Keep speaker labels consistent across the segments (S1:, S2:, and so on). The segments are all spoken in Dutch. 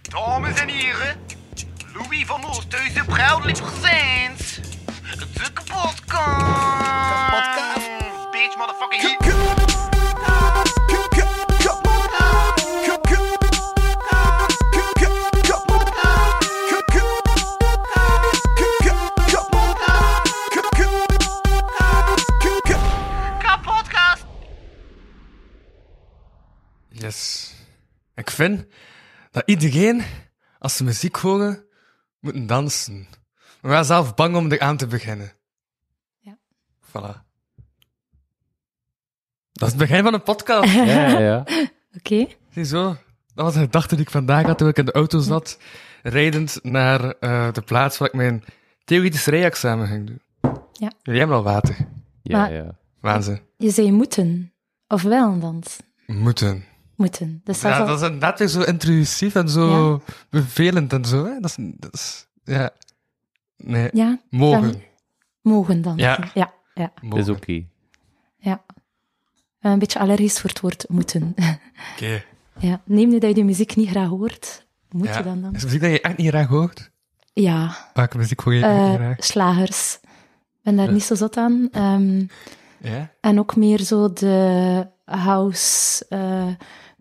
S1: Dames en heren, Louis van Oosthuizen, proudly presents de kapotkast.
S2: Kapotkast.
S1: Bitch, motherfucking hit. Kapotkast.
S3: Yes. Ik vind dat iedereen, als ze muziek horen, moeten dansen. Maar wij zijn zelf bang om eraan te beginnen.
S4: Ja.
S3: Voilà. Dat is het begin van een podcast.
S2: Ja, ja, ja.
S4: Oké.
S3: Ziezo. Dat was de gedachte die ik vandaag had toen ik in de auto zat, rijdend naar eh, de plaats waar ik mijn theoretisch rijexamen ging doen.
S4: Ja.
S3: Jullie hebben al water.
S2: ja,
S4: Maar-
S2: ja.
S3: Waanzin.
S4: Je zei moeten. Of wel dans.
S3: Moeten.
S4: Moeten. Dat is zelfs
S3: Ja,
S4: al-
S3: dat is inderdaad weer zo intrusief en zo bevelend en zo. Hè? Dat, is, dat is- ja. Nee,
S4: ja,
S3: mogen.
S4: dan- mogen dansen.
S3: Ja.
S4: ja. ja.
S3: mogen.
S2: Dat is oké.
S4: ja. Ik ben Een beetje allergisch voor het woord moeten.
S3: Oké.
S4: ja. Neem nu dat je de muziek niet graag hoort. Moet
S3: Ja.
S4: je dan dan?
S3: Is muziek dat je echt niet graag hoort?
S4: Ja.
S3: Welke muziek hoor je echt
S4: Eh,
S3: niet graag?
S4: slagers. Ik ben daar niet zo zot aan. Ehm,
S3: Ja?
S4: en ook meer zo de house eh,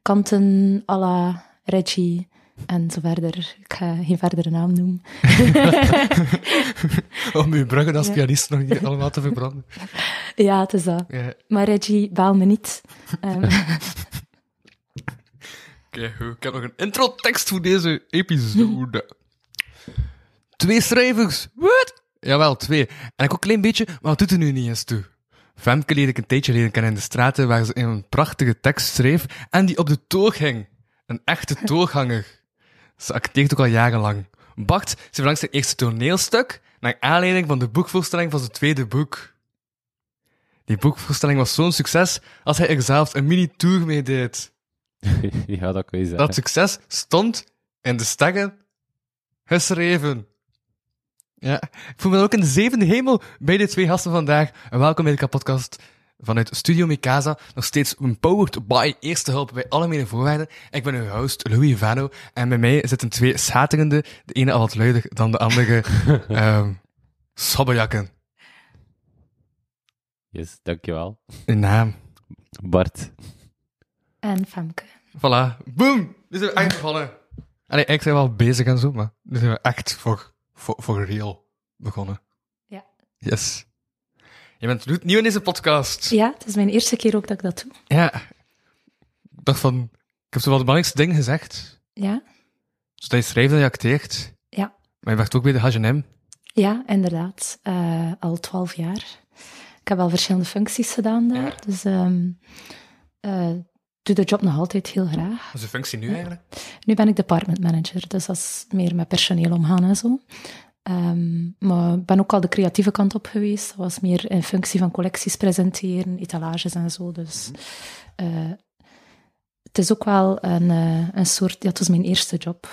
S4: kanten à la Reggie en zo verder. Ik ga geen verdere naam noemen.
S3: Om uw bruggen als
S4: Ja.
S3: pianist nog niet allemaal te verbranden.
S4: Ja, het is dat.
S3: Ja.
S4: Maar Reggie, baal me niet. Ehm,
S3: Oké, goed. ik heb nog een introtekst voor deze episode. twee schrijvers. Wat? Jawel, twee. En ik ook een klein beetje, maar dat doet er nu niet eens toe. Femke leerde ik een tijdje geleden kennen in de straten waar ze een prachtige tekst schreef en die op de toog hing. Een echte tooghanger. Ze acteert ook al jarenlang. Bart ze langs zijn eerste toneelstuk naar aanleiding van de boekvoorstelling van zijn tweede boek. Die boekvoorstelling was zo'n succes als hij er zelfs een mini-tour mee deed.
S2: ja, dat kun je zeggen.
S3: Dat succes stond in de sterren geschreven. Ja, ik voel me dan ook in de zevende hemel bij de twee gasten vandaag. En welkom bij de kapotkast vanuit Studio Mikasa. Nog steeds empowered by Eerste Hulp bij Algemene Voorwaarden. Ik ben uw host, Louis Vano. En bij mij zitten twee schaterende, de ene al wat luider dan de andere, ehm sabberjakken.
S2: Yes, dankjewel.
S3: Uw naam.
S2: Bart.
S4: en Femke.
S3: Voilà. Boom! Nu zijn we echt begonnen. Allee, ik ben wel bezig en zo, maar nu zijn we echt voor, voor, voor real begonnen.
S4: Ja.
S3: Yes. Je bent nu- nieuw in deze podcast.
S4: Ja, het is mijn eerste keer ook dat ik dat doe.
S3: Ja. Ik dacht van, ik heb zo wel de belangrijkste dingen gezegd.
S4: Ja,
S3: Zodat je schrijft en je acteert.
S4: Ja.
S3: Maar je werkt ook bij de H&M.
S4: ja inderdaad. Eh, al twaalf jaar. Ik heb al verschillende functies gedaan daar. Dus ehm, eh, doe de job nog altijd heel graag.
S3: Wat is je functie nu eigenlijk?
S4: Nu ben ik department manager, dus dat is meer met personeel omgaan en zo. Ehm, maar ik ben ook al de creatieve kant op geweest. Dat was meer in functie van collecties presenteren, etalages en zo. Dus eh, het is ook wel een, eh, een soort... Ja, het was mijn eerste job.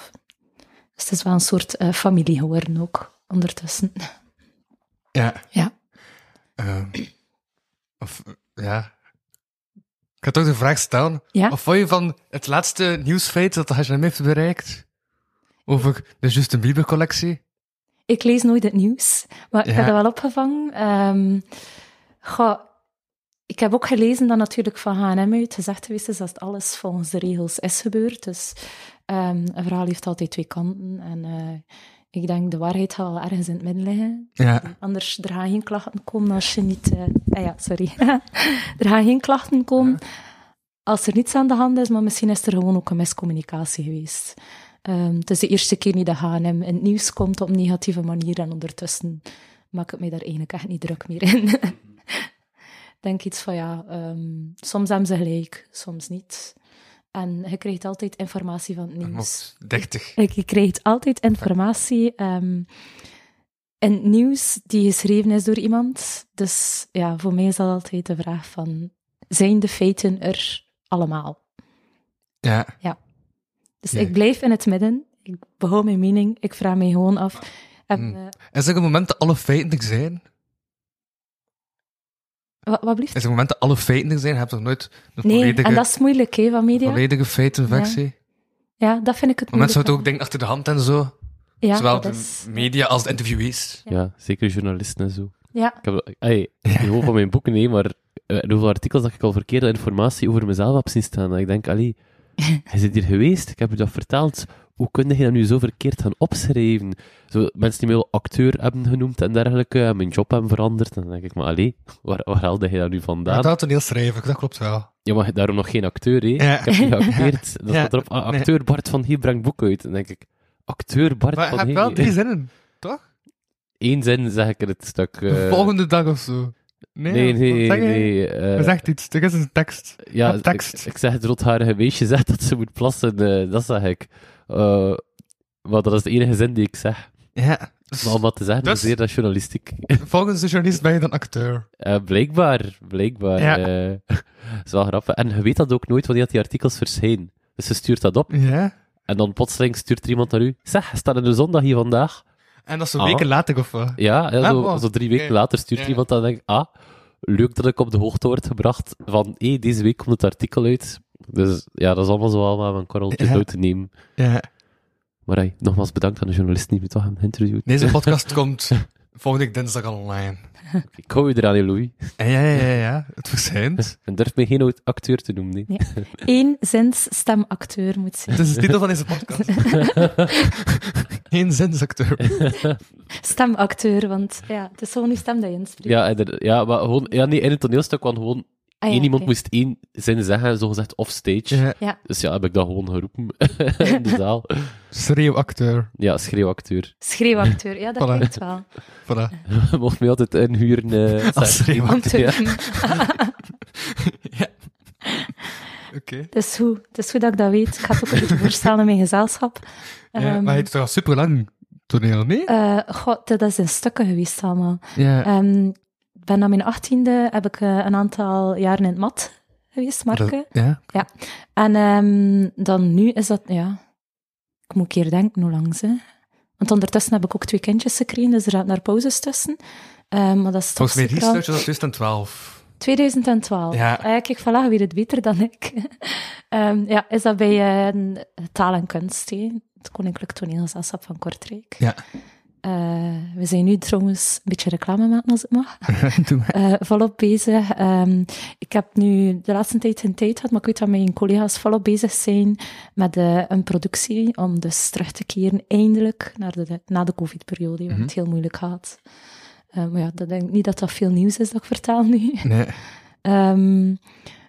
S4: Dus het is wel een soort eh, familie geworden ook, ondertussen.
S3: Ja.
S4: Ja.
S3: Ehm, of, eh, ja. Ik ga toch de vraag stellen.
S4: Ja?
S3: Of vond je van het laatste nieuwsfeit dat de H&M heeft bereikt? Over de Justin Bieber collectie?
S4: Ik lees nooit het nieuws, maar ik
S3: Ja.
S4: heb dat wel opgevangen. Ehm, goh, ik heb ook gelezen dat natuurlijk van H&M uit gezegd geweest is dat alles volgens de regels is gebeurd. Dus ehm, een verhaal heeft altijd twee kanten. En eh, ik denk, de waarheid gaat wel ergens in het midden liggen.
S3: Ja.
S4: Anders, er gaan geen klachten komen als je niet... eh, ah ja, sorry. er gaan geen klachten komen als er niets aan de hand is, maar misschien is er gewoon ook een miscommunicatie geweest. Ehm, het is de eerste keer niet dat H&M in het nieuws komt op een negatieve manier en ondertussen maak ik me daar eigenlijk echt niet druk meer in. Ik denk iets van, ja, ehm, soms hebben ze gelijk, soms niet. En je krijgt altijd informatie van het nieuws.
S3: Of 30.
S4: Ik Eh, je krijgt altijd informatie ehm in het nieuws die geschreven is door iemand. Dus ja, voor mij is dat altijd de vraag van, zijn de feiten er allemaal?
S3: Ja.
S4: Dus
S3: Ja.
S4: ik blijf in het midden, ik behoud mijn mening, ik vraag mij gewoon af, heb,
S3: Hmm.
S4: eh,
S3: Is er een moment dat alle feiten er zijn?
S4: wat, wat blieft?
S3: Is er een moment dat alle feiten er zijn? Je hebt toch nooit de
S4: Nee,
S3: volledige,
S4: en dat is moeilijk hè, van media.
S3: volledige feitenversie?
S4: Ja, dat vind ik het
S3: Maar mensen
S4: moeilijke.
S3: houden ook denk ik, achter de hand en zo.
S4: ja,
S3: Zowel
S4: dat
S3: de
S4: is-
S3: media als de interviewees.
S4: Ja.
S2: Ja, zeker journalisten en zo.
S4: Ja,
S2: Ik heb, ey, gewoon van mijn boeken, nee, maar eh, in hoeveel artikels dat ik al verkeerde informatie over mezelf heb zien staan. Dat ik denk, allee, je zit hier geweest, ik heb je dat verteld. Hoe kun je dat nu zo verkeerd gaan opschrijven? Zo, mensen die mij wel acteur hebben genoemd en dergelijke, en mijn job hebben veranderd. En dan denk ik, maar allee, waar, waar haalde je dat nu vandaan?
S3: had een heel schrijver, dat klopt wel.
S2: Ja, maar daarom nog geen acteur, hè?
S3: Ja.
S2: Ik heb je geacteerd.
S3: Ja.
S2: Dan staat erop, ah, acteur Bart van Hee brengt boek uit. Dan denk ik, acteur Bart
S3: Maar je
S2: van
S3: hebt
S2: Hee.
S3: wel drie zinnen.
S2: Eén zin zeg ik in het stuk. eh,
S3: De volgende dag of zo. Nee,
S2: Nee, nee, nee.
S3: wat zeg je?
S2: eh,
S3: Hij zegt iets, er is een tekst.
S2: Ja,
S3: Wat tekst?
S2: Ik, ik zeg het rotharige meisje zegt dat ze moet plassen, eh, dat zeg ik. Eh, maar dat is de enige zin die ik zeg.
S3: Ja.
S2: Maar om dat te zeggen,
S3: Dus-
S2: is zeer dat journalistiek.
S3: Volgens de journalist ben je dan acteur.
S2: Eh, blijkbaar, blijkbaar.
S3: Ja.
S2: eh. dat is wel grappig. En je weet dat ook nooit wanneer die artikels verschijnen. Dus ze stuurt dat op,
S3: Ja.
S2: en dan plotseling stuurt er iemand naar u. Zeg, staat in de zondag hier vandaag?
S3: En dat is zo
S2: Ah.
S3: weken later of wat?
S2: Ja, ja,
S3: Ah,
S2: zo,
S3: wow.
S2: zo drie weken
S3: Oké.
S2: later stuurt
S3: Ja.
S2: iemand dan denk ik, ah, leuk dat ik op de hoogte word gebracht van, hé, deze week komt het artikel uit. Dus ja, dat is allemaal zo allemaal een korreltje
S3: Ja.
S2: zo te nemen.
S3: Ja.
S2: Maar hey, nogmaals bedankt aan de journalist die me toch hebben geïnterviewd.
S3: Deze podcast komt volgende week dinsdag al online.
S2: Ik hou je eraan, hè, Louis.
S3: Ja, ja, ja, ja. Het verschijnt.
S2: En durf me geen oud acteur te noemen, nee.
S4: één zins stemacteur moet zijn.
S3: Het is de titel van deze podcast. Geen zinsacteur.
S4: Stemacteur, want ja, het is gewoon uw stem dat je inspreekt.
S2: Ja, inderdaad. ja, maar gewoon, ja, nee, in het toneelstuk, want gewoon
S4: Ah, ja,
S2: één iemand
S4: oké.
S2: moest één zin zeggen, zogezegd offstage.
S3: Ja.
S4: Ja,
S2: Dus ja, heb ik dat gewoon geroepen in de zaal.
S3: Schreeuwacteur.
S2: Ja, schreeuwacteur.
S4: schreeuwacteur. Ja, dat
S3: Voilà.
S4: klinkt wel.
S3: Voilà.
S2: Mocht mij altijd inhuren. eh,
S3: Als
S4: Om
S3: schreeuwacteur.
S4: te
S2: Ja.
S4: doen.
S3: Oké.
S4: Het is goed. Het is goed dat ik dat weet. Ik ga het ook even voorstellen in mijn gezelschap.
S3: Ja,
S4: Ehm,
S3: maar het is toch al super lang toneel, nee?
S4: eh, god, dat is in stukken geweest allemaal.
S3: ja.
S4: Ehm, Ik ben na mijn achttiende heb ik eh, een aantal jaren in het mat geweest, Marke.
S3: Dat- ja.
S4: En ehm, dan nu is dat, ja, ik moet een keer denken hoe lang ze. Want ondertussen heb ik ook twee kindjes gekregen, dus er gaat naar pauzes tussen. Ehm, maar dat is toch
S3: Volgens mij
S4: zeker al-
S3: research is dat 2012.
S4: 2012.
S3: Ja.
S4: Ah, kijk, voilà, weet het beter dan ik. Ehm, ja, is dat bij eh, Taal en Kunst, hè? het Koninklijk Toneelgezelschap van Kortrijk.
S3: Ja.
S4: Eh, we zijn nu trouwens een beetje reclame maken, als het mag.
S3: Doe maar.
S4: eh, volop bezig. Ehm, ik heb nu de laatste tijd geen tijd gehad, maar ik weet dat mijn collega's volop bezig zijn met eh, een productie om dus terug te keren, eindelijk, naar de, na de covid-periode, waar het
S3: Mhm.
S4: heel moeilijk gaat. Eh, maar ja, dat denk ik niet dat dat veel nieuws is dat ik vertel nu.
S3: Nee.
S4: Ehm,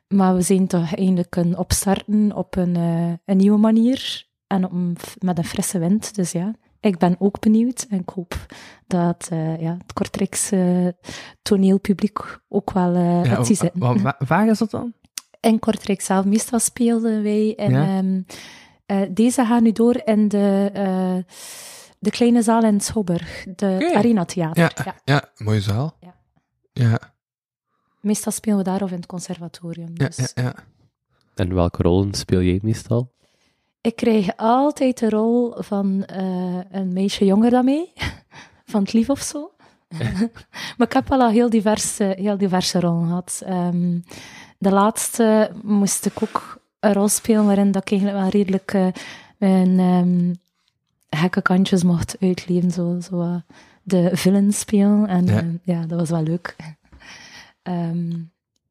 S4: maar we zijn toch eindelijk kunnen opstarten op een, eh, een nieuwe manier en op een f- met een frisse wind. Dus ja, ik ben ook benieuwd en ik hoop dat eh, ja, het Kortrijkse toneelpubliek ook wel eh gaat zien zitten.
S3: wa- wa- waar is dat dan?
S4: In Kortrijk zelf, meestal speelden wij in...
S3: Ja.
S4: ehm, eh, deze gaan nu door in de, eh, de kleine zaal in Schouwburg, de
S3: Oké.
S4: Arena Theater.
S3: Ja.
S4: Ja.
S3: Ja, mooie zaal.
S4: Ja.
S3: Ja,
S4: Meestal spelen we daar of in het conservatorium.
S3: ja,
S4: Dus.
S3: ja. ja.
S2: En welke rollen speel jij meestal?
S4: Ik kreeg altijd de rol van eh, een meisje jonger dan mij. Van het lief of zo. maar ik heb wel al heel diverse, heel diverse rollen gehad. Ehm, de laatste moest ik ook een rol spelen waarin dat ik eigenlijk wel redelijk eh, mijn ehm, gekke kantjes mocht uitleven. Zo, zo eh, de villain spelen. En
S3: Ja.
S4: ja. ja, dat was wel leuk. Ehm,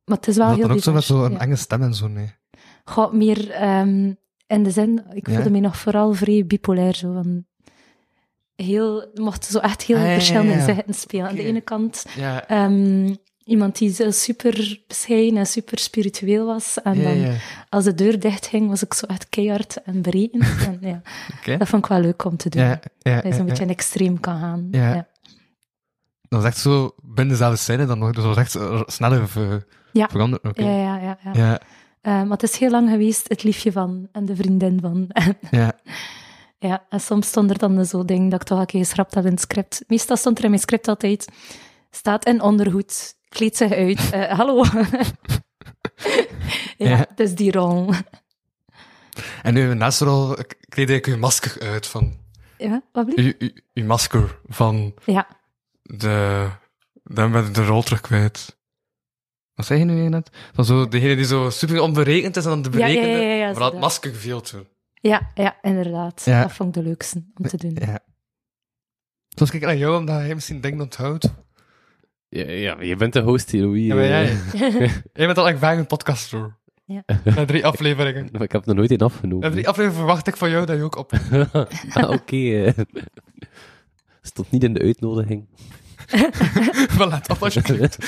S4: maar het is wel
S3: Dat
S4: heel
S3: dan ook zo met
S4: divers,
S3: zo'n
S4: ja.
S3: enge stem en zo, nee.
S4: Goh, meer ehm, in de zin, ik
S3: Ja?
S4: voelde mij nog vooral vrij bipolair. Zo, van heel, mocht zo echt heel
S3: Ah, ja, ja,
S4: verschillende
S3: ja.
S4: gezichten spelen. Aan
S3: Oké.
S4: de ene kant
S3: Ja,
S4: ehm, iemand die zo super bescheiden en super spiritueel was. En
S3: ja,
S4: dan,
S3: ja.
S4: als de deur dichtging, was ik zo echt keihard en berekend. en, ja,
S3: Oké.
S4: Dat vond ik wel leuk om te doen.
S3: Ja, ja,
S4: dat je zo'n
S3: ja,
S4: beetje
S3: ja.
S4: in extreem kan gaan.
S3: Ja.
S4: Ja.
S3: Dat was echt zo binnen dezelfde scène dan nog. Dus dat was echt eh, sneller ver-
S4: Ja.
S3: veranderd. Oké.
S4: Ja, ja, ja, ja.
S3: Ja,
S4: Eh, maar het is heel lang geweest het liefje van en de vriendin van.
S3: ja.
S4: Ja, en soms stond er dan zo'n ding dat ik toch een keer geschrapt had in het script. Meestal stond er in mijn script altijd, staat in ondergoed, kleedt zich uit, eh, hallo. ja,
S3: Ja.
S4: het is die rol.
S3: En nu in de laatste rol eh, kleedde ik uw masker uit van...
S4: Ja, wat blieft?
S3: Uw, uw, uw masker van
S4: Ja,
S3: de... Dan ben ik de rol terug kwijt. Wat zei je nu weer net? Van zo, degene die zo super onberekend is en dan de
S4: Ja, ja, ja,
S3: berekende...
S4: ja, ja,
S3: vooral het
S4: zo.
S3: masker viel toen.
S4: Ja, ja inderdaad.
S3: Ja.
S4: Dat vond ik de leukste om te doen.
S3: Ja. Zoals kijk naar jou, omdat hij misschien denkt onthoudt.
S2: Ja, ja, je bent de host hier, Louis.
S3: Ja, maar jij,
S2: Eh,
S3: jij bent al echt vaak een podcast hoor.
S4: Ja.
S3: Na drie afleveringen.
S2: maar eh, ik heb er nog nooit in
S3: Na
S2: afgenomen.
S3: drie afleveringen verwacht ik van jou dat je ook op.
S2: ah, oké. eh. Stond niet in de uitnodiging.
S3: Wel laat op alsjeblieft.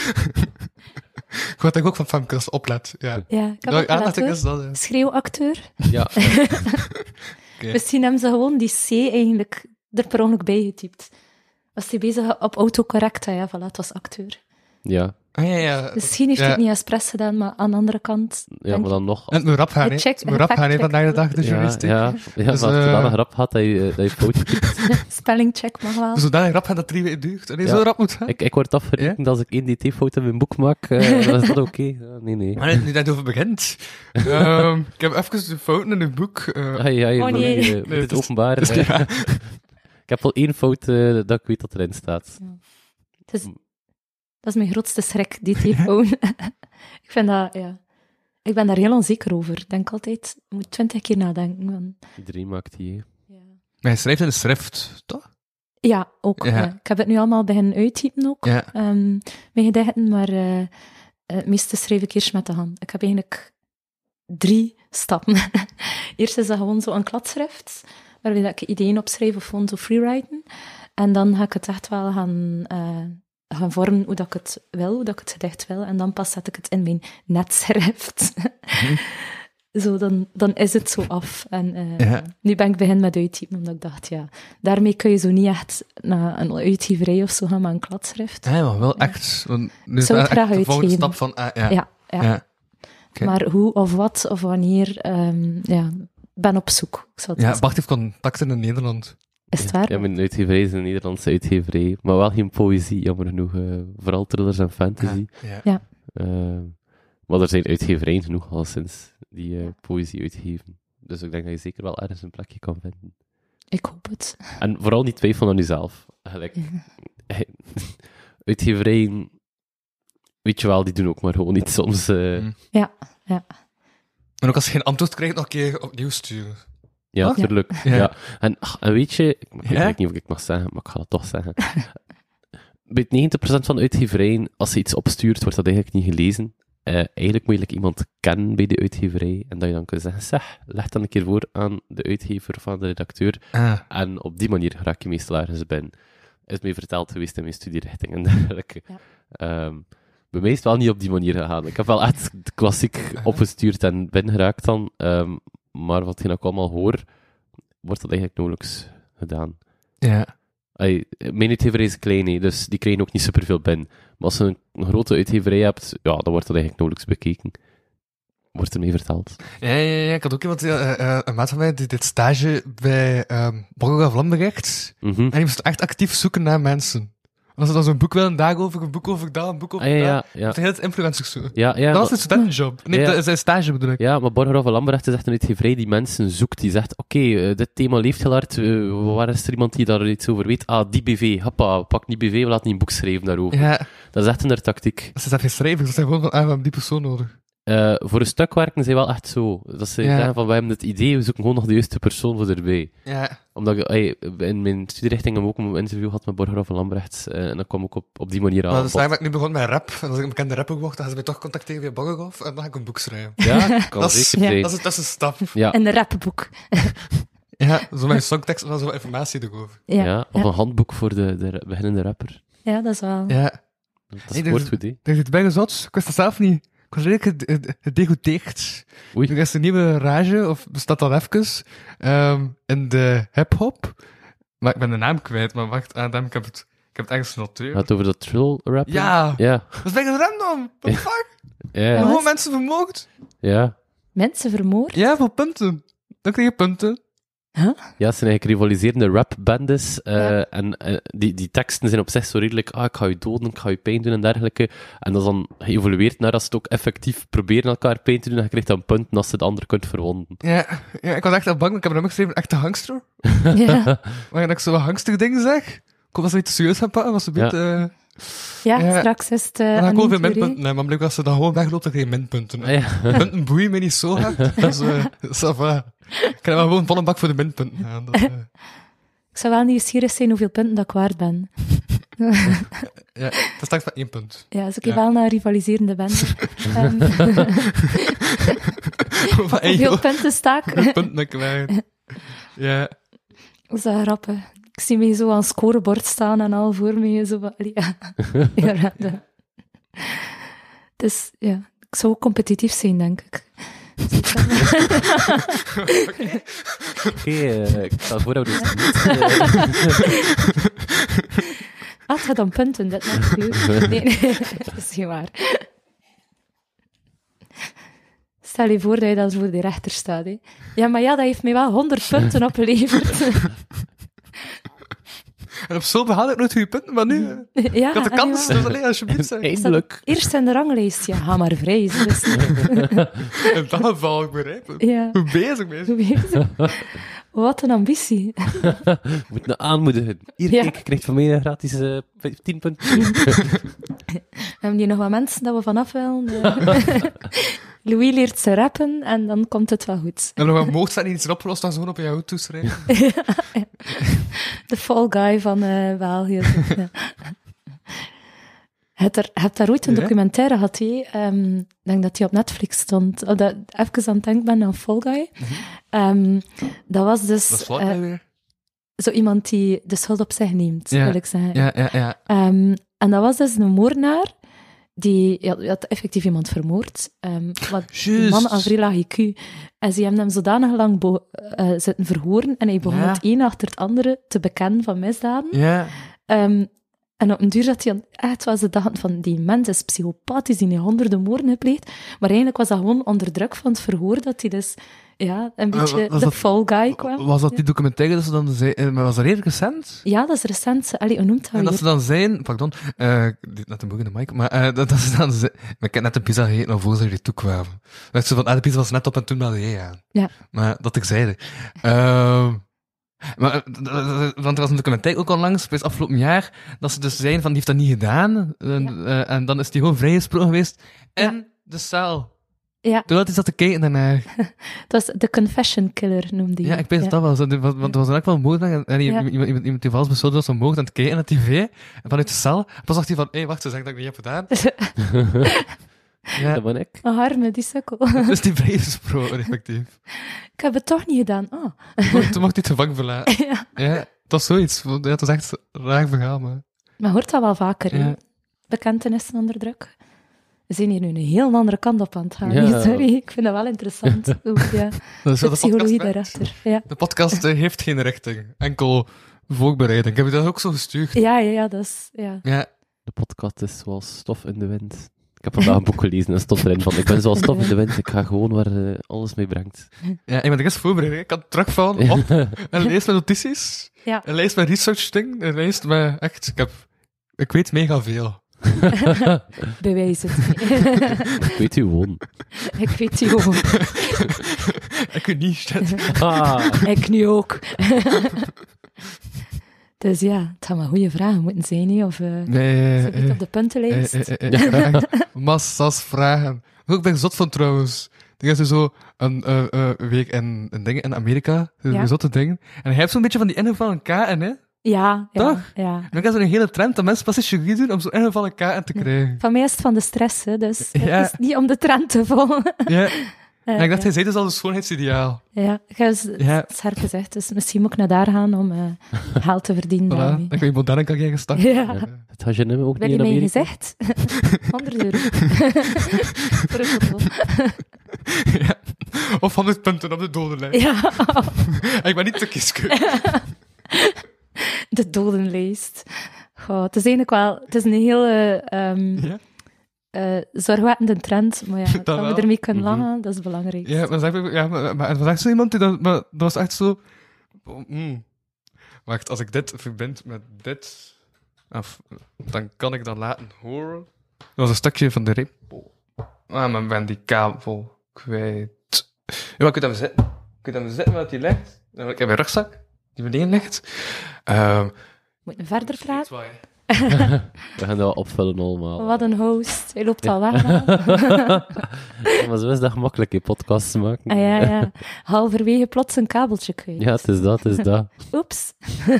S3: ik word denk ook van Femke dat ze oplet. Ja.
S4: Ja, ik heb
S3: Nou,
S4: ook
S3: ja,
S4: wel
S3: dat
S4: acteur.
S3: is dat. eh.
S4: Schreeuwacteur.
S2: Ja.
S4: Misschien hebben ze gewoon die C eigenlijk er per ongeluk bij getypt. Was die bezig op autocorrect? hè? Ja, voilà, het was acteur.
S2: Ja,
S3: Ah, ja, ja.
S4: Misschien heeft
S3: Ja.
S4: hij het niet expres gedaan, maar aan de andere kant...
S2: ja
S4: denk
S2: maar dan nog.
S3: En mijn rap gaan,
S4: Hij
S3: hè.
S4: checkt
S3: Mijn
S4: en
S3: rap gaan, hè,
S4: fact-checkt.
S3: vandaag de dag, de
S2: ja,
S3: journalistiek.
S2: ja, ja,
S3: Dus,
S2: maar
S3: eh,
S2: als je dan een grap had, dat je, eh, dat je foutje
S4: Spellingcheck mag wel.
S3: Zodat een rap gaat dat drie weken duurt. En die
S2: Ja.
S3: zo rap moet gaan.
S2: Ik, ik word afgerekend als ik één DT-fout in mijn boek maak. eh, dan is dat oké? Ja, nee, nee.
S3: Maar nu Ah, dat je over begint. Ehm, ik heb even de fouten in het boek. eh,
S2: Ai, ai,
S4: Oh,
S2: moet
S4: nee.
S2: je, eh, moet
S3: Nee,
S2: het
S3: het is-
S2: openbaar.
S3: het is
S2: eh.
S3: niet waar.
S2: ik heb al één fout eh, dat ik weet dat erin staat.
S4: Het is- dat is mijn grootste schrik, die telefoon. ik vind dat, ja. Ik ben daar heel onzeker over. Ik denk altijd, ik moet twintig keer nadenken. van-
S2: Iedereen maakt die. hè.
S4: ja.
S3: Maar hij schrijft in de schrift, toch?
S4: Ja, ook.
S3: Ja.
S4: ja. Ik heb het nu allemaal beginnen uittypen ook,
S3: Ja.
S4: ehm, mijn gedichten, maar eh, eh, het meeste schrijf ik eerst met de hand. Ik heb eigenlijk drie stappen. eerst is dat gewoon zo'n kladschrift, waarbij dat ik ideeën opschrijf of gewoon zo freewriten. En dan ga ik het echt wel gaan, eh, gaan vormen hoe dat ik het wil, hoe dat ik het gedicht wil. En dan pas zet ik het in mijn netschrift. Zo, dan, dan is het zo af. En eh,
S3: Ja.
S4: nu ben ik begin met uittypen, omdat ik dacht, ja, daarmee kun je zo niet echt naar een uitgeverij of zo gaan, maar een kladschrift.
S3: Ja, maar wel echt. Want nu is
S4: Zou
S3: dat
S4: het
S3: echt
S4: graag
S3: de volgende stap
S4: uitgeven.
S3: van... ah, ja.
S4: Ja, ja.
S3: ja. Oké.
S4: Maar hoe of wat of wanneer, ehm, ja, ben op zoek. Ik zal het
S3: Ja,
S4: eens-
S3: Bart heeft contacten in Nederland.
S4: is het waar?
S2: Ja, mijn uitgeverij is een Nederlandse uitgeverij. Maar wel geen poëzie, jammer genoeg. eh, vooral thrillers en fantasy.
S3: Ja.
S2: Ehm, maar er zijn uitgeverijen genoeg al sinds die eh, poëzie uitgeven. Dus ik denk dat je zeker wel ergens een plekje kan vinden.
S4: Ik hoop het.
S2: En vooral niet twijfelen aan jezelf. Eigenlijk. Uitgeverijen, weet je wel, die doen ook maar gewoon niet soms. eh,
S3: Mm.
S4: Ja, ja.
S3: En ook als je geen antwoord krijgt, nog een keer opnieuw sturen.
S2: Ja,
S3: Wat?
S2: natuurlijk.
S3: Ja.
S2: Ja. En, ach, en weet je, ik, ik
S3: Ja?
S2: weet niet of ik het mag zeggen, maar ik ga het toch zeggen. Bij 90% van de uitgeverijen, als ze iets opstuurt, wordt dat eigenlijk niet gelezen. Eh, eigenlijk moet je like, iemand kennen bij de uitgeverij en dat je dan kunt zeggen, zeg, leg dan een keer voor aan de uitgever of aan de redacteur.
S3: Ah.
S2: En op die manier raak je meestal ergens binnen. Is mij verteld geweest in mijn studierichting en dergelijke.
S4: Ja.
S2: Ehm, bij mij is het wel niet op die manier gegaan. Ik heb wel echt klassiek opgestuurd en binnengeraakt dan. ehm, maar wat ik ook allemaal hoor, wordt dat eigenlijk nauwelijks gedaan.
S3: Ja.
S2: Ai, mijn uitgeverij is klein, hè, dus die krijgen ook niet superveel binnen. Maar als je een, een grote uitgeverij hebt, ja, dan wordt dat eigenlijk nauwelijks bekeken. Wordt ermee verteld.
S3: Ja, ja, ja. Ik had ook iemand, eh, eh, een maat van mij, die dit stage bij ehm Borgo Vlambrecht.
S2: Mhm.
S3: En die moest echt actief zoeken naar mensen. En als ze dan zo'n boek willen, een dag over, een boek over dat, een boek over
S2: Ah, ja,
S3: dat. Dat
S2: ja, ja.
S3: de hele tijd influencers zoeken.
S2: Ja, ja,
S3: dat was
S2: maar,
S3: een studentenjob. Nee,
S2: Ja.
S3: dat is een stage bedoel ik.
S2: ja, maar Borgerhoff en Lambrecht is echt een uitgeverij die mensen zoekt. Die zegt, oké, eh, dit thema leeft heel hard. eh, waar is er iemand die daar iets over weet? Ah, die BV. Hoppa, pak die BV, we laten een boek schrijven daarover.
S3: Ja,
S2: Dat is echt hun tactiek.
S3: ze zijn geen schrijvers, ze zijn gewoon van, ah, we hebben die persoon nodig.
S2: Eh, voor een stuk werken zij wel echt zo. Dat ze
S3: Ja.
S2: zeggen van, wij hebben het idee, we zoeken gewoon nog de juiste persoon voor erbij.
S3: Ja,
S2: Omdat ik ey, in mijn studierichting heb ik ook een interview gehad met Borger van Lambrechts. eh, en dan kwam ik op, op die manier aan.
S3: maar dus
S2: bod.
S3: daarom dat ik nu begon met rap. En als ik een bekende rapper word, dan gaan ze mij toch contacteren via Borgoff en dan ga ik een boek schrijven.
S2: Ja, kan
S3: Dat is-
S2: zeker zijn.
S3: Dat is, dat is een stap.
S2: Ja,
S4: En een rapboek.
S3: Ja, zo mijn songtekst en dan zo wat informatie erover.
S4: Ja.
S2: ja,
S4: Ja.
S2: of een handboek voor de, de ra- beginnende rapper.
S4: dat is wel...
S3: Ja.
S2: Dat
S3: Nee,
S2: is
S3: dus-
S2: woord goed, hè?
S3: Ik dacht, het bijna zot. Ik wist dat zelf niet. Ik was redelijk ged- gedegoteerd.
S2: Oei.
S3: Er is een nieuwe rage, of bestaat dat even, ehm, in de hip-hop. Maar ik ben de naam kwijt, maar wacht, Adam, ik heb het, ik heb het ergens genoteerd.
S2: Gaat het over dat trill rapper?
S3: Ja,
S2: Ja,
S3: dat is bijna random. What the fuck?
S2: ja,
S4: Ja.
S3: Gewoon
S4: Wat?
S3: mensen vermoord.
S2: ja.
S4: Mensen vermoord?
S3: Ja, voor punten. Dan kreeg je punten.
S2: Ja, het zijn eigenlijk rivaliserende rapbandes. eh,
S4: Ja.
S2: En eh, die, die teksten zijn op zich zo redelijk, ah, ik ga je doden, ik ga je pijn doen en dergelijke. En dat is dan geëvolueerd naar als ze het ook effectief proberen elkaar pijn te doen, dan krijg je dan punten als ze de ander kunt verwonden.
S3: Ja, ja, ik was echt al bang, ik heb hem geschreven, echte hangster.
S4: Ja.
S3: Maar dat ik zo wat hangster dingen zeg, kom als ze niet te serieus gaan pakken, was ze een
S2: Ja.
S3: beetje... eh,
S4: Ja,
S3: Ja.
S4: straks is het... eh,
S3: dan ga ik
S4: aan
S3: gewoon veel
S4: een jury.
S3: minpunten hebben, maar blijkbaar als ze dan gewoon wegloopt, dan krijg je minpunten.
S2: Ah, ja.
S3: Punten boeien mij niet zo hard. Dus, eh ça va. Ik krijg wel gewoon vol een bak voor de minpunten. Ja, dat, eh,
S4: Ik zou wel nieuwsgierig zijn hoeveel punten dat ik waard ben.
S3: ja, dat is straks maar één punt.
S4: Ja, dus ik
S3: Ja.
S4: wel naar rivaliserende bende. Ehm,
S3: Van, hey,
S4: hoeveel
S3: joh,
S4: punten sta ik?
S3: een punt naar kwijt. Ja.
S4: Dat is wel grappig. Ik zie mij zo aan het scorebord staan en al voor mij. Zo van, allee, ja. ja, ja, ja. Dus ja, ik zou ook competitief zijn, denk ik. Dus ik zou-
S2: Oké, eh, ik stel voor dat we dit niet... eh,
S4: Ah, het gaat om punten, dat maakt niet uit. Nee, nee, dat is niet waar. Stel je voor dat je dan voor de rechter staat. Hè. Ja, maar ja, dat heeft mij wel 100 punten opgeleverd.
S3: En op school behaalde ik nooit goede punten, maar nu... eh,
S4: ja, ah,
S3: Ik had de
S4: en
S3: kans,
S4: ja.
S3: dus alleen alsjeblieft. zeg.
S2: Eindelijk.
S4: Eerst in de ranglijst. Ja, ga maar vrij. ze is niet-
S3: In dat geval, ik begrijp het.
S4: Ja,
S3: Hoe bezig ben je?
S4: hoe weet je? Wat een ambitie.
S2: We moeten aanmoedigen. Hier,
S4: Ja.
S2: kijk, je krijgt van mij een gratis eh, 10 punten.
S4: Hebben hier nog wat mensen dat we vanaf willen? Eh, Louis leert ze rappen en dan komt het wel goed.
S3: En nog een moord staat niet eens opgelost, dan zo op jou toeschrijven.
S4: De fall guy van eh België. ja. Heb er, heb daar ooit een
S3: Ja.
S4: documentaire gehad, hè? Ehm, ik denk dat die op Netflix stond. Of dat, even aan het denken ben aan Fall Guy. Ehm, dat was dus
S3: Mhm. Dat slaat
S4: eh,
S3: mij weer.
S4: zo iemand die de schuld op zich neemt,
S3: Ja.
S4: wil ik zeggen.
S3: Ja, ja, ja.
S4: Ehm, en dat was dus een moordenaar die ja, die had effectief iemand vermoord. Ehm wat die
S3: Juist.
S4: man aan vrij laag IQ. En ze hebben hem zodanig lang bo- eh, zitten verhoren en hij begon
S3: Ja.
S4: het een achter het andere te bekennen van misdaden.
S3: Ja.
S4: Ehm, en op een duur zat hij aan- echt was de dachten van die mens is psychopathisch, die heeft honderden moorden gepleegd. Maar eigenlijk was dat gewoon onder druk van het verhoor dat hij dus ja, een
S3: Eh,
S4: beetje
S3: was
S4: de
S3: dat-
S4: fall guy kwam.
S3: Was dat die documentaire dat ze dan zei... eh, Maar was dat redelijk recent?
S4: Ja, dat is recent. Allee, hoe noemt dat
S3: En dat
S4: weer?
S3: ze dan zijn... Pardon. eh, dit net een boek in de mic. Maar eh, dat, dat ze dan zijn... Maar ik heb net een pizza gegeten al voor ze hier toe kwamen. Dat ze van... Ah, de pizza was net op en toen belde jij aan.
S4: Ja.
S3: Maar dat ik zei Ehm... Maar, eh, d- d- d- want er was een documentaire ook onlangs, bij het afgelopen jaar, dat ze dus zeiden van, die heeft dat niet gedaan. En,
S4: Ja.
S3: eh, en dan is die gewoon vrijgesproken geweest. En de cel.
S4: Ja.
S3: Toen had hij zat te kijken daarnaar.
S4: Dat was de Confession Killer, noemde hij.
S3: Ja, ik weet dat dat was. Dat- Want want er was ook wel een moord. En en
S4: Ja.
S3: iemand, iemand, iemand, iemand die vals beschuldigd was van moord aan het kijken naar tv. En vanuit de cel. En pas dacht hij van, hé, wacht, ze zeggen dat ik niet heb gedaan.
S2: Dat
S3: ja,
S2: ben ik.
S4: Een harme, Oh, die sukkel.
S3: dus die vrijgesproken, effectief.
S4: ik heb het toch niet gedaan. Ah.
S3: Toen mocht hij het gevangen verlaten.
S4: ja.
S3: Ja, dat was zoiets. Ja, dat was echt een raar verhaal, maar...
S4: Maar hoort dat wel vaker, hè?
S3: Ja.
S4: Bekentenissen onder druk. We zijn hier nu een heel andere kant op aan het gaan.
S2: Ja.
S4: Sorry, ik vind dat wel interessant. Oeh, ja.
S3: Dat is
S4: De
S3: wel
S4: psychologie
S3: podcast, hè.
S4: daarachter. Ja.
S3: De podcast eh, heeft geen richting. Enkel voorbereiding. Ik heb je dat ook zo gestuurd.
S4: Ja, ja, ja, dat is... Ja.
S3: Ja,
S2: De podcast is zoals stof in de wind. Ik heb vandaag een boek gelezen en stof erin van. Ik ben zoals stof in de wind. Ik ga gewoon waar eh, alles mee brengt.
S3: ja ik ben de rest voorbereid. Ik kan terugvallen op een lijst met notities,
S4: Ja.
S3: een lijst met research ding, een lijst met... Echt, ik heb... Ik weet mega veel.
S4: Bewijs het niet.
S2: Ik weet u gewoon.
S4: ik weet die gewoon.
S3: Ik weet niet, shit.
S2: Ah,
S4: Ik nu ook. dus ja, het gaan maar goede vragen moeten zijn, hè? Of eh
S3: Nee, eh,
S4: zo goed op de puntenlijst.
S3: Massas vragen. Ook ben ik zot van trouwens. Er is dus zo een eh, eh, week in, in dingen in Amerika.
S4: Ja.
S3: Ja. Zotte dingen. En hij heeft zo'n beetje van die ingevallen K en hè. En
S4: ja, ja,
S3: Toch?
S4: ja.
S3: dan is er een hele trend dat mensen pas jury doen om zo'n ingevallen K en te krijgen.
S4: Van mij is het van de stress, hè, dus
S3: Ja.
S4: het is niet om de trend te volgen.
S3: Ja. En ik dacht,
S4: Eh,
S3: hij zei dus al een schoonheidsideaal.
S4: Ja, ik heb het
S3: Ja.
S4: scherp gezegd. Dus misschien moet ik naar daar gaan om eh, geld te verdienen.
S3: Voilà.
S4: daarmee.
S3: Dan kun je moderne kan krijgen gestart.
S4: Ja.
S2: het had je nummer ook
S4: Ben
S2: niet
S4: je
S2: in
S4: mij
S2: Amerika?
S4: gezegd? 100 euro. Voor een foto.
S3: Ja. Of 100 punten op de dodenlijn.
S4: ja,
S3: Ik ben niet te kieskeurig.
S4: de dodenlijst. Goh, het is eigenlijk wel... Het is een hele ehm
S3: Ja.
S4: eh, zorgwekkende trend. Maar ja, dat,
S3: wel.
S4: we ermee kunnen
S2: Mhm.
S4: lachen, dat is belangrijk.
S3: Ja, maar, zeg, ja, maar, maar het was echt zo iemand die dat, maar, dat was echt zo. Mm. Wacht, als ik dit verbind met dit, af, dan kan ik dat laten horen. Dat was een stukje van de rip. Ah, maar ik ben die kabel kwijt. Ja, maar kun je hem zitten? Kun je hem zitten waar die ligt? Ik heb mijn rugzak die beneden ligt. Ehm,
S4: Moet je verder praten?
S3: Zwaai.
S2: We gaan dat wel opvullen allemaal.
S4: Wat een host. Hij loopt al weg. hè.
S2: Maar zo is dat gemakkelijk, je podcasts maken.
S4: Ah, ja, ja. Halverwege plots een kabeltje kwijt.
S2: Ja, het is dat, het is dat.
S4: Oeps.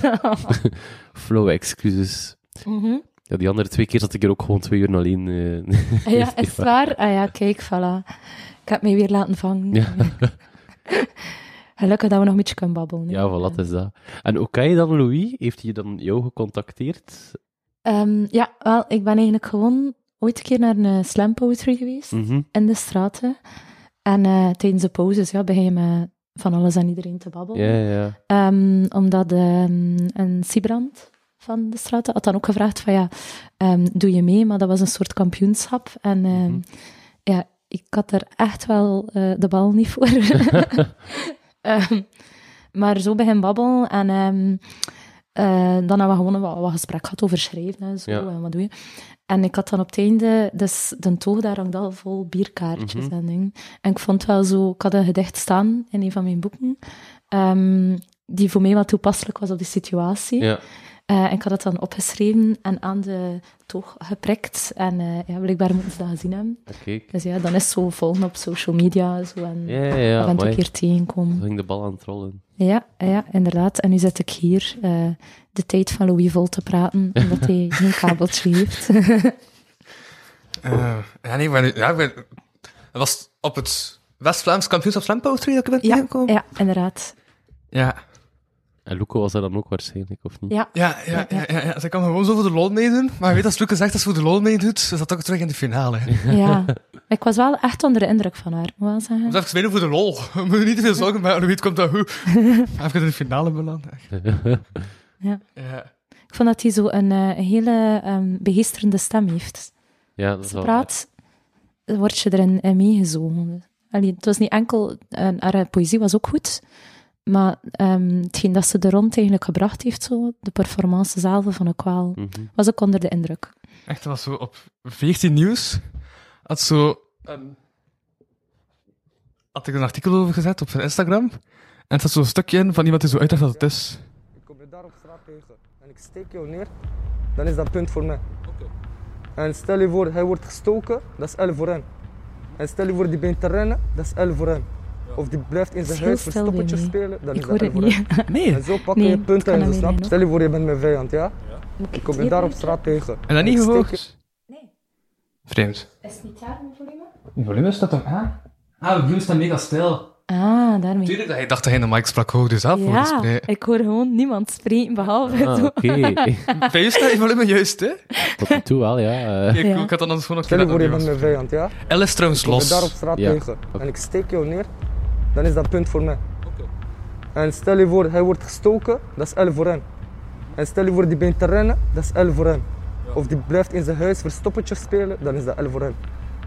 S2: Flow, excuses.
S4: Mhm.
S2: Ja, die andere twee keer zat ik er ook gewoon twee uur alleen. eh,
S4: Ah, ja, is het waar? Ah ja, kijk, voilà. Ik heb mij weer laten vangen.
S2: Ja.
S4: Gelukkig dat we nog een beetje kunnen babbelen. hè.
S2: ja, voilà, het is dat. En Okai dan, Louis, heeft hij dan jou gecontacteerd?
S4: Ehm, ja, wel, ik ben eigenlijk gewoon ooit een keer naar een eh, slam poetry geweest.
S2: Mhm.
S4: in de straten. En eh, tijdens de pauzes ja, begin je met van alles en iedereen te babbelen.
S2: Ja, ja.
S4: Ehm, omdat ehm, een Sibrand van de straten had dan ook gevraagd van ja, ehm, doe je mee? Maar dat was een soort kampioenschap. En ehm, ja, ik had er echt wel eh, de bal niet voor. Ehm, maar zo begin babbelen en ehm, eh, dan hebben we gewoon wat, wat gesprek gehad over schrijven en zo.
S2: Ja.
S4: En wat doe je? En ik had dan op het einde, dus de toog daar hangt al vol bierkaartjes en dingen. En ik vond wel zo, ik had een gedicht staan in een van mijn boeken, ehm, die voor mij wel toepasselijk was op die situatie.
S2: ja.
S4: Eh, en ik had dat dan opgeschreven en aan de toog geprikt. En eh ja, blijkbaar moeten ze dat gezien hebben.
S2: Oké.
S4: Dus ja, dan is zo volgen op social media zo en
S2: Ja, ja, ja.
S4: af en toe een
S2: amai.
S4: keer tegenkomen.
S2: Zo ging de bal aan het rollen.
S4: Ja, ja, inderdaad. En nu zit ik hier eh, de tijd van Louis vol te praten, omdat hij geen kabeltje heeft.
S3: Eh, ja, nee, maar, ja, ik ben- dat was op het West-Vlaams kampioenschap Slam Poetry dat ik ben
S4: ja,
S3: tegengekomen.
S4: ja, inderdaad.
S3: Ja.
S2: En Luco was daar dan ook waarschijnlijk, of niet?
S4: Ja,
S3: Ja, ja, ja, ja, ja. Ze kan gewoon zo voor de lol meedoen. Maar je weet, als Lucas zegt dat ze voor de lol meedoet, is dat ook terug in de finale. hè.
S4: ja. Ik was wel echt onder de indruk van haar, moet ik wel
S3: Dus
S4: zeggen.
S3: even meedoen voor de lol. We moeten niet te veel zorgen maken, wie het komt dat goed. Even in de finale belanden.
S4: Ja.
S3: Ja.
S4: Ik vond dat hij zo een, eh, een hele ehm, begeesterende stem heeft.
S2: Ja, dat is
S4: Ze
S2: wel-
S4: praat, word je erin in meegezogen. Allee, het was niet enkel... en haar poëzie was ook goed, maar ehm, hetgeen dat ze er rond eigenlijk gebracht heeft, zo, de performance zelf, vond ik wel...
S2: Mhm.
S4: Was ik onder de indruk.
S3: Echt, dat was zo op 14 nieuws. Had zo. een- had ik een artikel over gezet op zijn Instagram. En het zat zo'n stukje in van iemand die zo uitlegt wat het is.
S5: Ik kom je daar op straat tegen en ik steek jou neer, dan is dat punt voor mij. En stel je voor, hij wordt gestoken, dat is 11 voor hem. En stel je voor, die bent te rennen, dat is 11 voor hem. Of die blijft in
S4: Het is heel
S5: zijn huis
S4: stil bij
S5: verstoppertje
S4: mij.
S5: spelen, dan
S4: Ik
S5: is
S4: hoor
S5: dat 11
S4: het
S5: voor
S4: niet.
S5: hem.
S3: Nee.
S5: En zo pak je
S4: Nee,
S5: je punten
S4: dat kan
S5: en zo,
S4: dat
S5: snap
S4: niet,
S5: je? Stel je voor, je bent mijn vijand, ja?
S4: Moet
S5: Ik kom je
S4: het
S5: daar
S4: hier
S5: op straat tegen.
S3: En dat niet
S5: ik steek
S3: gevolgd?
S4: Nee.
S3: Vreemd.
S4: doen? Is het niet daar mijn volume?
S3: De volume staat toch aan? Ah, de volume staat mega stil.
S4: Ah, daarmee.
S3: Tuurlijk dat hij dacht dat hij in de mic sprak, hoorde zelf voor het
S4: Ja,
S3: spreken.
S4: ik hoor gewoon niemand spreken, behalve
S2: Ah,
S4: zo.
S2: oké.
S3: Bij jou staat je volume juist, hè?
S2: Tot nu toe wel, ja. eh.
S3: Ik,
S4: Ja.
S3: ik had dan anders gewoon nog
S5: Stel je voor, je bent
S3: keer
S5: mijn vijand, ja?
S3: Elle is trouwens
S5: Ik kom je daar op
S3: los.
S5: straat
S2: Ja.
S5: tegen en ik steek jou neer, dan is dat punt voor mij. En stel je voor, hij wordt gestoken, dat is 11 voor hem. En stel je voor, die bent te rennen, dat is 11 voor hem. Of die blijft in zijn huis verstoppertje spelen, dan is dat 11 voor hem.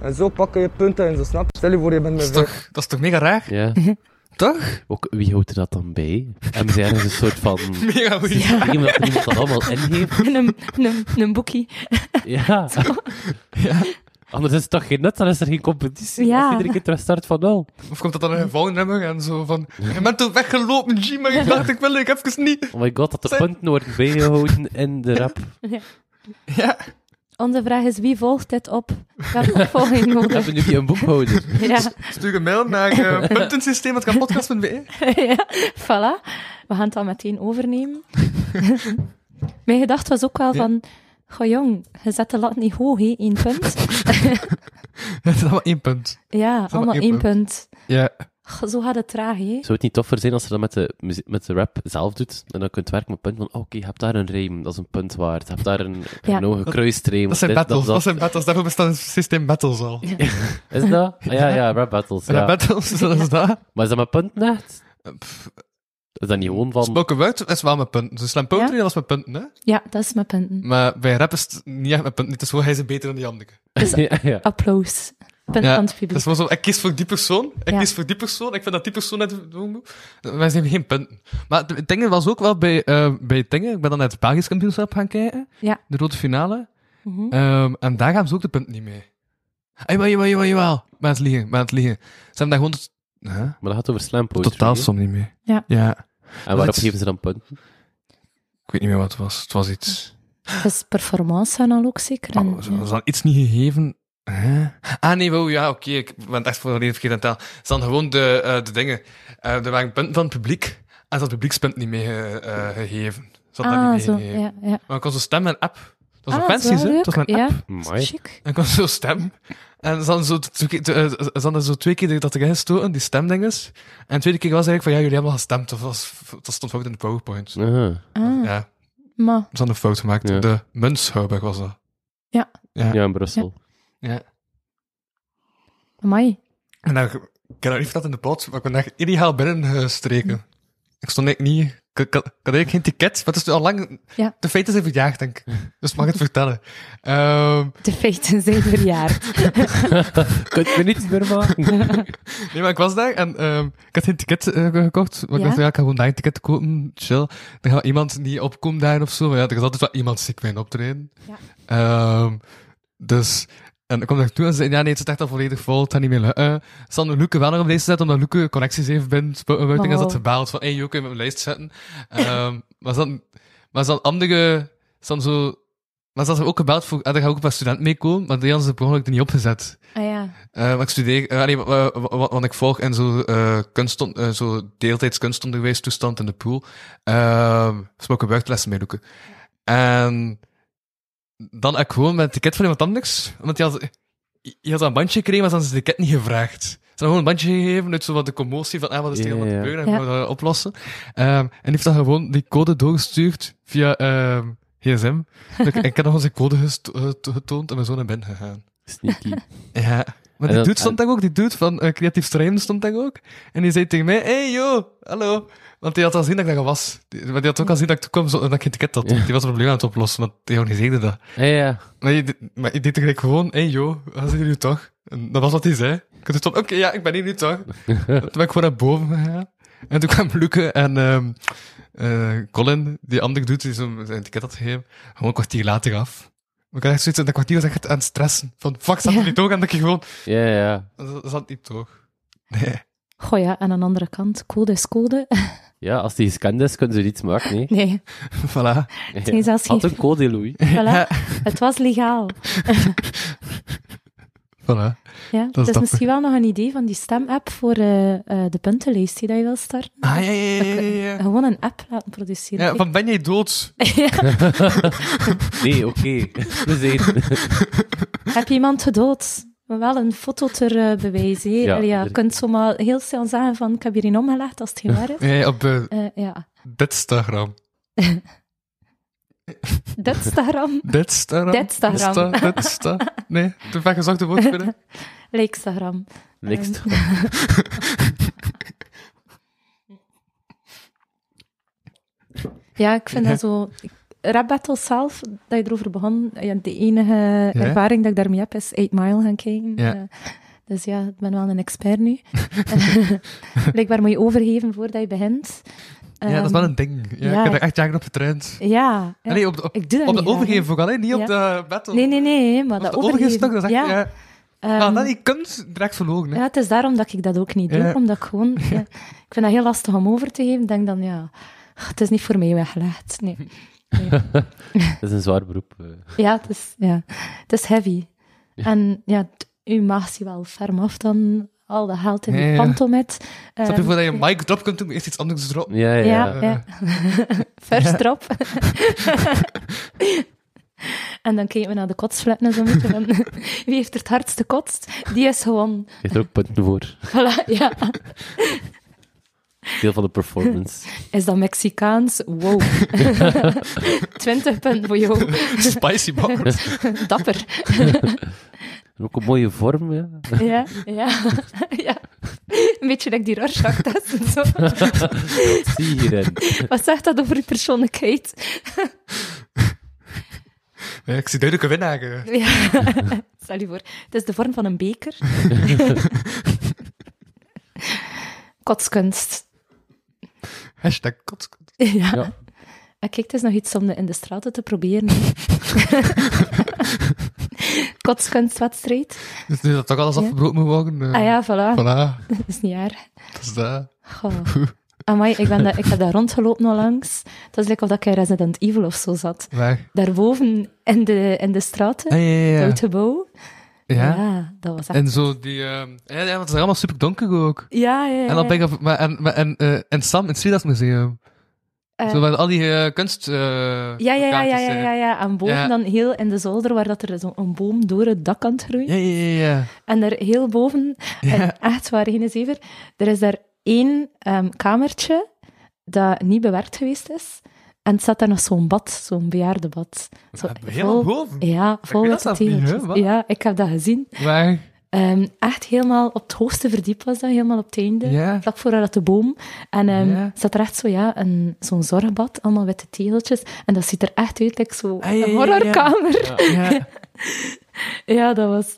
S5: En zo pakken je punten en zo snap je? Stel je voor, je bent
S3: Dat
S5: mijn
S3: is
S5: vijand.
S3: toch, dat is toch mega raar?
S2: Ja.
S3: Toch?
S2: Ook, wie houdt er dat dan bij? En we zijn dus een soort van...
S3: Mega goed.
S2: Dingen dat er iemand dat allemaal in heeft.
S4: in een, in een, in een boekie.
S2: Ja. Anders is het toch geen nut, dan is er geen competitie.
S4: Ja.
S2: Als iedere keer terug start van nul.
S3: Of komt dat dan een volgnummer en zo van... Je bent toch weggelopen, G, maar ik dacht, ik wil ik even niet.
S2: Oh my god, dat de
S3: Zijn-
S2: punten worden bijgehouden in de rap.
S3: Oh Ja.
S4: Onze vraag is, wie volgt dit op? We hebben opvolging
S2: We
S4: nodig.
S2: hebben nu een boekhouder.
S4: Ja,
S3: Stuur een mail naar uh, puntensysteem.kampodcast.be
S4: ja, voilà. We gaan het dan meteen overnemen. Mijn gedachte was ook wel van... Goh jong, je zet de lat niet hoog, hè, één punt.
S3: Dat is allemaal één punt.
S4: Ja, allemaal
S3: één
S4: één punt.
S3: Ja.
S4: Goh, Zo gaat het traag, hè.
S2: Zou het niet toffer zijn als je dat met de, muzie- met de rap zelf doet? En dan kunt werken met punten van, oh, oké, je hebt daar een rijm, dat is een punt waard. Je hebt daar een,
S4: Ja.
S2: een hoge kruisstreem.
S3: Dat zijn
S2: dit,
S3: battles, dat zijn battles. Daarvoor bestaat het systeem battles al. Ja.
S2: Is dat? Ah, ja, ja, rap battles. Ja.
S3: battles, dat is dat.
S2: Maar is dat met punten echt? Is dat niet gewoon van...
S3: Spoken word is wel met punten. Dus slam poetry,
S4: Ja.
S3: dat was met punten, hè.
S4: Ja, dat is mijn punten.
S3: Maar bij rap is het niet echt met punten. Het is gewoon, hij is beter dan die andere.
S2: ja, ja.
S4: Applaus. Punt
S3: Ja,
S4: van
S3: dat
S4: het
S3: is
S4: publiek.
S3: gewoon zo, ik kies voor die persoon, ik
S4: Ja.
S3: kies voor die persoon, ik vind dat die persoon net doen moet. Wij zijn geen punten. Maar het dingen was ook wel bij, eh bij dingen, ik ben dan naar het Belgisch kampioenschap gaan kijken,
S4: Ja.
S3: de rode finale,
S4: Mhm.
S3: Ehm, en daar gaan ze ook de punten niet mee. Ah, Jawel, jawel, jawel, jawel, maar het liegen, maar het liegen. Ze hebben daar gewoon tot- Huh?
S2: Maar dat gaat over slam poetry.
S3: totaalsom niet mee.
S4: Ja.
S3: ja.
S2: En waarop geven ze dan punten?
S3: Ik weet niet meer wat het was, het was iets...
S4: Dus performance zijn al ook zeker. En,
S3: Oh, was dan iets niet gegeven? Hè? Ah nee, wow, ja, oké, ik ben het echt voor een verkeerd aan taal. Het is dan gewoon de, eh, de dingen. Eh er waren punten van het publiek en dat publiekspunt niet mee eh, eh, gegeven. Zat dat niet
S4: ah,
S3: mee
S4: zo.
S3: gegeven.
S4: Ja, ja.
S3: Maar ik kon zo stemmen en app. Dat was
S4: Ah,
S3: een fancy,
S4: is wel
S3: hè?
S4: leuk.
S3: Dat was mijn
S4: ja.
S3: app.
S2: Amai.
S4: Chic.
S3: En ik kon zo stemmen. En ze hadden zo, twee keer- eh, ze hadden zo twee keer dat erin gestoten, die stemdinges. En de tweede keer was eigenlijk van, ja, jullie hebben al gestemd. Of was, dat stond fout in de powerpoint.
S2: Aha.
S4: Ah,
S3: Ja,
S4: maar
S3: ze hadden een fout gemaakt.
S2: Ja.
S3: De Munschouwberg was dat.
S2: Ja, in Brussel.
S3: Ja.
S4: amai.
S3: En dan, ik heb dat niet verteld in de pot, maar ik ben daar illegaal binnengestreken. Ik stond eigenlijk niet... Ik, ik, had- ik had eigenlijk geen ticket, maar het is nu al lang...
S4: Ja.
S3: De feiten zijn verjaagd, denk ik. Dus ik mag het vertellen. Ehm,
S4: De feiten zijn verjaard.
S2: Kunt me niets meer maken.
S3: nee, maar ik was daar en ehm, ik had geen ticket eh, gekocht. Maar ik
S4: Ja?
S3: dacht, ja, ik ga gewoon daar een ticket kopen, chill. Dan gaat iemand niet opkomen daar of zo. Maar ja, er is altijd wel iemand ziek bij een optreden.
S4: Ja.
S3: Ehm, dus... En ik kwam daar toe en zei, ja nee, het zit echt al volledig vol, het gaat niet meer lukken. Ze hadden Luke wel nog op lijst zetten, omdat Luke connecties heeft binnen Spoutenbuiten. En ze had
S4: Oh.
S3: gebeld van, hé, hey, Joke, kun je me op mijn lijst zetten? Ehm, maar ze hadden- maar ze hadden andere... Ze hadden zo... Maar ze hadden ook gebeld voor... En daar ga ook een paar studenten mee komen, maar die hadden ze per ongeluk er niet opgezet.
S4: Ah ja.
S3: Eh, maar ik studeer, eh, nee, wa- wa- wa- want ik volg in zo'n eh kunst, eh zo deeltijds kunstonderwijs toestand in de pool. Uh, Spoken buitenlessen mee doeken. En dan heb ik gewoon met het ticket van iemand anders, omdat die had, die had een bandje gekregen, maar ze hadden het ticket niet gevraagd. Ze hadden gewoon een bandje gegeven, uit zo wat de commotie van, ah, wat is er
S2: Ja,
S3: helemaal
S2: ja.
S3: te gebeuren,
S4: Ja.
S3: en gaan we dat oplossen. Ehm, en die heeft dan gewoon die code doorgestuurd via ehm gsm. Dus ik, ik heb nog eens een code gesto- geto- getoond en mijn zoon naar binnen gegaan.
S2: Sneaky.
S3: Ja. Maar die
S2: En dan-
S3: dude stond daar ook, die dude van eh, Creatief Stream stond daar ook. En die zei tegen mij, hey yo, hallo. Want die had al gezien dat ik daar was. Die, maar die had ook al gezien dat ik toekwam zo- en dat ik geen ticket had.
S2: Ja.
S3: Die was een probleem aan het oplossen, want die organiseerde dat.
S2: Ja, ja.
S3: Maar je, deed- maar je deed tegelijk gewoon, hey yo, waar zijn jullie toch? En dat was wat hij zei. Ik had stond, oké, ja, ik ben hier nu toch. toen ben ik gewoon naar boven gegaan. En toen kwamen Luke en ehm, eh, Colin, die andere dude die zo zijn ticket had gegeven, gewoon een kwartier later af. Maar ik had echt zoiets, dat kwartier was echt aan het stressen. Van, fuck, zat
S4: Ja.
S3: jullie toch? En dat je gewoon,
S2: Ja, ja.
S3: dat zat niet toch? Nee.
S4: Goh ja, en aan de andere kant, code is code.
S2: Ja, als die gescand is, kunnen ze niets maken, nee.
S4: Nee,
S3: Voilà.
S2: Het
S4: zijn zelfs
S2: Had
S4: geen-
S2: een code, Louis.
S4: voilà. het was legaal.
S3: Voilà.
S4: Ja,
S3: Dat is
S4: dat is
S3: dapper.
S4: misschien wel nog een idee van die stemapp voor eh, eh, de puntenlijst die dat je wil starten.
S3: Ah, ja, ja, ja, ja, ja.
S4: Gewoon een app laten produceren.
S3: Ja, van ben jij dood?
S2: Nee, oké. We zijn...
S4: Heb je iemand gedood? Maar Wel een foto ter eh, bewijs. hè. Allee,
S2: Ja,
S4: Ja,
S2: er-
S4: je kunt zomaar heel snel zeggen van ik heb hierin omgelegd als het geen waar is.
S3: Nee, op eh,
S4: Eh, ja,
S3: Ditstagram.
S4: dat Instagram,
S3: Ditstagram?
S4: Ditstagram.
S3: Ditsta- Ditsta. Nee, de vaak gezochte woord vinden.
S4: Um, Likestagram.
S2: Niks. te-
S4: Ja, ik vind dat zo... Rap Battle zelf, dat je erover begon, ja, de enige ervaring dat ik daarmee heb is 8 Mile gaan kijken.
S3: Ja.
S4: Eh, dus ja, ik ben wel een expert nu. Eh, Blijkbaar moet je overgeven voordat je begint.
S3: ja, dat is wel
S4: Ehm,
S3: een ding. Ja,
S4: ja.
S3: Ik heb daar echt jaren op getraind.
S4: Ja, ja.
S3: Nee, op de, op,
S4: ik doe dat
S3: op de
S4: niet
S3: overgeven vooral, hè, niet op de
S4: graag.
S3: battle.
S4: Nee, nee, nee, maar
S3: Op
S4: dat
S3: de overgeven
S4: overgeven...
S3: stuk, dat is echt...
S4: ja,
S3: Ja. Maar
S4: ehm,
S3: dat je kunt direct verloren, hè.
S4: Ja, het is daarom dat ik dat ook niet doe.
S3: Ja.
S4: Omdat ik gewoon... Ja, ik vind dat heel lastig om over te geven. Ik denk dan, ja... Het is niet voor mij weggelegd. Nee.
S2: Dat is een zwaar beroep. eh.
S4: Ja, het is, ja. Het is heavy. En ja, t- u mag ze wel ferm af dan al dat geld in die
S3: Ja, ja.
S4: pantomet.
S3: Snap je,
S4: Ehm,
S3: voordat je een mic drop kunt doen, moet je eerst iets anders droppen.
S2: Ja, ja.
S4: ja, ja. First
S3: Ja.
S4: drop. en dan kijken we naar de kotsfletten en zo'n beetje van... Wie heeft er het hardste kotst? Die is gewoon...
S2: Je hebt er ook punten voor.
S4: Voilà, ja.
S2: Deel van de performance.
S4: Is dat Mexicaans? Wow. 20 punten voor jou.
S3: Spicy man.
S4: Dapper.
S2: En ook een mooie vorm, ja.
S4: Ja, ja, ja. Een beetje like die Rorschach-test en zo.
S2: Zie je hierin.
S4: Wat zegt dat over je persoonlijkheid?
S3: Ja, ik zie duidelijke winnaar. eh.
S4: Ja. Stel je voor, het is de vorm van een beker. Kotskunst.
S3: Hashtag kotskunst.
S4: Ja.
S2: Ja.
S4: En kijk, het is nog iets om de- in de straten te proberen. hè. Kotskunstwedstrijd. Ah
S3: Dus nu dat toch alles
S4: Ja.
S3: afgebroken moet worden. eh,
S4: Ah ja, voilà.
S3: Voilà,
S4: Dat is niet erg.
S3: dat is dat.
S4: Goh. Amai, ik, ben daar, ik heb daar rondgelopen al langs. Het was lekker of dat ik in Resident Evil of zo zat.
S3: Waar?
S4: Daarboven in de, in de straten,
S3: Ja, Ah, ja,
S4: het
S3: ja.
S4: oude gebouw.
S3: ja.
S4: dat was echt...
S3: En zo die... ehm, ja, ja, want het is allemaal super donker ook.
S4: Ja, ja, ja.
S3: En dan ben ik op... Maar, en, maar, en, eh, en Sam in het Swedas Museum.
S4: Eh,
S3: zo waar al die eh, kunst... eh,
S4: ja, ja, ja, ja,
S3: kaartjes
S4: ja,
S3: zijn.
S4: ja, ja. En boven
S3: Ja.
S4: dan heel in de zolder, waar dat er zo'n een boom door het dak aan het groeien.
S3: Ja, ja, ja, ja.
S4: En daar heel boven, en echt waar, geen zever, er is daar één ehm, kamertje dat niet bewerkt geweest is. En het staat daar nog zo'n bad, zo'n bejaardenbad. Zo,
S3: Ja, Helemaal boven.
S4: Ja, vol
S3: weet
S4: met
S3: dat
S4: die
S3: zelf niet, hè?
S4: tegeltjes.
S3: Wat?
S4: Ja, ik heb dat gezien.
S3: Waar?
S4: Ehm, echt helemaal op het hoogste verdiep was dat, helemaal op het einde.
S3: Ja.
S4: Vlak voor dat de boom. En ehm
S3: Ja.
S4: staat er echt zo, ja, een- zo'n zorgbad, allemaal witte tegeltjes. En dat ziet er echt uit, like zo
S3: Ah, ja, ja,
S4: een
S3: ja,
S4: horrorkamer. Ja,
S3: Ja.
S4: dat was...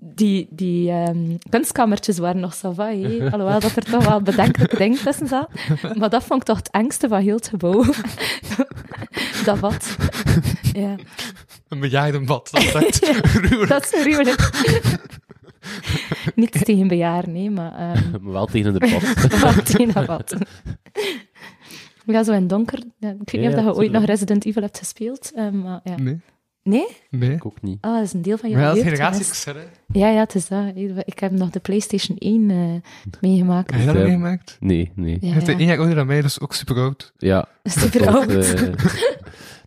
S4: Die, die ehm, kunstkamertjes waren nog savai, hè. alhoewel dat er toch wel bedenkelijke dingen tussen zaten. Maar dat vond ik toch het engste van heel het gebouw. dat wat. Ja.
S3: Een bejaardenbad. Dat is echt ruw.
S4: Dat is gruwelijk. Niets tegen bejaarden, nee, maar ehm,
S2: Maar wel tegen de pad.
S4: Martina wat. Ja, zo in het donker. Ja, ik weet niet
S2: Ja,
S4: of dat je ooit
S2: tuurlijk. Hm.
S4: nog Resident Evil hebt gespeeld. eh, maar ja.
S3: Nee.
S4: Nee?
S3: Nee.
S2: Ik ook niet.
S4: Oh, dat is een deel van je
S3: Maar ja, dat is
S4: jeugd
S3: generatie
S4: geweest.
S3: X, hè.
S4: Ja, ja, het is dat. Ik heb nog de PlayStation 1 eh, meegemaakt.
S3: Heb je dat
S2: Ja.
S3: meegemaakt?
S2: Nee, nee.
S4: Ja,
S3: Hij heeft
S4: ja.
S3: één jaar ouder dan mij, dus ook super oud.
S2: Ja.
S4: Super
S2: dat,
S4: oud.
S2: eh,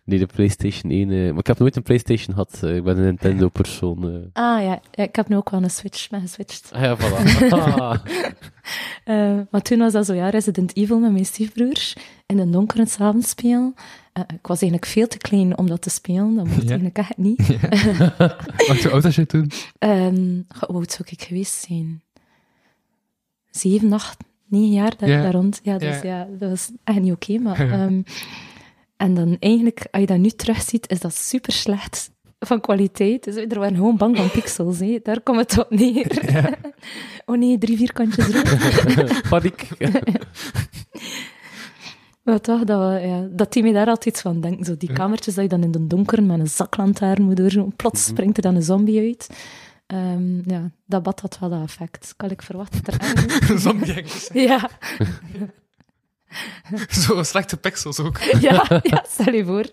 S2: nee, de PlayStation 1. eh, maar ik heb nooit een PlayStation gehad. eh, ik ben een Nintendo-persoon. eh.
S4: Ah ja. ja, ik heb nu ook wel een Switch ben geswitcht.
S2: Ah ja, voilà. Ah.
S4: Eh, maar toen was dat zo, ja, Resident Evil met mijn stiefbroer. In de donkere samen spelen. Eh, ik was eigenlijk veel te klein om dat te spelen. Dat mocht
S3: Ja.
S4: eigenlijk echt niet.
S3: Wacht, hoe oud was jij toen?
S4: Ehm, goh, hoe oud zou ik geweest zijn? Zeven, acht, negen jaar daar,
S3: Ja.
S4: daar rond. Ja, dus ja, dat was echt niet oké. maar, ehm, en dan eigenlijk, als je dat nu terugziet, is dat super slecht van kwaliteit. Dus er waren gewoon bang van pixels. Hè. Daar komt het op neer. oh nee, drie vierkantjes rood.
S2: Paniek.
S4: Maar toch, dat, we- ja, dat die me daar altijd iets van denken. Zo die kamertjes dat je dan in de donker met een zaklantaarn moet doorzoeken. Plots
S2: Mhm.
S4: springt er dan een zombie uit. Ehm, ja, dat bad had wel dat effect. Kan ik verwachten dat er erg is.
S3: Zombie-hengels.
S4: Ja,
S3: Zo slechte pixels ook.
S4: ja, ja, stel je voor.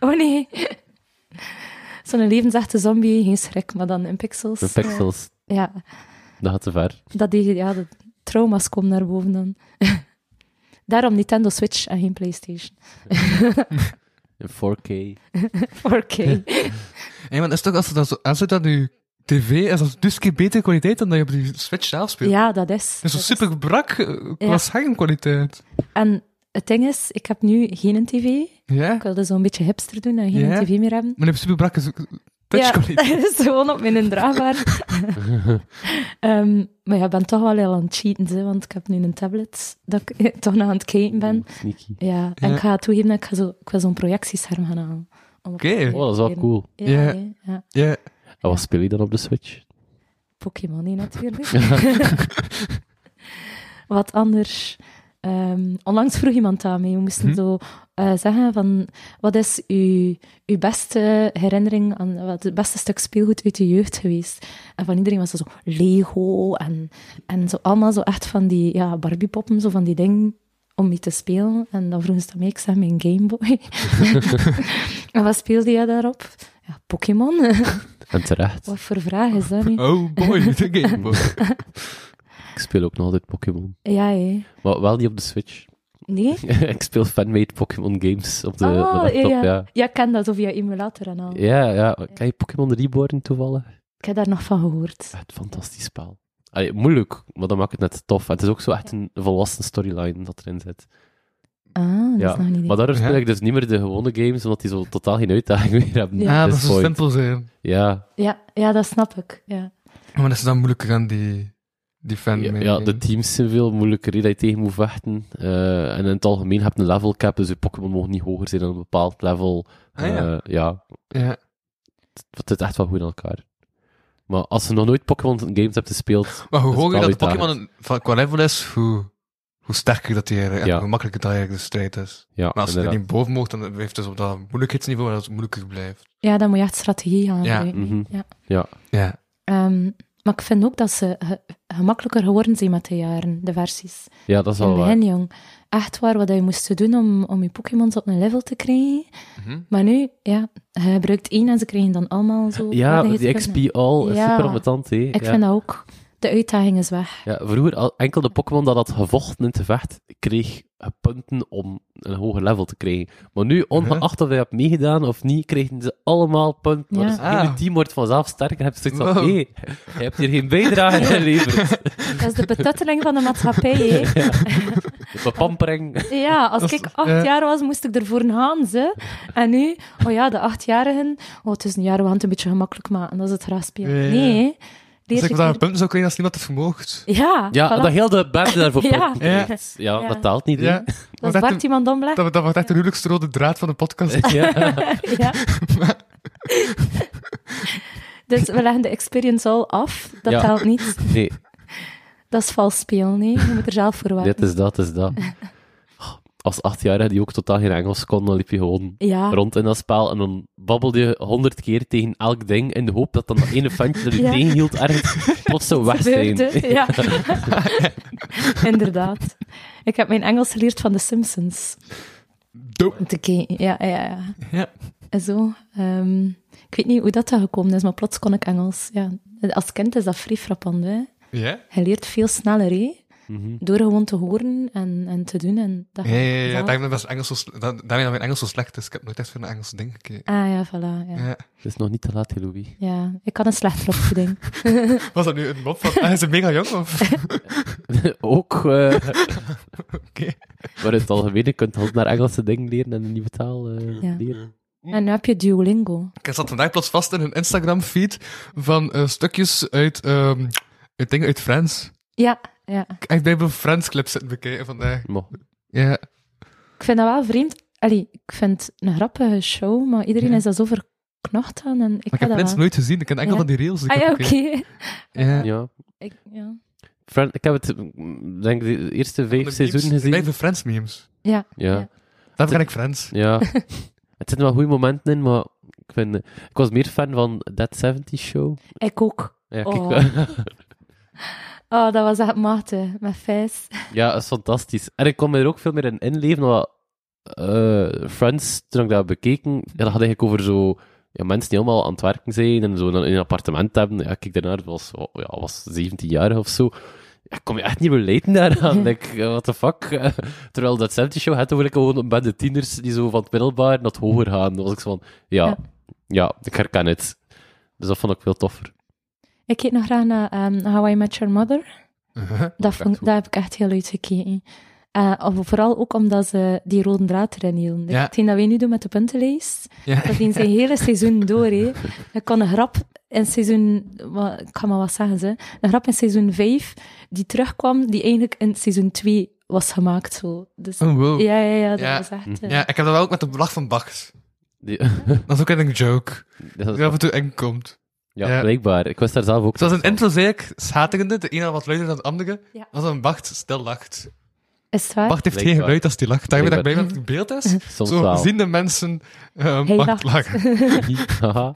S4: Oh nee. Zo'n levensechte zombie, geen schrik, maar dan in pixels.
S2: De pixels.
S4: Ja,
S2: Dat gaat te ver.
S4: dat die, ja, de trauma's komen naar boven dan. Daarom Nintendo Switch en geen PlayStation.
S2: In 4K.
S4: 4K.
S3: Hé, maar is toch als het dan zo aanzet aan je tv, is dat dus een keer betere kwaliteit dan dat je op die Switch zelf speelt?
S4: Ja, dat is.
S3: Dat is
S4: dat
S3: zo super brak eh, qua
S4: Ja.
S3: schermkwaliteit.
S4: En het ding is, ik heb nu geen tv.
S3: Ja?
S4: Ik wilde zo'n beetje hipster doen en geen
S3: Ja?
S4: tv meer hebben.
S3: Maar je hebt super brakke zo- touchkwaliteit.
S4: Ja, dat is gewoon op mijn draagbaar. Ehm, maar ja, ik ben toch wel heel aan het cheaten, hè, want ik heb nu een tablet dat ik toch nog aan het kijken ben.
S2: Oeh, Sneaky.
S4: Ja, en
S3: Ja.
S4: ik ga toegeven dat ik, ga zo, ik wil zo'n projectiescherm gaan halen. om op
S3: Oké.
S4: te kijken.
S2: Oh, dat is wel cool.
S4: Ja,
S3: Ja.
S4: hè, ja.
S3: Ja.
S2: En wat speel je dan op de Switch?
S4: Pokémon hè, natuurlijk. Wat anders. Ehm, onlangs vroeg iemand aan mij, we moesten zo eh, zeggen van, wat is uw, uw beste herinnering aan, wat het beste stuk speelgoed uit je jeugd geweest? En van iedereen was dat zo Lego en, en zo allemaal zo echt van die ja, Barbie-poppen, zo van die dingen om mee te spelen. En dan vroegen ze aan mij, ik zei mijn Gameboy. en wat speelde jij daarop? Ja, Pokémon.
S2: En terecht.
S4: wat voor vraag is dat nu?
S3: Oh boy, de Game Boy.
S2: Ik speel ook nog altijd Pokémon.
S4: Ja, hè.
S2: Maar wel niet op de Switch.
S4: Nee?
S2: ik speel fanmade Pokémon games op de, op de
S4: Ah,
S2: laptop, ja.
S4: ja. Oh.
S2: ja.
S4: ik ken dat zo via emulator en al.
S2: Ja, Kan je Pokémon Reborn toevallig?
S4: Ik heb daar nog van gehoord.
S2: Echt fantastisch spel. Allee, moeilijk, maar dat maakt het net tof. En het is ook zo echt een volwassen storyline dat erin zit.
S4: Ah, dat
S2: Ja,
S4: is nog niet
S2: Maar daardoor speel
S3: Ja.
S2: ik dus niet meer de gewone games, omdat die zo totaal geen uitdaging meer hebben.
S4: Ja.
S3: Ah, dat
S2: At this
S3: is zo
S2: point.
S3: simpel zijn.
S2: Ja,
S4: ja, ja, dat snap ik. Ja.
S3: Maar dat is dan moeilijker aan die, die fan.
S2: ja, ja, de teams zijn veel moeilijker hè, dat je tegen moet vechten. Eh, en in het algemeen heb je een level cap, dus je Pokémon mogen niet hoger zijn dan een bepaald level.
S3: Ah, ja.
S2: Eh, ja,
S3: Ja.
S2: het, het zit echt wel goed in elkaar. Maar als je nog nooit Pokémon games hebt gespeeld,
S3: Maar hoe
S2: Dat is
S3: hoger
S2: wel
S3: dat de
S2: uitdagend.
S3: Pokémon een- van- qua level is, hoe, hoe sterker dat die eigenlijk,
S2: Ja.
S3: hoe makkelijker dat eigenlijk de strijd is.
S2: ja,
S3: Maar als je er
S2: inderdaad.
S3: niet boven mocht, dan heeft het dus op dat moeilijkheidsniveau dat het moeilijker blijft.
S4: ja, dan moet je echt strategie gaan
S3: Ja.
S4: gebruiken.
S2: Mhm.
S4: Ja.
S2: Ja.
S3: Ja.
S4: Ehm, Maar ik vind ook dat ze ge- gemakkelijker geworden zijn met de jaren, de versies.
S2: Ja, dat is
S4: In
S2: al
S4: het
S2: waar.
S4: begin, jong. Echt waar, wat je moest doen om, om je Pokémon op een level te krijgen.
S3: Mhm.
S4: Maar nu, ja, je gebruikt één en ze krijgen dan allemaal zo...
S2: Ja, die
S4: vaardigheidspunten.
S2: XP all is
S4: Ja.
S2: super ambetant, hè.
S4: Ik
S2: ja.
S4: vind dat ook. De uitdaging is weg.
S2: Ja, vroeger, al- enkel de Pokémon dat had gevochten in het gevecht, kreeg punten om een hoger level te krijgen. Maar nu, ongeacht of je hebt meegedaan of niet, kregen ze allemaal punten.
S4: Ja.
S2: Maar Dus het hele
S3: Ah.
S2: team wordt vanzelf sterker. Je hebt zoiets van,
S3: Wow.
S2: hé, je hebt hier geen bijdrage geleverd.
S4: Dat is de betutteling van de maatschappij, hè.
S2: De bepampering.
S4: Ja, als
S3: Dat
S4: ik
S3: is-
S4: acht
S3: ja.
S4: jaar was, moest ik ervoor gaan, ze. En nu, oh ja, de achtjarigen... Oh, het is een jaar, we gaan het een beetje gemakkelijk maken. Dat is het raspje.
S3: Ja, ja, ja.
S4: Nee, hè.
S3: Dus
S4: Leer
S3: ik
S4: je
S3: dat een
S4: keer-
S3: punten zou krijgen als niemand het vermoogt.
S4: Ja,
S2: Ja,
S4: voilà.
S2: dat heel de band daarvoor
S4: Ja.
S2: punten
S3: Ja.
S2: krijgt. Ja,
S4: Ja.
S2: dat taalt niet, hè.
S3: Ja.
S2: Ja.
S4: dat
S3: wordt
S4: is
S3: echt
S4: Bart
S3: een-
S4: iemand omleg.
S3: Dat, dat wordt echt de huwelijkste rode draad van de podcast.
S4: Ja. dus we leggen de experience al af. Dat
S2: Ja.
S4: telt niet.
S2: Nee,
S4: Dat is vals spelen, nee. Je moet er zelf voor werken.
S2: dit is dat, dit is dat. Als achtjarige die ook totaal geen Engels kon, dan liep je gewoon
S4: Ja.
S2: rond in dat spel. En dan babbelde je honderd keer tegen elk ding in de hoop dat dan dat ene ventje dat je
S4: Ja.
S2: tegenhield ergens plots zou weg zijn.
S4: Gebeurde, ja. Inderdaad. Ik heb mijn Engels geleerd van The Simpsons.
S3: Dope.
S4: Om te kijken, ja, ja, ja.
S3: Ja.
S4: En zo. ehm, ik weet niet hoe dat daar gekomen is, maar plots kon ik Engels. Ja. Als kind is dat vrij frappant, hè.
S3: Ja?
S4: Je leert veel sneller, hè.
S2: Mhm.
S4: Door gewoon te horen en, en te doen. En dat
S3: Ja, ja, ja, ja.
S4: vanzelf-
S3: Daarmee dat, Engels zo, sle- dat, daarmee dat mijn Engels zo slecht is. Ik heb nooit echt veel naar Engelse dingen gekeken.
S4: Ah ja, voilà. Ja.
S3: Ja.
S2: Het is nog niet te laat, hè, Louis.
S4: Ja, ik had een slechte opvoeding.
S3: Was dat nu een mop van... Ah, is het mega jong? Of?
S2: Ook, eh,
S3: Oké.
S2: maar in het algemeen, je kunt altijd naar Engelse dingen leren en een nieuwe taal eh,
S4: Ja.
S2: leren.
S4: En nu heb je Duolingo.
S3: Ik zat vandaag plots vast in een Instagram-feed van eh, stukjes uit, ehm, uit dingen uit Frans.
S4: Ja, ja.
S3: Ik heb echt bij mijn Frans-clips zitten bekijken vandaag.
S2: Maar,
S3: Ja.
S4: Ik vind dat wel vreemd. Allee, ik vind het een grappige show, maar iedereen
S3: Ja.
S4: is daar zo verknocht aan. En
S3: Maar
S4: ik,
S3: ik
S4: ga
S3: heb
S4: Ah, dat
S3: Frans
S4: wel.
S3: nooit gezien. Ik ken enkel
S4: Ja.
S3: van die rails. die ik
S4: Ah ja,
S3: heb
S4: oké.
S3: bekeken. Ja.
S2: ja.
S4: Ik, ja.
S2: Fran- ik heb het, mm, denk ik, de eerste vijf seizoenen gezien.
S3: Blijven Frans memes.
S4: Ja,
S2: Ja,
S3: Daar ken ik Frans.
S2: ja. het zitten wel goede momenten in, maar ik, vind, eh, ik was meer fan van That 70 Show.
S4: ik ook.
S2: Ja, kijk,
S4: Oh. Oh, dat was echt mate, met Fijs.
S2: Ja, dat is fantastisch. En ik kon me er ook veel meer in inleven, want eh, Friends, toen ik dat bekeken, ja, dat had eigenlijk over zo... Ja, mensen die allemaal aan het werken zijn en zo in een appartement hebben. Ja, ik keek daarnaar, was, oh, ja, was 17 jaar of zo. Ja, ik kon je echt niet relaten daaraan. Ik, eh, what the fuck? Eh, terwijl dat 70 show had over like, gewoon een bende tieners die zo van het middelbaar naar het hoger gaan. Dan was ik zo van, ja,
S4: Ja.
S2: ja. ik herken het. Dus dat vond ik veel toffer.
S4: Ik keek nog graag naar ehm, How I Met Your Mother.
S3: Uh-huh.
S4: Dat,
S2: echt
S4: vond,
S2: goed.
S4: dat heb ik echt heel uitgekeken. Eh, of vooral ook omdat ze die rode draad erin hielden.
S3: Ja.
S4: Hetgeen dat wij nu doen met de puntenlijst,
S3: Ja.
S4: Dat ging zijn hele seizoen door, hè. Ik kon een grap in seizoen... wa- Ik kan maar wat zeggen, ze. Een grap in seizoen 5, die terugkwam, die eigenlijk in seizoen 2 was gemaakt, zo. Dus...
S3: Oh, wow.
S4: Ja, ja, ja, dat
S3: Ja. Mm.
S4: was echt... eh,
S3: Ja, ik heb dat wel ook met de lach van Bach.
S2: Die-
S3: Dat is ook een joke.
S2: dat is-
S3: Die af en toe eng komt.
S2: ja,
S3: ja.
S2: blijkbaar. Ik was daar zelf ook
S3: Zoals
S2: niet
S3: een intro zei ik, schaterende, de ene wat luider dan de andere.
S4: Ja.
S3: Als een Bach stil lacht.
S4: Is het waar?
S3: Bach heeft geen
S2: Blijkbaar.
S3: geluid als die lacht. Daar ben ik blij
S2: Blijkbaar.
S3: dat het in beeld is.
S2: Soms
S3: Zo
S2: wel.
S3: zien de mensen eh
S4: Hij
S3: Bach
S4: lacht.
S3: lachen.
S2: Haha.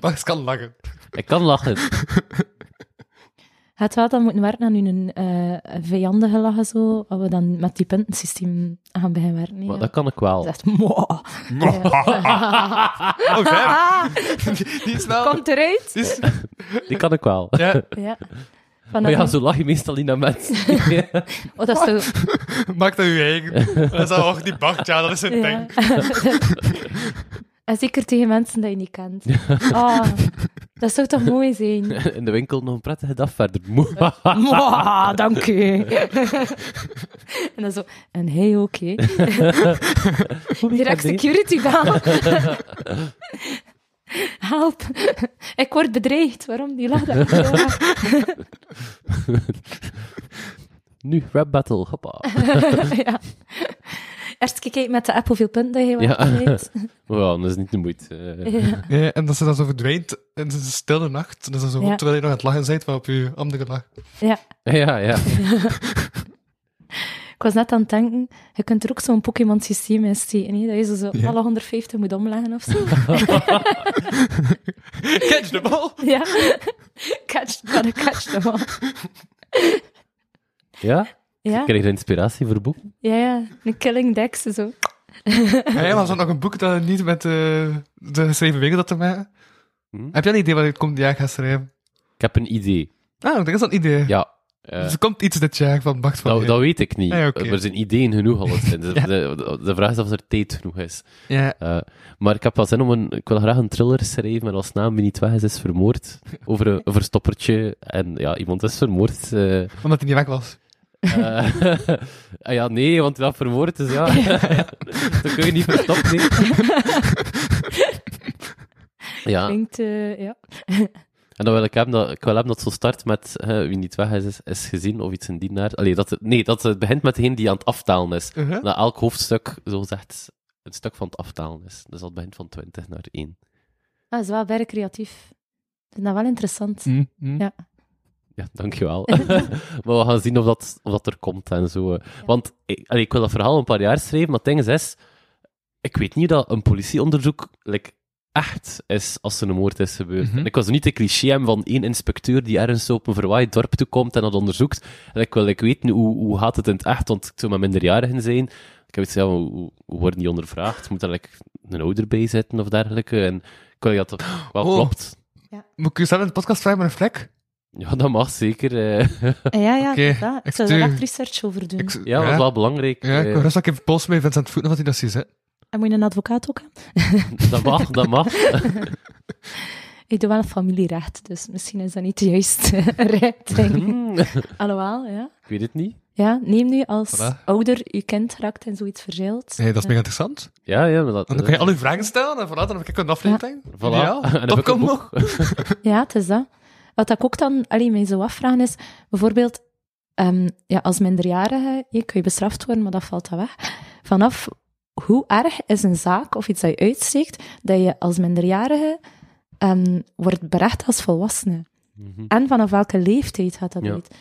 S3: Bach kan lachen.
S2: ik kan lachen.
S4: Het had dan moeten werken aan hun eh vijandige lachen, zo. Als we dan met die puntensysteem gaan beginnen werken. hè,
S2: Maar
S4: ja.
S2: dat kan ik wel.
S4: Dat is echt... mooi. Ah,
S3: Oh, ver. Die is snel.
S4: Komt eruit.
S3: Die is-
S2: Die kan ik wel.
S3: ja,
S4: Ja.
S2: Maar
S4: Vanaf
S2: ja, zo lach je meestal niet naar mensen.
S4: Oh, dat is zo...
S3: maak dat je eigen. Dat is dan ook die Bach, ja, dat is een
S4: Ja.
S3: ding.
S4: en zeker tegen mensen die je niet kent. Ah, dat zou toch mooi zijn?
S2: In de winkel nog een prettige dag verder. Mwahaha.
S4: Mwah, dank u. en dan zo, en hij ook, hè. Direct security bel. Help. Ik word bedreigd. Waarom? Die lacht dat zo hard.
S2: Nu, rap battle. Hoppa.
S4: ja. Eerst gekeken met de app hoeveel punten dat je
S2: Ja.
S4: ja. hebt.
S2: Wow, dat is niet de moeite. Eh,
S4: Ja.
S3: Ja, en dat ze dan zo verdwijnt in de stille nacht. En dat is dan zo,
S4: Ja.
S3: terwijl je nog aan het lachen bent, maar op je andere lach.
S4: ja.
S2: Ja, ja.
S4: Ik was net aan het denken, je kunt er ook zo'n Pokémon-systeem in steken, hè, dat je zo, zo
S3: Ja.
S4: alle 150 moet omleggen of zo.
S3: Catch the ball!
S4: Ja. Catch, gotta catch them all.
S2: Ja?
S4: Ja,
S2: Krijg je inspiratie voor boeken?
S4: ja, ja. Een killing dex zo.
S3: Hey, was dat nog een boek dat niet met eh, de geschreven wereld had te maken?
S2: Hm?
S3: Heb jij een idee wat het komt jaar gaat schrijven?
S2: Ik heb een idee.
S3: Ah, dat is dat een idee.
S2: Ja. Nou, eh,
S3: Dus er komt iets dit jaar van Bart van
S2: dat,
S3: Heer.
S2: dat weet ik niet.
S3: Ah, oké.
S2: Er zijn ideeën genoeg al. De,
S3: Ja.
S2: de, de vraag is of er tijd genoeg is.
S3: Ja.
S2: Eh, maar ik heb wel zin om een... Ik wil graag een thriller schrijven, maar als naam wie niet weg is, is vermoord. Over een, een verstoppertje. En ja, iemand is vermoord. eh.
S3: Omdat hij niet weg was.
S2: Eh, ah ja, nee, want dat vermoord is, ja. dat kun je niet verstoppen, nee. ja,
S4: Klinkt, eh, ja.
S2: en dan wil ik hebben dat, ik wil hebben dat het zo start met eh, wie niet weg is, is, is gezien of iets in die naart. Allee, dat, het- nee, dat het begint met degene die aan het aftalen is.
S3: Uh-huh.
S2: Na elk hoofdstuk, zo zegt, een stuk van het aftalen is. Dus dat begint van 20 naar 1.
S4: Ah, is wel bijna creatief. Ik vind dat wel interessant.
S3: Mm, mm.
S4: Ja.
S2: Ja, dankjewel. maar we gaan zien of dat, of dat er komt en zo. eh. Want ik, allee, ik wil dat verhaal een paar jaar schrijven, maar het ding is, is, ik weet niet dat een politieonderzoek like, echt is als er een moord is gebeurd.
S3: Mhm.
S2: En ik was niet de cliché hebben van één inspecteur die ergens zo op een verwaaid dorp toe komt en dat onderzoekt. En ik wil ik weten hoe, hoe gaat het in het echt, want ik zou met minderjarigen zijn. Ik heb iets ja, hoe, hoe- hoe worden die ondervraagd? Moet daar like, een ouder bij zitten of dergelijke? En ik wil dat dat wel
S3: Oh.
S2: klopt.
S3: Moet ik u zelf in de podcast vragen met een vlek?
S2: Ja, dat mag zeker. eh.
S4: Eh, ja, ja.
S3: Oké, eh,
S4: dat. Ik
S3: ik
S4: zou daar
S3: doe-
S4: echt research over doen.
S3: Ik-
S2: Ja, dat is wel belangrijk.
S3: Ja, ik
S2: eh.
S3: wil rustig even polsen bij Vincent Voeten wat hij dat ziet. hè.
S4: En moet je een advocaat ook hebben?
S2: Dat mag, dat mag.
S4: Ik doe wel een familierecht, dus misschien is dat niet de juiste richting.
S2: Hmm,
S4: Alhoewel, ja.
S2: Ik weet het niet.
S4: Ja, neem nu als
S3: Voilà.
S4: ouder je kind raakt en zoiets verzeilt.
S3: Hey, dat is mega interessant.
S2: Ja, ja, maar dat...
S3: Want dan kun je al uw vragen stellen en vooruit dan heb ik een aflevering.
S2: Voilà.
S3: Ideaal.
S2: En dan heb
S3: Dat
S2: ik een
S3: komt
S2: boek.
S3: nog.
S4: Ja, het is dat. Wat ik ook dan alleen mij zou afvragen is, bijvoorbeeld, ehm, ja, als minderjarige je, kun je bestraft worden, maar dat valt dan weg. Vanaf hoe erg is een zaak of iets dat je uitsteekt, dat je als minderjarige ehm, wordt berecht als volwassene?
S2: Mhm.
S4: En vanaf welke leeftijd gaat dat
S2: Ja.
S4: uit?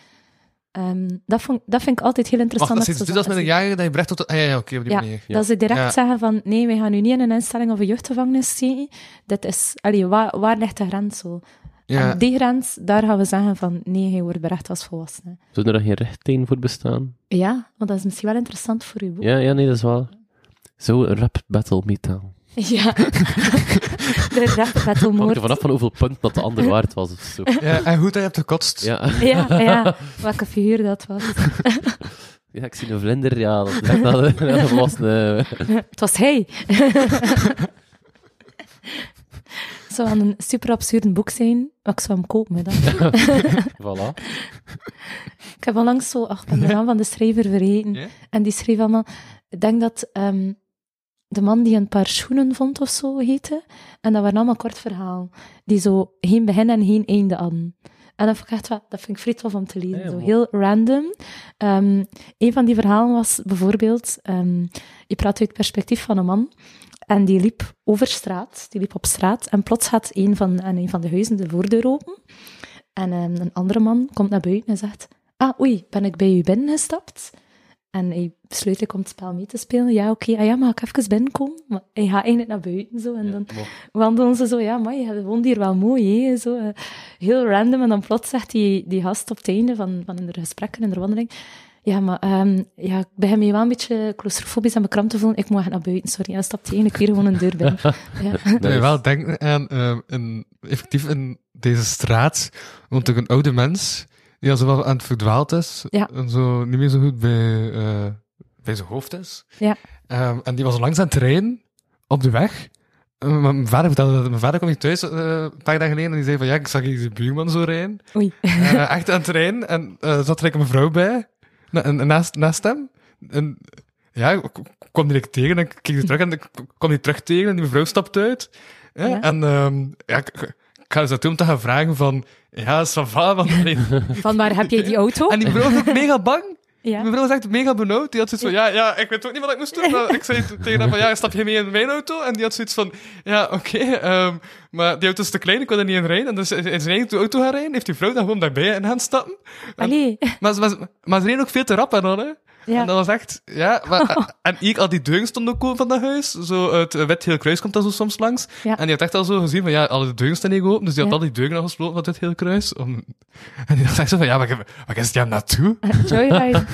S4: Ehm, dat, vond, dat vind ik altijd heel
S3: Wacht,
S4: interessant.
S3: dat is
S4: ze
S3: dus als
S4: zeggen-
S3: met een jager dat je brecht tot... Ah, ja, ja, oké, op die
S4: Ja,
S3: manier.
S2: Ja.
S4: Dat ze direct
S3: Ja.
S4: zeggen van, nee, wij gaan nu niet in een instelling of een jeugdgevangenis steken. Dit is, allee, waar, waar ligt de grens zo?
S3: Ja.
S4: En die grens, daar gaan we zeggen van, nee, je wordt berecht als volwassene.
S2: Zou er dan geen richtlijn voor bestaan?
S4: Ja, want dat is misschien wel interessant voor uw boek.
S2: Ja, ja, nee, dat is wel... Zo, een rap battle metaal.
S4: Ja. de rap battle
S2: Hangt
S4: moord.
S2: er vanaf van hoeveel punten dat de ander waard was of zo.
S3: Ja, en hoe dat je hebt gekotst.
S2: Ja,
S4: Ja, ja, welke figuur dat was.
S2: ja ik zie een vlinder, ja, dat is echt wel een- een eh, volwassene...
S4: Het was hij. Het zou wel een super absurde boek zijn, maar ik zou hem kopen. hè, dan.
S2: Voilà.
S4: Ik heb onlangs zo, ach, ik ben de naam van de schrijver vergeten.
S3: Ja?
S4: En die schreef allemaal, ik denk dat ehm, de man die een paar schoenen vond of zo heette. En dat waren allemaal kort verhaal. Die zo geen begin en geen einde hadden. En dat vind ik echt wel, dat vind ik vreed tof om te lezen.
S2: Ja,
S4: zo
S2: mooi.
S4: heel random. Ehm, een van die verhalen was bijvoorbeeld, ehm, je praat uit het perspectief van een man. En die liep over straat, die liep op straat. En plots gaat een van, en een van de huizen de voordeur open. En ehm, een andere man komt naar buiten en zegt... Ah, oei, ben ik bij u binnengestapt? En hij besluit ik om het spel mee te spelen. Ja, oké, ah ja, mag ik even binnenkomen? Maar hij gaat eigenlijk naar buiten, zo. En dan wandelen ze zo, ja, maar je woont hier wel mooi, hè. Zo, eh, heel random. En dan plots zegt die, die gast op het einde van, van hun gesprekken en hun wandeling... Ja, maar ehm, ja, ik begin me wel een beetje claustrofobisch en bekrampt te voelen. Ik moet echt naar buiten, sorry. En dan stapt hij eigenlijk weer gewoon een deur binnen. Ja.
S3: Doe
S2: Nice.
S3: je wel denken aan ehm, een, effectief in deze straat woont er een oude mens die al zo wel aan het verdwaald is
S4: Ja.
S3: en zo niet meer zo goed bij, eh, bij zijn hoofd is.
S4: Ja.
S3: Ehm, en die was langs aan het rijden op de weg. Eh, maar mijn vader vertelde dat. Mijn vader kwam hier thuis eh, een paar dagen geleden en die zei van ja, ik zag hier zijn buurman zo rijden.
S4: Oei.
S3: Eh, echt aan het rijden en eh, zat er eigenlijk een vrouw bij na, en- naast, naast hem. En ja, ik ik kwam direct tegen en ik keek die terug en ik kwam die terug tegen en die mevrouw stapt uit. Ja,
S4: Ja.
S3: En ehm, ja, ik, ik ga dus naartoe om te gaan vragen van, ja, Sava, want...
S4: Van waar heb jij die auto?
S3: En die mevrouw was ook mega bang. Die
S4: Ja.
S3: mevrouw was echt mega benauwd. Die had zoiets van, ja, ja, ik weet ook niet wat ik moest doen. Maar ik zei tegen haar van, ja, stap je mee in mijn auto? En die had zoiets van, ja, oké, ehm, maar die auto is te klein, ik wil er niet in rijden. En dus in zijn eigen auto gaan rijden, heeft die vrouw dan gewoon daarbij in gaan stappen.
S4: Allee.
S3: Maar, ze- maar, ze- maar ze reden ook veel te rap en dan, hè.
S4: Ja. Oh.
S3: En dat was echt... Ja, maar, en ik al die deuren stonden ook open van dat huis. Zo, het wet heel kruis komt dat zo soms langs.
S4: Ja.
S3: En die had echt al zo gezien van, ja, alle de deuren staan hier open. Dus die had
S4: Ja.
S3: al die deuren al gesloten van het heel kruis. Om... En die dacht echt zo van, ja, waar, waar is die aan naartoe?
S4: Joyride.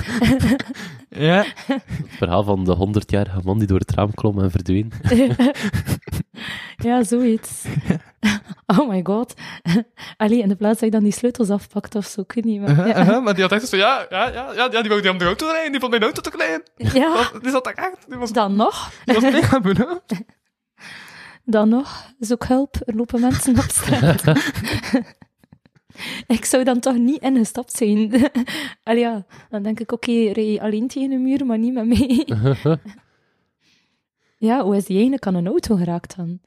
S3: Ja.
S2: Het verhaal van de 100-jarige man die door het raam klom en verdween.
S4: ja, zoiets. oh my god. Allee, in de plaats dat je dan die sleutels afpakt of zo, ik weet niet. Maar, ja.
S3: Uh-huh, maar die had echt zo, ja, ja, ja, ja, die wou die om de auto rijden. Die vond mijn auto te klein.
S4: ja,
S3: Die zat daar echt... Die was,
S4: dan nog.
S3: die was mega benauwd.
S4: Dan nog, zoek hulp, er lopen mensen op straat. ik zou dan toch niet ingestapt zijn. Allee, ja, dan denk ik, oké, rij je alleen tegen een muur, maar niet met mij. ja, hoe is die eigenlijk aan een auto geraakt dan?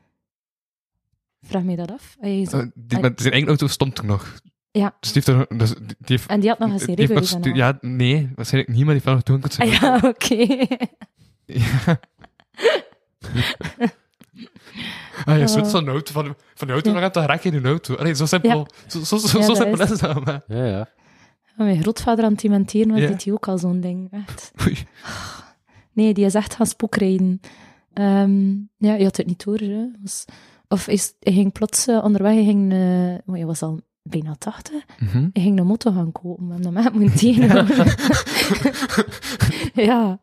S4: Vraag mij dat af. Hij is-
S3: Zo, Die, maar zijn eigen auto stond er nog.
S4: Ja. Ah,
S3: Dus die heeft er... Dus die heeft,
S4: en die had nog eens
S3: die
S4: een
S3: heeft nog
S4: revue.
S3: stu-
S4: gedaan.
S3: Ja, nee, waarschijnlijk niet, maar die heeft wel nog toen kunnen
S4: nou. Ah, ja, oké.
S3: Ja. ah,
S4: Oh.
S3: je zoet zo'n auto van, van de auto
S4: Ja.
S3: nog aan te raken in een auto. Allee, zo simpel, zo, zo, zo,
S4: Ja,
S3: zo
S4: dat
S3: simpel
S4: is
S3: is het dan, maar...
S2: Ja, ja.
S4: Oh, Mijn grootvader aan het dementeren was,
S3: Ja.
S4: deed hij ook al zo'n ding. Echt.
S3: Oei.
S4: Nee, die is echt gaan spookrijden. Ehm, ja, je had het niet door. Hè. Was- of is, hij ging plots eh, onderweg, hij ging, eh want je was al bijna tachtig,
S2: Mhm.
S4: hij ging een motor gaan kopen. En dan met moet tegenhouden. ja,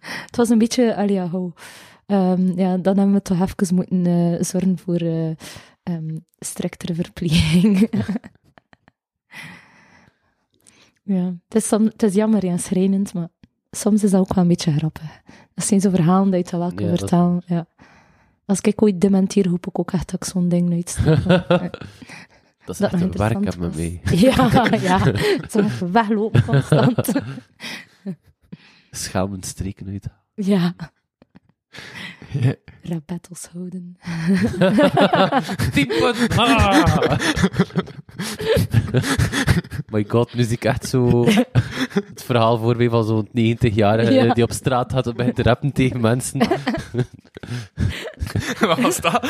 S4: het was een beetje, allee, ja, hou. Ehm, ja, dan hebben we toch even moeten eh, zorgen voor eh, ehm, striktere verpleging. ja, het is, som- het is jammer en schrijnend, maar soms is dat ook wel een beetje grappig. Dat zijn zo verhalen dat je dat wel kunt
S2: Ja, dat is
S4: vertalen. Ja. Als ik ooit dementeer, hoop ik ook echt dat ik zo'n ding nooit snap.
S2: Dat is
S4: Dat
S2: echt
S4: nog
S2: een werk
S4: interessant
S2: aan me
S4: was.
S2: mee.
S4: ja, ja. Zo even weglopen constant.
S2: Schamend streken uit.
S4: ja,
S3: Ja.
S4: rabettels houden.
S2: My god, nu zie ik echt zo het verhaal voor mij van zo'n 90-jarige
S4: Ja.
S2: eh, die op straat gaat en begint te rappen tegen mensen. Ah
S3: Wat was dat?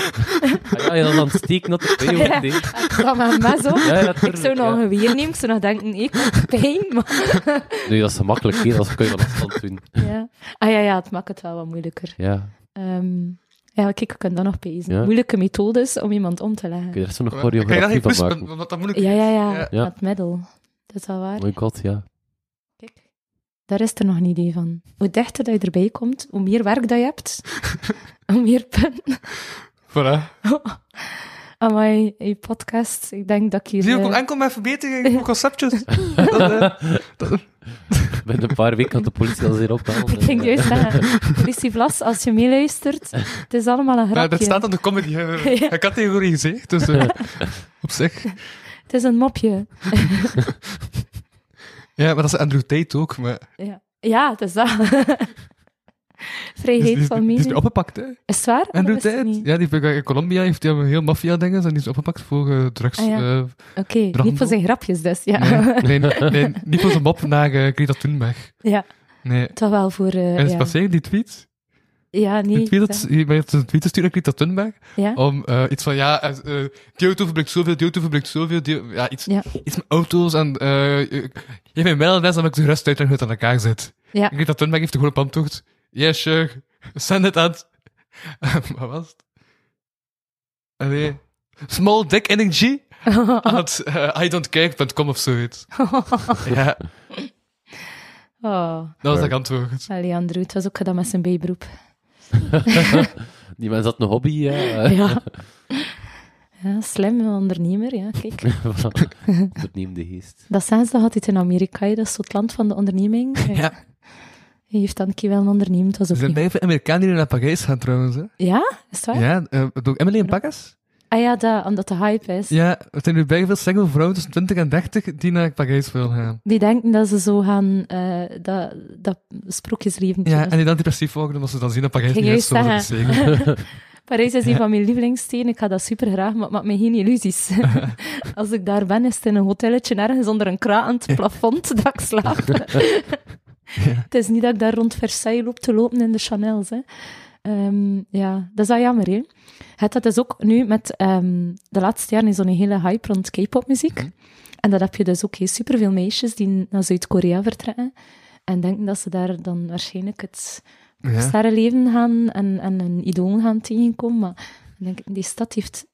S2: Ah, ja, je was aan het steken dat de video
S4: Ja. Ga maar mes op.
S2: Ja, ja,
S4: Ik
S2: natuurlijk,
S4: zou nog
S2: ja.
S4: een weer nemen. Ik zou nog denken, ik heb pijn. Maar...
S2: Nu, dat is gemakkelijk, hè, dat kun je wel afstand doen.
S4: Ja. Ah ja, ja, het maakt het wel wat moeilijker.
S2: Ja,
S4: Ehm, ja, kijk, we kunnen dat nog bezig.
S2: Ja.
S4: Moeilijke methodes om iemand om te leggen.
S2: kun je er zo nog
S3: Kijk, dat
S2: choreografie
S3: heeft
S2: van
S3: plus,
S2: maken.
S3: want dat moet ik...
S4: Ja, ja, ja.
S3: Ja.
S2: Ja.
S4: Dat middel. Dat is al waar.
S2: My god, ja.
S4: Kijk, daar is er nog een idee van. Hoe dichter dat je erbij komt, hoe meer werk dat je hebt, hoe meer punten.
S3: Voilà.
S4: Amai, je podcast. Ik denk dat ik hier...
S3: Zie je, ik
S4: eh,
S3: kom enkel met verbeteringen voor conceptjes. Dat, eh,
S2: Binnen een paar weken had de politie al zeer opgehaald.
S4: ik ging juist zeggen, politie Vlas, als je meeluistert, het is allemaal een
S3: nou, dat
S4: grapje.
S3: staat aan de comedy eh,
S4: Ja.
S3: categorie gezegd, dus eh, op zich.
S4: Het is een mopje.
S3: Ja, maar dat is Andrew Tate ook, maar die
S4: Ja, ja het is dat.
S3: is, Dus die
S4: Vrijheid
S3: is,
S4: van
S3: die is nu
S4: mening.
S3: opgepakt, hè?
S4: Is het waar?
S3: Andrew
S4: Dat wist ik
S3: Tate?
S4: niet.
S3: Ja, die heeft in Colombia heeft hij heel maffia-dingen en die is opgepakt voor eh, drugs.
S4: Ah, ja.
S3: eh,
S4: Oké, niet voor zijn grapjes dus, ja.
S3: Nee, nee, nee, niet voor zijn mop naar eh, Greta Thunberg.
S4: ja,
S3: Nee.
S4: toch wel voor... eh,
S3: En is
S4: ja.
S3: het passé, die tweet?
S4: ja, eh,
S3: Die
S4: nee.
S3: tweet, dat, die heeft een tweet gestuurd naar Greta Thunberg.
S4: Ja.
S3: Om eh, iets van, ja, eh, eh, die auto verbruikt zoveel, die auto verbruikt zoveel. Die, ja, iets,
S4: Ja.
S3: iets met auto's en... eh geef mij wel les, dan ik de rest uit en hoe het aan elkaar zit.
S4: Ja.
S3: Greta Thunberg heeft de gewone pamtocht. Yes, sure. Send it out. Wat was het? Allee. Small dick energy? at eh, I don't care.com of zoiets. ja,
S4: Oh,
S3: dat was dat antwoord.
S4: allee, Andrew, het was ook gedaan met zijn bijberoep.
S2: Die mens had een hobby, ja.
S4: Ja. ja, slim ondernemer, ja, kijk.
S2: Verneem de geest.
S4: Dat zijn ze dat altijd in Amerika, hè. dat is zo het land van de onderneming.
S3: Ja.
S4: Hij heeft dan een keer wel een onderneming, het was
S3: Er
S4: ook
S3: zijn
S4: niet-
S3: blijven Amerikanen die naar Parijs gaan trouwens. Hè.
S4: Ja? Is het waar?
S3: Ja, eh door Emily in Parijs.
S4: Ah ja, dat, omdat de hype is.
S3: Ja, er zijn nu bijna veel single vrouwen tussen 20 en 30 die naar Parijs willen gaan.
S4: Die denken dat ze zo gaan, eh, dat, dat sprookjesleven
S3: Ja, en die dan depressief worden omdat ze dan zien dat Parijs
S4: Ging
S3: niet is
S4: juist
S3: zonder te zeggen.
S4: Parijs is een van mijn lievelingssteden. Ik ga dat super graag, maar het maakt me geen illusies. Als ik daar ben, is het in een hotelletje ergens onder een krakend plafond dat ik slaap. Het is niet dat ik daar rond Versailles loop te lopen in de Chanel's. Hè. Ehm, ja, dat is wel jammer. Hè? Het, dat is ook nu met ehm, de laatste jaren is zo'n hele hype rond K-pop muziek. En dat heb je dus ook hè. superveel meisjes die naar Zuid-Korea vertrekken. En denken dat ze daar dan waarschijnlijk het
S3: Ja.
S4: sterrenleven gaan en, en een idool gaan tegenkomen. Maar ik denk, die stad heeft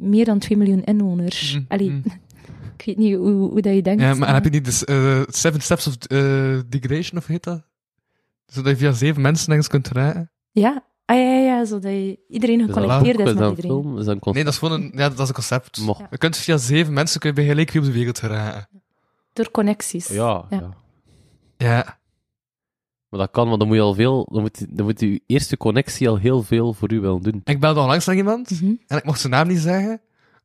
S4: meer dan 2 miljoen inwoners.
S3: Mhm,
S4: Allee,
S3: mhm.
S4: ik weet niet hoe, hoe dat je denkt.
S3: Ja, maar heb je niet de s- eh, Seven Steps of eh, Degradation, of heet dat? Zodat je via zeven mensen ergens kunt raken?
S4: Ja, ah, ja, ja, ja, zodat je- iedereen
S2: Is dat een
S4: geconnecteerd
S2: boek,
S4: is
S2: is dat
S4: met
S2: een
S4: iedereen.
S2: film? Is dat een concept?
S3: Nee, dat is gewoon een, ja, dat is een concept.
S2: Mocht.
S4: Ja.
S3: Je kunt via zeven mensen kun je bij gelijk wie op de wereld raken.
S4: Door connecties.
S2: Ja, ja.
S4: Ja.
S3: Ja.
S2: Maar dat kan, want dan moet je al veel... Dan moet, dan moet je eerste connectie al heel veel voor u willen doen.
S3: Ik belde onlangs naar iemand
S4: Mhm.
S3: en ik mocht zijn naam niet zeggen,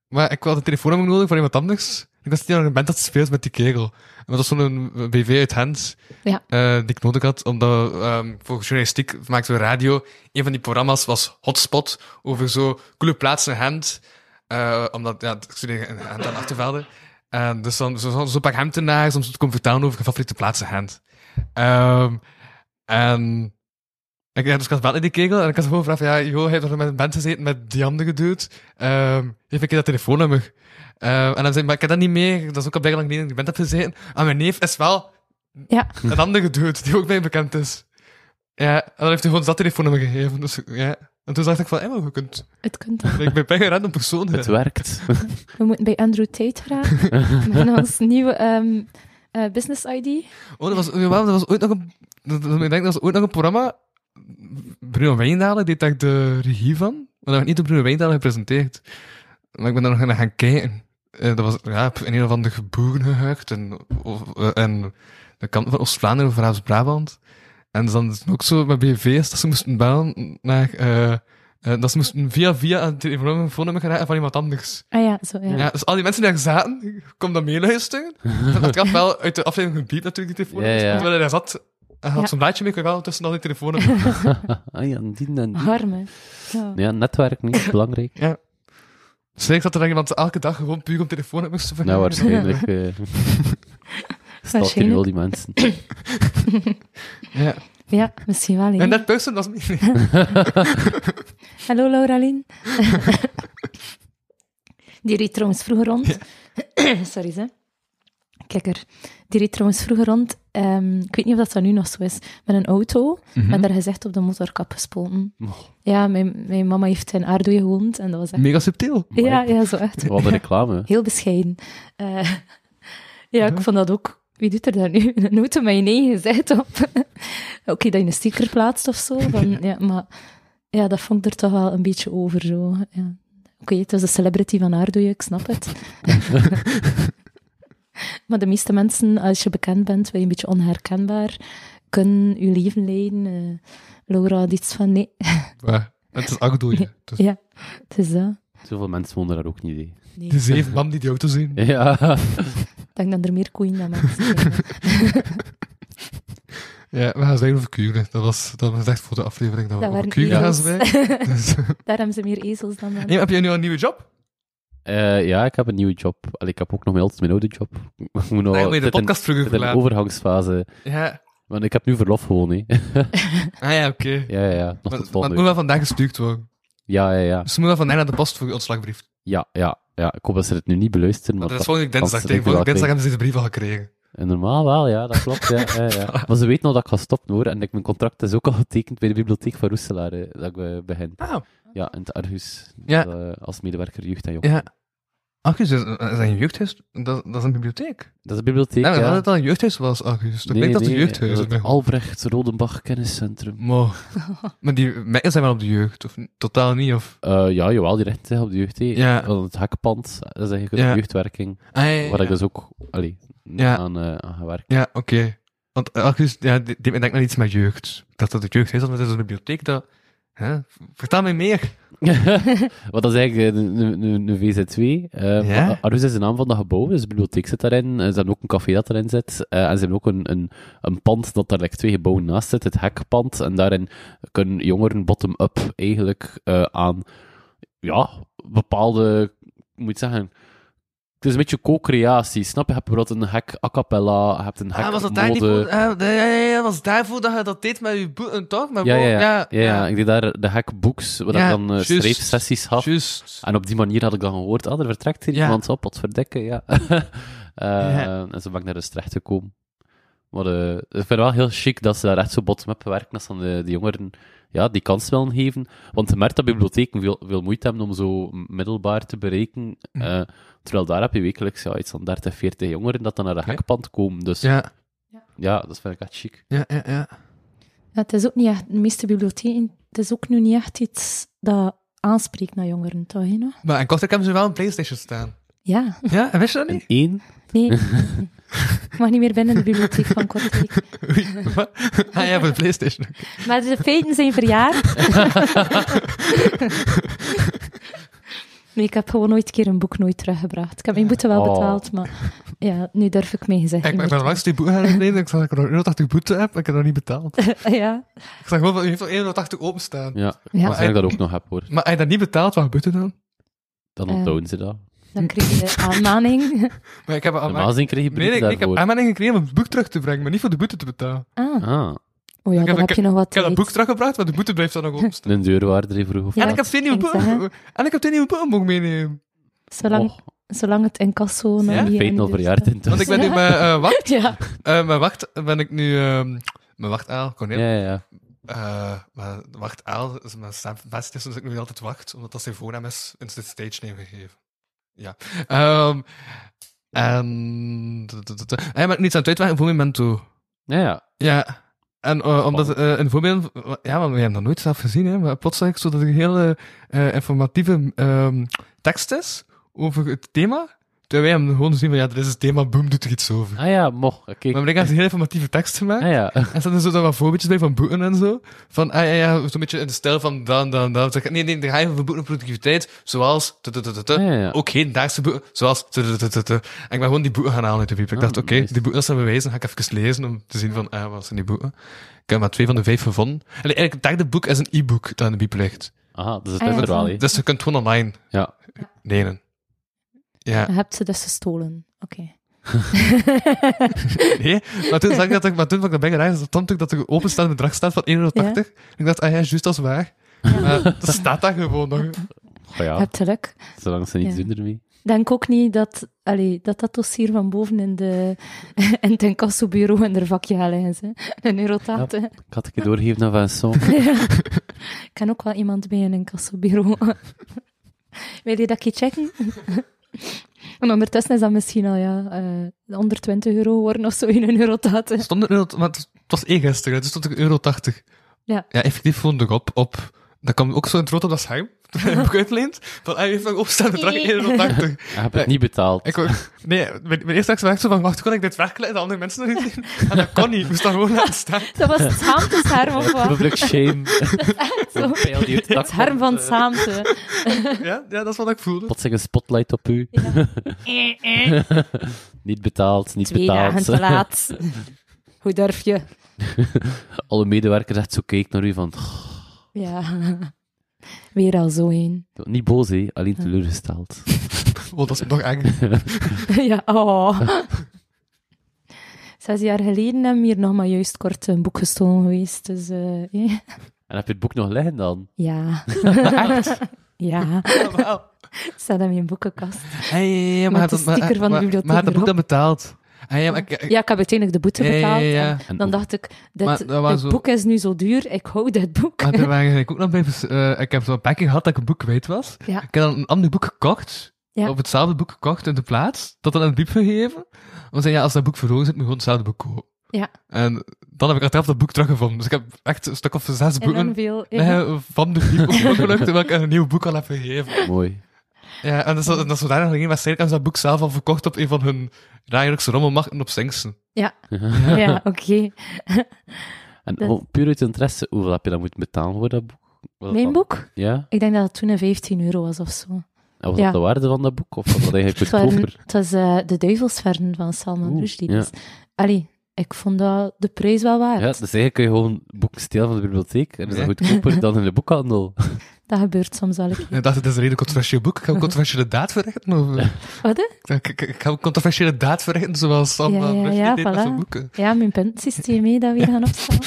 S3: maar ik had een telefoonnummer nodig van iemand anders. Ik was niet aan een band dat speelt met die kerel. En dat was zo'n eh, BV uit Hens
S4: Ja.
S3: eh, die ik nodig had, omdat ehm, voor journalistiek maakten we radio. Een van die programma's was Hotspot, over zo coole plaatsen in Gent. Eh, omdat, ja, ik studeerde in Gent aan Achtervelde. En dus dan zo'n zo, zo pak Hemtenaars om ze te komen vertellen over hun favoriete plaatsen in Gent. Ehm, en ik, ja, dus ik had wel in die kegel en ik had gewoon gevraagd van, ja, joh, heb je nog met een band gezeten met die andere dude? Ehm geef ik je dat telefoonnummer. Ehm, en dan zei hij, maar ik heb dat niet meer, dat is ook al bijna lang geleden dat ik in die band heb gezeten. Ah, mijn neef is wel
S4: Ja.
S3: een andere dude, die ook mij bekend is. Ja, en dan heeft hij gewoon dat telefoonnummer gegeven. Dus, ja. En toen dacht ik van, hé, maar je kunt...
S4: Het kunt dan.
S3: Ik ben bijna een random persoon.
S2: Het werkt.
S4: We moeten bij Andrew Tate vragen. met ons nieuwe ehm, eh, business ID.
S3: Oh, dat was, jawel, dat was ooit nog een... Dat, dat- ik denk, dat was ooit nog een programma... Bruno Wijndalen deed daar de regie van. Maar dat werd niet door Bruno Wijndalen gepresenteerd. Maar ik ben daar nog naar gaan kijken. Eh, dat was ja, op een of andere geboerengehucht en, of, eh, en de kant van Oost-Vlaanderen of Vlaams-Brabant. En dan is het ook zo met BV's dat ze moesten bellen naar... eh, eh, dat ze moesten via via een telefoonnummer gaan raken van iemand anders.
S4: Ah ja, zo ja.
S3: Ja, dus al die mensen die daar zaten, kom dan meeluisteren. Dat had wel uit de aflevering gebiept natuurlijk, die telefoon.
S2: Ja, ja.
S3: Terwijl hij daar zat, hij had
S4: Ja.
S3: zo'n blaadje mee, kon je wel tussen al die telefoons.
S2: ah ja, en die en die.
S4: Harm, hè. Ja.
S2: Ja, netwerk niet, belangrijk.
S3: Zeker dat er dan iemand elke dag gewoon puur om telefoonnummers te
S2: Nou,
S3: vergeten.
S2: waarschijnlijk... eh Staat hier
S4: Waarschijnlijk.
S2: wel die mensen.
S3: Ja.
S4: Ja, misschien wel. hè.
S3: En dat persoon was niet...
S4: Hallo Lauralien. Die reed trouwens vroeger rond. Sorry, ze. Kikker. Die reed trouwens vroeger rond. ehm, ik weet niet of dat, dat nu nog zo is. Met een auto. Met haar gezicht op de motorkap gespoten. Ja, mijn, mijn mama heeft in Aardoe gewoond. En dat was echt...
S3: Mega subtiel.
S4: Ja, ja, zo echt.
S2: Wat een reclame.
S4: Heel bescheiden. Eh, ja, ik vond dat ook. Wie doet er daar nu een auto met je eigen gezicht op? Oké, dat je een sticker plaatst of zo. Van, ja, maar ja, dat vond ik er toch wel een beetje over. Zo. Ja. Oké, het was de celebrity van haar, doe je, ik snap het. maar de meeste mensen, als je bekend bent, ben je een beetje onherkenbaar. Kunnen je leven leiden. Eh, Laura had iets van, nee,
S3: Maar het is ook doel, ja. Het is
S4: ja, het is dat.
S2: Zoveel mensen wonen daar ook niet in.
S3: de zeven man die die auto zien.
S2: Ja.
S4: Ik denk dat er meer koeien dan mensen zijn.
S3: Ja, we gaan zwijgen over kuren. Dat was, dat was echt voor de aflevering dat we
S4: Dat
S3: over
S4: waren
S3: kuren gaan
S4: ezels.
S3: zwijgen. Dus-
S4: Daar hebben ze meer ezels dan mensen.
S3: Nee, maar heb jij nu al een nieuwe job?
S2: Oh, Eh, ja, ik heb een nieuwe job. Allee, ik heb ook nog altijd mijn oude job. Ik moet nog
S3: Nee, Ah, moet je de
S2: zit in-
S3: podcast vroeger
S2: zit in een
S3: verlaten.
S2: overgangsfase.
S3: Ja.
S2: Want ik heb nu verlof gewoon, hè.
S3: Ah ja, oké.
S2: ja, ja, ja. Nog
S3: Maar-
S2: tot
S3: Maar het
S2: volgende
S3: moet
S2: week.
S3: wel vandaag gestuurd worden.
S2: Ja, ja, ja.
S3: Dus we moeten wel vandaag naar de post voor je ontslagbrief.
S2: Ja, ja, ja. Ik hoop dat ze het nu niet beluisteren. Maar
S3: Dat is
S2: dat-
S3: volgende week
S2: dat
S3: dinsdag.
S2: ze
S3: Tegen
S2: het wel
S3: volgende dinsdag
S2: krijgen.
S3: hebben ze deze brief al gekregen.
S2: En Eh, normaal wel, ja. Dat klopt, ja. ja, ja. Maar ze weten al dat ik ga stoppen, hoor. En ik, mijn contract is ook al getekend bij de bibliotheek van Roeselaar, eh, dat ik eh, begin.
S3: Ah.
S2: Ja, in het Argus.
S3: Ja.
S2: eh, als medewerker jeugd en jong.
S3: Ja. Augustus, is is dat een jeugdhuis? Dat, dat is een bibliotheek.
S2: Dat is een bibliotheek,
S3: Ja,
S2: ja.
S3: we hadden het al een jeugdhuis was, Augustus. Dat klinkt als een jeugdhuis.
S2: dat is het Albrecht Rodenbach Kenniscentrum.
S3: Maar, maar die meiden zijn wel op de jeugd, of niet? totaal niet? Of...
S2: Eh, ja, jawel, die rechten op de jeugd. hè.
S3: Ja.
S2: Want het eh, hakpand, dat is eigenlijk
S3: Ja.
S2: een jeugdwerking.
S3: Ah, ja, ja,
S2: Waar ik
S3: ja.
S2: dus ook allee,
S3: Ja.
S2: aan, eh aan ga werken.
S3: Ja, oké. Want Augustus, ja, die, die denkt naar iets met jeugd. Ik dacht dat het jeugdhuis was, maar dat is een bibliotheek. Dat... Hè? Vertel mij meer.
S2: Wat dat is eigenlijk eh, een- een een- een VZW. eh,
S3: Ja.
S2: maar Arus is de naam van dat gebouw, dus de bibliotheek zit daarin. Eh, Ze hebben ook een café dat daarin zit. eh, en ze hebben ook een, een, een pand dat daar like, twee gebouwen naast zit, het hekpand. En daarin kunnen jongeren bottom-up eigenlijk eh, aan ja, bepaalde, hoe moet je het zeggen... Het is een beetje co-creatie, snap je? Je hebt bijvoorbeeld een hek a cappella, je hebt
S3: Ah,
S2: een hek Ah, mode.
S3: ja, ja, ja, was daarvoor dat je dat deed met je boeken, toch? Met
S2: Ja, ja, ja. ja, ja. Ik deed daar de hackbooks, waar
S3: Ja,
S2: ik dan eh
S3: juist.
S2: streefsessies had.
S3: Juist.
S2: En op die manier had ik dan gehoord, ah, er vertrekt hier
S3: Ja.
S2: iemand op, wat verdekken, ja. Eh,
S3: Ja.
S2: En zo ben ik naar de terecht gekomen. Maar eh, ik vind het wel heel chic dat ze daar echt zo bot mee werken, als ze aan de, de jongeren ja, die kans willen geven. Want je merkt dat bibliotheken veel, veel moeite hebben om zo middelbaar te bereiken.
S3: Mm.
S2: eh, terwijl daar heb je wekelijks ja, iets van 30, 40 jongeren dat dan naar de hekpand komen. Dus ja,
S3: Ja,
S2: dat vind ik echt chic.
S3: ja, ja. ja.
S4: Ja, het is ook niet echt, de meeste bibliotheken, het is ook nu niet echt iets dat aanspreekt naar jongeren, toch? hè, no?
S3: Maar in Kortrijk hebben ze wel een Playstation staan.
S4: Ja,
S3: Ja, en wist je dat
S2: En
S3: niet?
S2: één,
S4: nee. Ik mag niet meer binnen de bibliotheek van Kortrijk.
S3: Oei, wat? Ah, ja, voor de Playstation.
S4: Maar de feiten zijn verjaard. nee, ik heb gewoon ooit een keer een boek nooit teruggebracht. Ik heb mijn boete wel
S2: Oh.
S4: betaald, maar ja, nu durf ik mijn gezegd
S3: Kijk,
S4: niet
S3: maar ik ben
S4: meer
S3: langs die boete gaan uitlezen. Ik zag dat ik er 180 boete heb, maar ik heb dat niet betaald.
S4: te- Ja,
S3: Ik zag gewoon, van, je heeft al 180 openstaan.
S2: ja,
S4: Ja.
S2: als ik dat ook nog heb hoor,
S3: Maar als je dat niet betaalt, wat gebeurt er dan?
S2: dan
S4: Eh.
S2: onthouden ze dat.
S4: dan kreeg je aanmaning.
S3: Maar ik heb een
S2: Normaal
S3: aanmerking-
S2: gezien krijg je
S3: Ah, Nee, nee,
S2: brieven
S3: nee, ik heb
S2: daarvoor.
S3: aanmerking gekregen om het boek terug te brengen, maar niet voor de boete te betalen.
S4: Ah,
S2: Ah,
S4: oh ja,
S3: Ik heb-
S4: dan heb je nog wat
S3: Ik heb dat
S4: tijd.
S3: boek teruggebracht, maar de boete blijft dan nog openstaan.
S2: een deurwaarder even vroeg of
S4: Ja,
S3: en,
S2: wat.
S3: ik heb twee nieuwe
S4: ik zeg, hè.
S3: boeken, en ik heb twee nieuwe boeken mogen meenemen.
S4: Zolang,
S2: Och,
S4: zolang het incasso nog
S3: Ja?
S4: niet...
S2: mijn
S4: in
S2: feiten
S4: de
S2: al
S4: deur
S2: verjaard
S4: staat.
S3: Want
S2: intussen.
S3: ik ben nu bij, eh, wacht,
S4: Ja,
S3: eh, bij wacht, ben ik nu, ehm mijn wacht aan, Cornel.
S2: Ja, ja, ja.
S3: Eh, maar wacht Aal is mijn stem best is, dus ik nu altijd wacht, omdat dat zijn voornaam is in zijn stage name gegeven. Ja. Ehm en. d- d- d- d- Hij maakt niets aan het uitwerken voor Memento.
S2: ja, ja.
S3: Ja. En eh, omdat eh in voorbeeld, ja, want we hebben dat nooit zelf gezien, hè, maar plots zag ik zo dat er een hele eh, informatieve ehm, tekst is over het thema. Terwijl wij hem gewoon zien van ja, er is het thema, boom, doet er iets over.
S2: Ah ja, mocht. Kijk.
S3: Maar ik heb een hele informatieve tekst gemaakt.
S2: Ah ja.
S3: En er zaten zo dan wat voorbeeldjes bij van boeken en zo. Van, ah ja, ja, zo'n beetje in de stijl van dan, dan, dan. Zeg, nee, nee, de geheim van boeken op productiviteit, zoals... tu, tu, tu, tu, tu.
S2: Ja, ja.
S3: Ook hedendaagse boeken, zoals... tu, tu, tu, tu, tu. En ik ben gewoon die boeken gaan halen uit de bibliotheek. Ik
S2: Ah,
S3: dacht, oké,
S2: nice.
S3: die boeken zijn bewijzen, ga ik even lezen om te zien van, ah, wat zijn die boeken? Ik heb maar twee van de vijf gevonden. En eigenlijk, het derde boek is een e-book dat in de bibliotheek ligt.
S2: Aha, dus het
S4: Ah,
S2: is
S4: ja,
S2: er wel,
S4: zo.
S2: hè.
S3: Dus je kunt gewoon online
S2: Ja.
S3: lenen. Ja,
S4: je hebt ze dus gestolen. Oké.
S3: nee. Maar toen zag ik dat ik, maar toen vond ik dat bij geraakt, dat stond ook dat er openstaand bedrag staat van 1,80 euro. Ik dacht, ah ja, juist als waar. Maar dat staat daar gewoon nog.
S2: Oh
S4: Je
S2: ja,
S4: hebt geluk.
S2: zolang ze niets
S4: Ja.
S2: doen ermee.
S4: Denk ook niet dat allee, dat, dat dossier van boven in, de, in het incassobureau in haar vakje gaat liggen. ze. Een euro tachtig.
S2: Ik had een keer doorgeven aan Vincent.
S4: Ik ken ook wel iemand bij een incassobureau. Wil je dat keer checken? en ondertussen is dat misschien al ja, eh 120 euro geworden of zo in een euro tachtig.
S3: Stond er, euro- maar het was eergisteren, dus stond er 1,80 euro.
S4: Ja.
S3: Ja, effectief vond ik op, op. Dat kwam ook zo in het rood op dat scherm. Toen heb ik uitleend. Van, ah, hij heeft nog opstaan bedrag 1,80 euro.
S2: Ik heb het niet betaald.
S3: Ik ook, nee, mijn, mijn eerste reactie was echt zo van, wacht, kon ik dit werkelijk en de andere mensen nog niet zien? En dat kon niet, ik moest daar gewoon laten staan.
S4: Dat was het schaamtescherm of wat?
S2: Public shame.
S4: Zo.
S2: Een pijl die op dak
S4: Het scherm van
S2: komt, eh,
S4: schaamte.
S3: Ja, ja, dat is wat ik voelde.
S2: Plotseling een spotlight op u.
S3: Eh,
S2: Niet betaald, niet
S4: Twee dagen te
S2: betaald.
S4: laat. Hoe durf je?
S2: Alle medewerkers echt zo keken naar u van... "Goh,
S4: Ja. Weer al zo heen.
S2: Niet boos, hè. Alleen teleurgesteld.
S3: Oh, dat is nog eng.
S4: ja, oh. Zes jaar geleden hebben we hier nog maar juist kort een boek gestolen geweest. Dus eh, eh,
S2: En heb je het boek nog liggen dan?
S4: ja. ja,
S3: Normaal.
S4: staat in mijn boekenkast.
S3: Hey, ja,
S4: Met
S3: maar
S4: de
S3: had maar-
S4: sticker van de
S3: maar-
S4: bibliotheek
S3: Maar had dat boek
S4: erop.
S3: dan betaald? Hey, ja, maar ik, ik-
S4: Ja, ik heb uiteindelijk de boete
S3: Ja, ja,
S4: betaald.
S3: ja, ja.
S4: en
S2: En
S4: dan
S2: over-
S4: dacht ik, dit,
S3: Maar dat was
S4: dit
S3: zo-
S4: boek is nu zo duur, ik hou dit boek.
S3: Maar toen waren ik ook nog bij, vers- eh, ik heb zo'n pakje gehad dat ik een boek kwijt was.
S4: Ja.
S3: Ik heb dan een ander boek gekocht,
S4: Ja.
S3: of hetzelfde boek gekocht in de plaats, dat dan aan de biep gegeven. Want zei, ja, als dat boek verloren is, moet je gewoon hetzelfde boek kopen.
S4: Ja.
S3: En dan heb ik achteraf dat boek teruggevonden. Dus ik heb echt een stuk of zes
S4: En
S3: boeken
S4: dan veel... ja.
S3: eh, van de biep opgelukt, terwijl ik een nieuw boek al heb gegeven.
S2: Mooi.
S3: Ja, en dat is, dat is zodanig nog geen wedstrijd, hebben ze dat boek zelf al verkocht op een van hun dagelijkse rommelmarkten op Singsen.
S4: Ja, oké.
S2: En
S4: Dat-
S2: oh, puur uit interesse, hoeveel heb je dan moeten betalen voor dat boek? Was dat
S4: Mijn
S2: dan-
S4: boek?
S2: Ja?
S4: Ik denk dat het toen een 15 euro was of zo.
S2: En was
S4: Ja.
S2: dat de waarde van dat boek? Of was dat
S4: Het,
S2: eigenlijk
S4: waren-
S2: goedkoper?
S4: het was eh, de duivelsverden van Salman
S2: Oeh,
S4: Rushdie.
S2: ja.
S4: Dus, allee, ik vond dat de prijs wel waard.
S2: Ja, dus eigenlijk kun je gewoon boeken stelen van de bibliotheek. En is dat
S3: Ja.
S2: goedkoper dan in de boekhandel.
S4: Dat gebeurt soms wel. een
S3: En
S4: keer.
S3: ik dacht, het is een redelijk controversieel boek. Ik
S4: Mhm.
S3: ga een controversiële daad verrichten. Of, eh?
S4: Wat? hè?
S3: Ik, ik- ik- ik ga een controversiële daad verrichten, zoals Sam
S4: Ja,
S3: eh,
S4: ja,
S3: Rushdie
S4: ja,
S3: deed met
S4: voilà.
S3: zijn boeken.
S4: Ja, mijn puntensysteem mee dat weer gaan opstaan.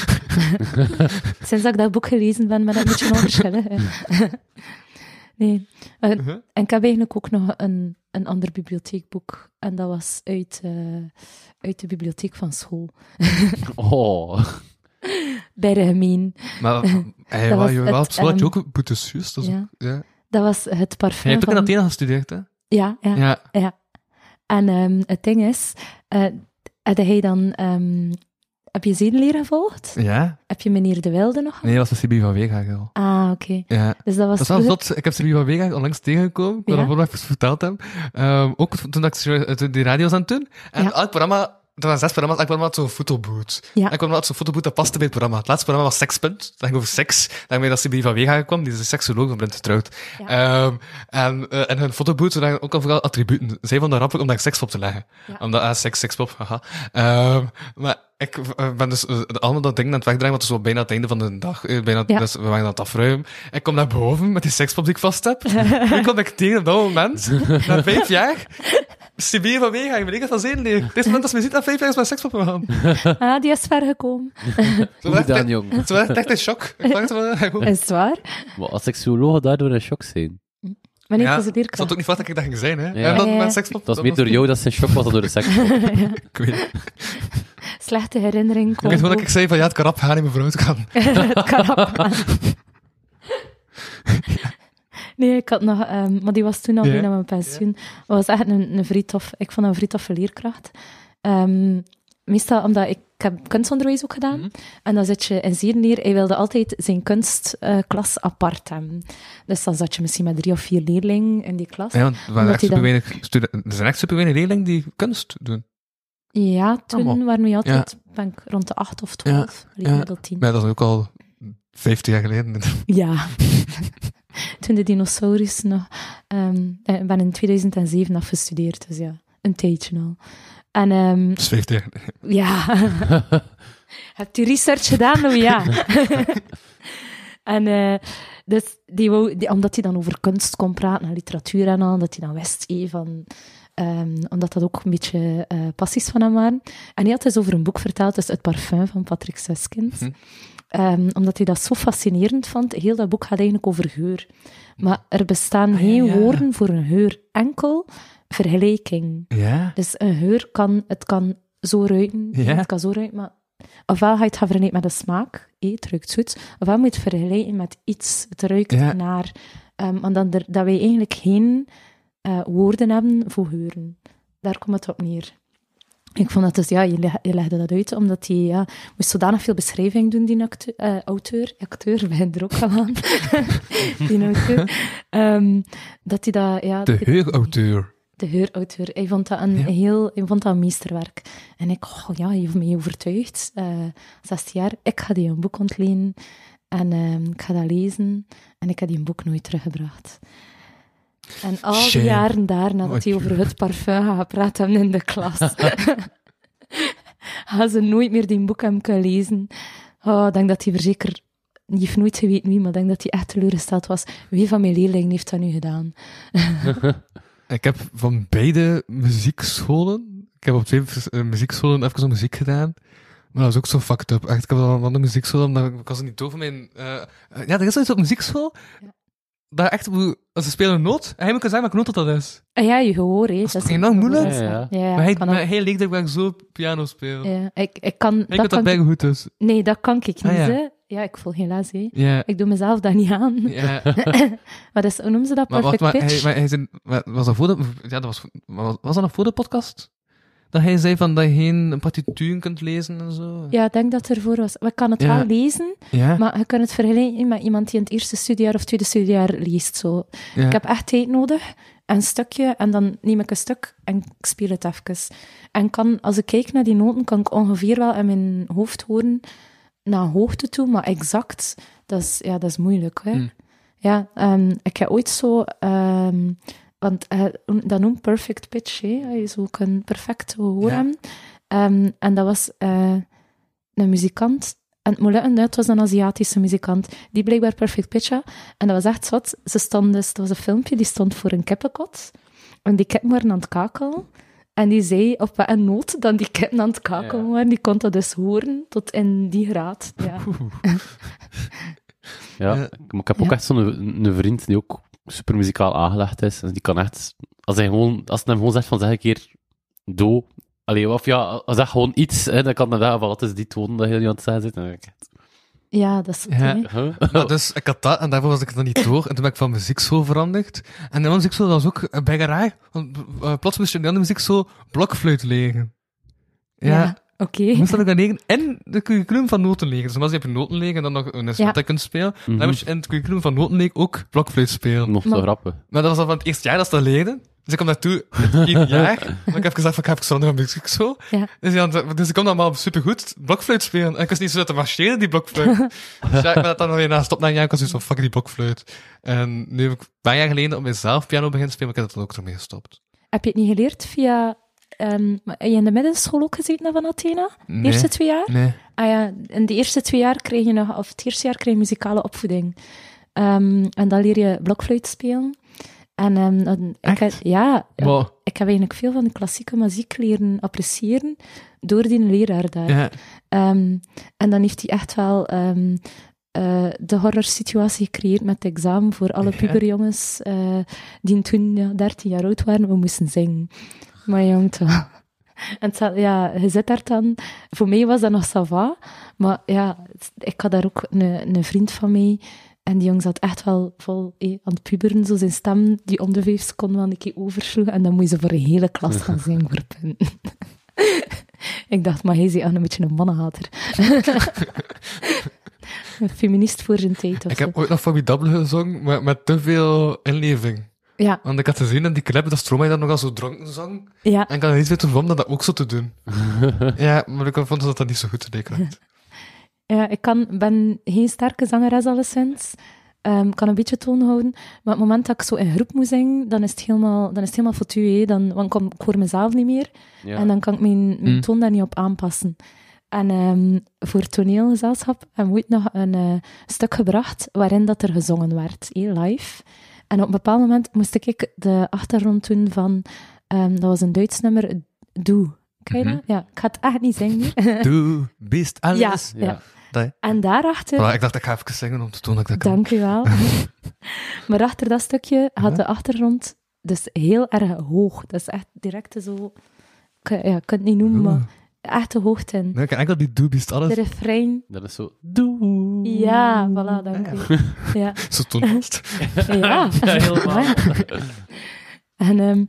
S4: Sinds dat ik dat boek gelezen ben, ben ik een beetje onverschillig. hè. Nee. En,
S3: Mhm.
S4: en ik heb eigenlijk ook nog een, een ander bibliotheekboek. En dat was uit, eh, uit de bibliotheek van school.
S2: Oh.
S4: Bij de gemeen.
S3: Maar hij
S4: Dat
S3: was,
S4: was
S3: je
S4: het,
S3: wel, zo had je
S4: ehm,
S3: ook boetes, juist. Dat is
S4: ja.
S3: ook- ja.
S4: Dat was het
S3: Hij
S4: parfum
S3: heeft ook in
S4: van...
S3: Athene gestudeerd, hè?
S4: ja, ja,
S3: Ja.
S4: En ehm, het ding is... eh had hij dan... ehm, heb je zedenleer gevolgd?
S3: Ja?
S4: Heb je meneer De Wilde nog?
S3: Nee, dat was de CB van Weeghaag al.
S4: Ah, oké.
S3: Ja.
S4: Dus dat was...
S3: Dat is wel zot. Ik heb Sylvie van Weeghaag onlangs tegengekomen. Ik wil
S4: Ja?
S3: dat vooral even verteld hebben. Ehm, ook toen ik eh, toen die radio was aan het doen. En
S4: Ja.
S3: elk programma... Er waren zes programma's, elk programma had zo'n fotoboot.
S4: Ja.
S3: Elk programma had zo'n fotoboot dat paste bij het programma. Het laatste programma was Sekspunt. Dat ging over seks. Daarmee dat Sylvie van Weeghaag kwam. Die is een seksoloog van Brent Trout. Ehm, en, eh, en hun fotoboot, ze hadden ook al vooral attributen. Zij vonden dat rappig om daar seks op te leggen.
S4: Ja.
S3: Omdat, ah, seks, sekspop, haha. Ehm, maar ik eh, ben dus eh, allemaal dat ding aan het wegdragen, want het is wel bijna het einde van de dag. eh, Bijna,
S4: Ja.
S3: Dus we waren aan het afruimen. Ik kom naar boven met die sekspop die ik vast heb. Nu kom ik tegen op dat moment, na vijf jaar, Sibir van Weega, ik ben ik van zedenleer. Dit is het moment dat ze me ziet, na vijf jaar is mijn sekspop gegaan.
S4: Ah, die is ver gekomen.
S3: Zo
S2: Hoe
S3: werd
S2: dan,
S3: echt-
S2: jong?
S3: Ze was echt in shock. Ik dacht wel...
S4: Is het waar?
S2: Maar als seksuologen daardoor in shock zijn.
S4: Maar nee,
S3: Ja,
S4: ik was een
S3: Ik zat
S4: leerkracht.
S3: ook niet vast dat ik dat ging zijn, hè.
S2: Ja.
S3: En dan
S4: Ja, ja.
S3: mijn sekspop...
S2: Het was meer door jou dat ze in shock was dan door de seks.
S3: Ik weet het.
S4: Slechte herinnering.
S3: Ik weet gewoon dat ik zei van, ja, het kan gaan in mijn vrouw te gaan.
S4: het kan op. Nee, ik had nog, ehm, maar die was toen al
S3: Ja.
S4: bijna mijn pensioen. Dat was echt een, een vrij tof, ik vond dat een vrij toffe leerkracht. Ehm, meestal omdat ik, ik heb kunstonderwijs ook gedaan.
S3: Mhm.
S4: En dan zit je in zedenleer, hij wilde altijd zijn kunstklas apart hebben. Dus dan zat je misschien met drie of vier leerlingen in die klas.
S3: Ja, want er, waren
S4: Omdat
S3: echt
S4: die dan-
S3: superweinig studenten- er zijn echt superweinig leerlingen die kunst doen.
S4: Ja, toen
S3: Allemaal.
S4: waren we altijd ben ik rond de acht of twaalf,
S3: Ah, ja.
S4: gemiddeld tien.
S3: Maar dat is ook al 15 jaar geleden.
S4: Ja. Toen de dinosaurus nog... ehm, ik ben in 2007 afgestudeerd, dus ja. Een tijdje al. En ehm,
S3: Dat is 15 jaar geleden.
S4: ja... Heb je research gedaan, Louis? Ja. en eh, dus die wou, die, omdat hij dan over kunst kon praten en literatuur en al, dat hij dan wist eh, van... ehm, omdat dat ook een beetje eh, passies van hem waren. En hij had eens over een boek verteld, dus Het Parfum van Patrick Suskind.
S3: Mhm.
S4: Ehm, omdat hij dat zo fascinerend vond. Heel dat boek gaat eigenlijk over geur. Maar er bestaan
S3: Ah, ja,
S4: geen
S3: ja.
S4: woorden voor een geur. Enkel vergelijking.
S3: Ja?
S4: Dus een geur kan, het kan zo ruiken,
S3: Ja.
S4: het kan zo ruiken, maar ofwel ga je het gaan vergelijken met de smaak, hé, het ruikt zoet, ofwel moet je het vergelijken met iets, het ruikt
S3: Ja.
S4: naar. Ehm, want dan er- dat wij eigenlijk geen eh, woorden hebben voor geuren. Daar komt het op neer. Ik vond dat dus, ja, je, leg- je legde dat uit, omdat hij ja, moest zodanig veel beschrijving doen, die actu- eh, auteur, acteur, ben er ook al aan, die auteur, Ehm, dat hij dat, ja...
S3: De
S4: dat-
S3: heugauteur.
S4: de heurauteur. Hij vond dat een
S3: Ja.
S4: heel, hij vond dat een meesterwerk. En ik, oh ja, je heeft mij overtuigd. Eh 16 jaar, ik ga die een boek ontlenen en ehm, ik ga dat lezen. En ik heb die een boek nooit teruggebracht. En al die
S3: Shame.
S4: jaren daarna dat hij
S3: Wat je-
S4: over het parfum gaat praten in de klas, gaan ze nooit meer die boek hem kunnen lezen. Oh, ik denk dat hij verzeker, die heeft nooit geweten wie, maar ik denk dat hij echt teleurgesteld was. Wie van mijn leerlingen heeft dat nu gedaan?
S3: Ik heb van beide muziekscholen, ik heb op twee vers- eh, muziekscholen even zo'n muziek gedaan, maar dat is ook zo fucked up. Echt, ik heb dan een andere muziekschool, omdat ik ik was er niet over mijn... eh, eh, ja, er is zoiets op muziekschool, daar echt, hoe- als ze spelen een noot, en hij moet kunnen zeggen welke noot dat is.
S4: Ah ja, je gehoor, hè. Dat
S3: toch
S4: is
S3: enorm moeilijk?
S4: Ja, ja. ja,
S3: maar hij,
S4: kan
S3: maar
S4: ook-
S3: hij leek dat ik zo piano speel.
S4: ja, ik, ik kan...
S3: Ik weet dat
S4: kan
S3: bij goed is.
S4: Nee, dat kan ik niet,
S3: Ah, ja.
S4: hè. Ja, ik voel helaas, hè.
S3: Ja.
S4: Ik doe mezelf dat niet aan.
S3: Ja.
S4: Wat is, hoe noemen ze dat?
S3: Maar wacht,
S4: Perfect
S3: maar, hij,
S4: pitch?
S3: maar hij zijn, maar was dat voor de, ja, dat was, maar was, was dat nog voor de podcast? Dat hij zei van dat je geen partituur kunt lezen en zo?
S4: Ja, ik denk dat ervoor was. Maar Ik kan het
S3: Ja.
S4: wel lezen,
S3: Ja?
S4: maar je kunt het vergelijken met iemand die in het eerste studiejaar of tweede studiejaar leest. Zo.
S3: ja.
S4: Ik heb echt tijd nodig, een stukje, en dan neem ik een stuk en ik speel het even. En kan, als ik kijk naar die noten, kan ik ongeveer wel in mijn hoofd horen naar hoogte toe, maar exact, dat is, ja, dat is moeilijk. Hè?
S3: Hmm.
S4: Ja, ehm, ik heb ooit zo... ehm, want eh, dat noemt perfect pitch, hè? Dat is ook een perfect gehoor
S3: Ja.
S4: hebben. Ehm, en dat was eh, een muzikant. En het moet lukken, het was een Aziatische muzikant. Die blijkbaar perfect pitch had. En dat was echt zot. Ze stond dus, het was een filmpje, die stond voor een kippenkot. En die kippen waren aan het kakelen. En die zei op wat een noot dan die kippen aan het kakelen waren. Die kon dat dus horen tot in die graad. Ja.
S2: Ja.
S3: Ja.
S2: Ik- maar Ik heb ook
S4: Ja.
S2: echt zo'n een, vriend die ook super muzikaal aangelegd is. Dus die kan echt, als hij gewoon, als hij hem gewoon zegt van zeg een keer do. Allee, of ja, als dat gewoon iets, hè, dan kan hij zeggen van wat is die toon dat je nu aan het zeggen zit. En dan denk ik,
S4: Ja, dat is het
S3: Ja.
S4: ding, hè.
S2: huh?
S3: Maar dus ik had dat en daarvoor was ik dat niet door. En toen ben ik van muziekschool veranderd. En in mijn muziekschool was ook een beggerij. Want eh, plots moest je in de andere muziekschool blokfluit legen. Ja.
S4: Ja, oké.
S3: Moest dat ook dan legen. En de curriculum van noten legen. Dus normaal heb je noten legen en dan nog een instrument dat je kunt spelen. Dan moest je in het curriculum van noten legen ook blokfluit spelen.
S2: Nog zo
S4: Maar-
S2: grappig.
S3: Maar dat was al van het eerste jaar dat ze dat leerden. Dus ik kwam daartoe met één jaar. En ik heb gezegd van, ik heb ik zo naar muziek zo.
S4: Ja.
S3: Dus, ja, dus ik kon normaal supergoed blokfluit spelen. En ik was niet zo uit te marcheren, die blokfluit. dus ja, ik ben dat dan weer na stop na een jaar. Ik was dus van, fuck die blokfluit. En nu heb ik een paar jaar geleden op mezelf piano beginnen spelen, maar ik heb dat dan ook ermee gestopt.
S4: Heb je het niet geleerd via... ehm, maar heb je in de middenschool ook gezeten van Athena? De
S3: Nee.
S4: eerste twee jaar?
S3: Nee.
S4: Ah ja, in de eerste twee jaar kreeg je nog, of het eerste jaar kreeg je muzikale opvoeding. Ehm, en dan leer je blokfluit spelen. En, ehm, en
S3: Echt?
S4: ik, heb, ja,
S3: Wow.
S4: ik heb eigenlijk veel van de klassieke muziek leren appreciëren door die leraar daar.
S3: Ja.
S4: Ehm, en dan heeft hij echt wel ehm, eh, de horror situatie gecreëerd met het examen voor alle
S3: Ja.
S4: puberjongens eh, die toen ja, 13 jaar oud waren. We moesten zingen. Maar jong toch. En het zat- ja, je zit daar dan... Voor mij was dat nog sava, maar ja, het- ik had daar ook een, een vriend van mee. En die jong zat echt wel vol eh, aan het puberen, zo zijn stem, die om de vijf seconden wel een keer oversloeg. En dan moet je ze voor een hele klas gaan zingen voor punten. ik dacht, maar hij is echt een beetje een mannenhater. een feminist voor zijn tijd of
S3: Ik
S4: zo.
S3: heb ooit nog Fabi Double gezongen, maar met te veel inleving.
S4: Ja,
S3: Want ik had gezien in die clip dat Stromae dat nogal zo dronken zong.
S4: ja.
S3: En ik had niet weten waarom dat, dat ook zo te doen. ja, maar ik vond dat dat niet zo goed te rekenen.
S4: Ja, ik kan, ben geen sterke zangeres alleszins. Ehm, ik kan een beetje toon houden. Maar op het moment dat ik zo in groep moet zingen, dan is het helemaal, dan is het helemaal foutu, hè. Dan, want ik, kom, ik hoor mezelf niet meer.
S2: Ja.
S4: En dan kan ik mijn, mijn
S3: Mm.
S4: toon daar niet op aanpassen. En ehm, voor het toneelgezelschap hebben we ooit nog een eh, stuk gebracht waarin dat er gezongen werd, hé, live. En op een bepaald moment moest ik de achtergrond doen van... ehm, dat was een Duits nummer, Doe. Ken je dat? Ja, ik ga het echt niet zingen. nu.
S3: Doe, beest,
S4: ja,
S3: alles.
S4: ja.
S3: Mhm. Ah, Dat-
S4: En daarachter...
S3: Voilà, ik dacht, ik ga even zingen om te tonen dat ik dat kan.
S4: Dank u wel. maar achter dat stukje had de achtergrond dus heel erg hoog. Dat is echt direct zo... Ik, ja, ik kan het niet noemen, maar echt de hoogte in.
S3: Nee, ik heb enkel die doe, beest,
S4: De
S3: alles.
S4: refrein.
S2: Dat is zo, doe.
S4: Ja, voilà, dank u. Ja,
S3: Zo toonvast.
S4: ja.
S2: Ja, helemaal.
S4: En ehm,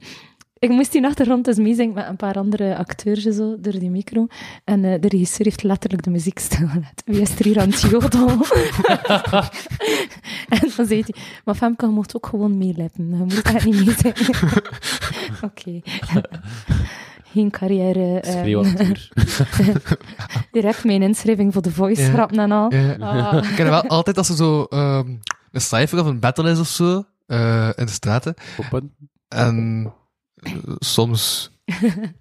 S4: ik moest die achtergrond dus meezingen met een paar andere acteurs en zo, door die micro. En eh, de regisseur heeft letterlijk de muziek stilgelegd. Wie is er hier aan het jodelen? en dan zei hij, maar Femke, je mocht ook gewoon meeleppen. Je moet echt niet meezingen. Oké. Geen carrière. eh,
S2: Schreeuwacteur.
S4: direct mijn inschrijving voor de voice,
S3: Ja.
S4: grap en al.
S3: Ja.
S4: Ah.
S3: Ik ken wel altijd als er zo ehm, een cijfer of een battle is of zo eh, in de straten.
S2: Poppen.
S3: En eh, soms.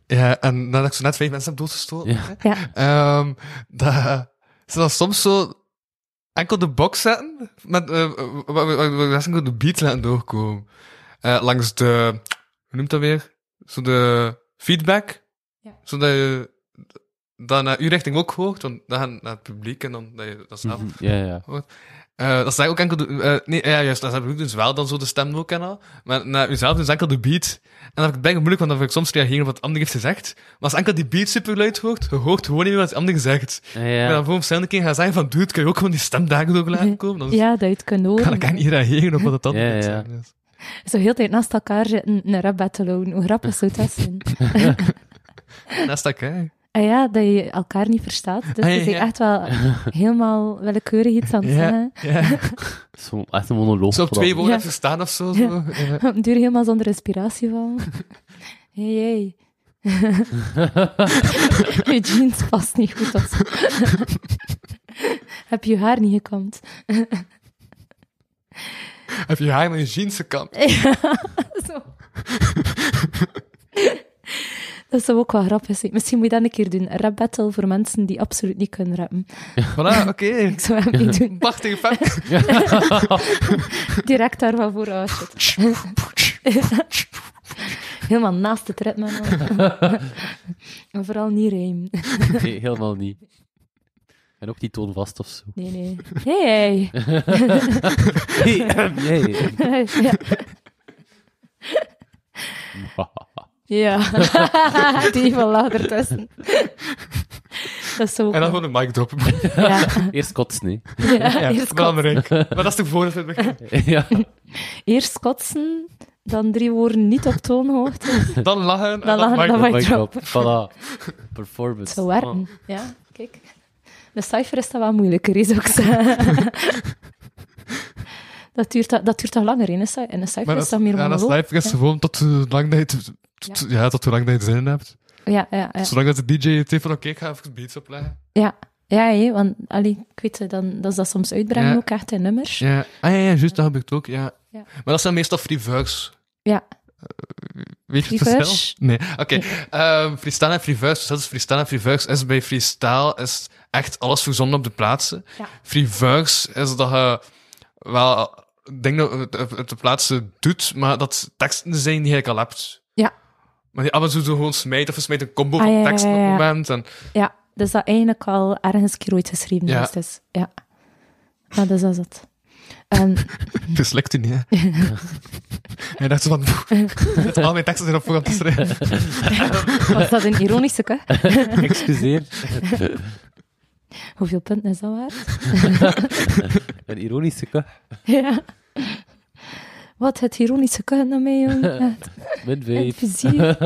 S3: ja, en nadat ik zo net vijf mensen heb doodgestoten.
S2: Ja.
S4: Ja.
S3: Ehm, dat, ze dan soms zo enkel de box zetten, met, eh, waar waar- waar de rest enkel de beat laten doorkomen. Eh, langs de, hoe noemt dat weer? Zo de feedback.
S4: Ja.
S3: Zodat je dat naar uw richting ook hoort, want dan gaan naar het publiek en dan dat je dat zelf
S2: Mhm. Ja, ja.
S3: eh, dat zijn ook enkel de... eh, nee, ja, juist, dat heb ik dus wel dan zo de stem ook en al. Maar naar jezelf is enkel de beat. En dat vind ik bijna moeilijk, want dan wil ik soms reageren op wat de ander heeft gezegd. Maar als enkel die beat super luid hoort, je hoort gewoon niet meer wat de ander zegt.
S2: Ja,
S3: En dan
S2: ja.
S3: voor een verschillende keer gaan zeggen van, dude, kan je ook gewoon die stem daardoor laten komen? Dan
S4: ja, dat je het kunt
S3: kan ik
S4: horen.
S3: eigenlijk niet reageren op wat de ander
S2: Ja,
S3: aan het
S2: ja.
S3: zeggen is.
S4: Zo heel de tijd naast elkaar zitten, een rap battle houden. Hoe grappig zou dat zijn?
S3: En dat is dat, hè.
S4: Ah ja, dat je elkaar niet verstaat. Dus
S3: Ah, ja,
S4: je bent
S3: ja.
S4: echt wel helemaal willekeurig iets aan het
S3: Ja,
S4: zeggen.
S3: ja.
S2: Zo, echt een monoloog.
S3: Zo op twee woorden
S4: Ja.
S3: verstaan of zo. zo. Ja.
S4: Op den duur helemaal zonder inspiratie van. Hey, hey. je jeans past niet goed of zo. Heb je je haar niet gekamd?
S3: Heb je haar met je jeans gekampt?
S4: Zo. Dat zou ook wel grappig zijn. Misschien moet je dat een keer doen. Een rap battle voor mensen die absoluut niet kunnen rappen.
S3: Voilà, oké.
S4: Ik zou hem niet doen.
S3: Prachtige fan.
S4: Direct daarvan voor oh, shit. Helemaal naast het ritme. man. en vooral niet rijmen.
S2: Nee, helemaal niet. En ook die toon vast of zo.
S4: Nee, nee. Hey,
S2: Hey, hey.
S4: hey. ja. Ja, die van later tussen. Dat is zo.
S3: En dan gewoon een mic drop.
S4: ja.
S2: Eerst kotsen, nee.
S4: Ja, eerst,
S3: ja,
S4: kotsen,
S3: belangrijk. Maar dat is toch voor het begin.
S2: ja.
S4: eerst kotsen, dan drie woorden niet op toonhoogte.
S3: Dan lachen. en
S4: Dan lachen,
S3: mic
S4: dan
S3: drop.
S2: Mic
S4: mic drop.
S2: drop. Voilà. Performance.
S4: Zo
S3: Oh.
S4: werken. Ja, kijk. Een cijfer is dat wel moeilijker, is ook zo. Dat duurt, dat, dat duurt toch langer in een cijfer? En een cijfer
S3: Maar
S4: is dan
S3: ja,
S4: meer
S3: dat is
S4: monoloog.
S3: live is gewoon tot hoe lang dat je het- tot- ja, tot hoe lang dat je er zin in hebt.
S4: Ja, ja, ja.
S3: Zolang dat de DJ het heeft van oké, ik ga even beats opleggen.
S4: ja. Ja, hé, want allee, ik weet, eh, dan, dat is dat soms uitbrengen
S3: Ja.
S4: ook echt in nummers. Ja.
S3: Ja, ah, ja, ja juist, dat heb ik het ook, ja.
S4: Ja.
S3: Maar dat zijn meestal free verse. Weet je het
S4: Free
S3: verschil? Nee, oké. Ehm, freestyle en free verse, dus dat is freestyle en free verse is bij freestyle is echt alles verzonnen op de plaatsen.
S4: Ja.
S3: Free verse is dat je wel eh, dingen op de- op de plaatsen doet, maar dat teksten zijn die je al hebt.
S4: Ja.
S3: Maar die af en toe zo gewoon smijt of je smijt een combo
S4: Ah,
S3: van
S4: ja, ja,
S3: teksten
S4: ja,
S3: op het
S4: ja.
S3: moment. En
S4: Dus dat eigenlijk al ergens een keer ooit geschreven
S3: Ja.
S4: is. Dus, ja. Maar dus dat Ehm, is het. En
S3: Geslikt u niet, hè? en dacht zo van... pff, dat al mijn teksten erop voor aan te schrijven.
S4: was dat een ironische hè?
S2: Excuseer.
S4: Hoeveel punten is dat waard?
S2: Een ironische kuch.
S4: Ja. Wat het ironische kunnen nou mee, jong. Het-
S2: Met
S4: Het
S2: vijf.
S4: plezier.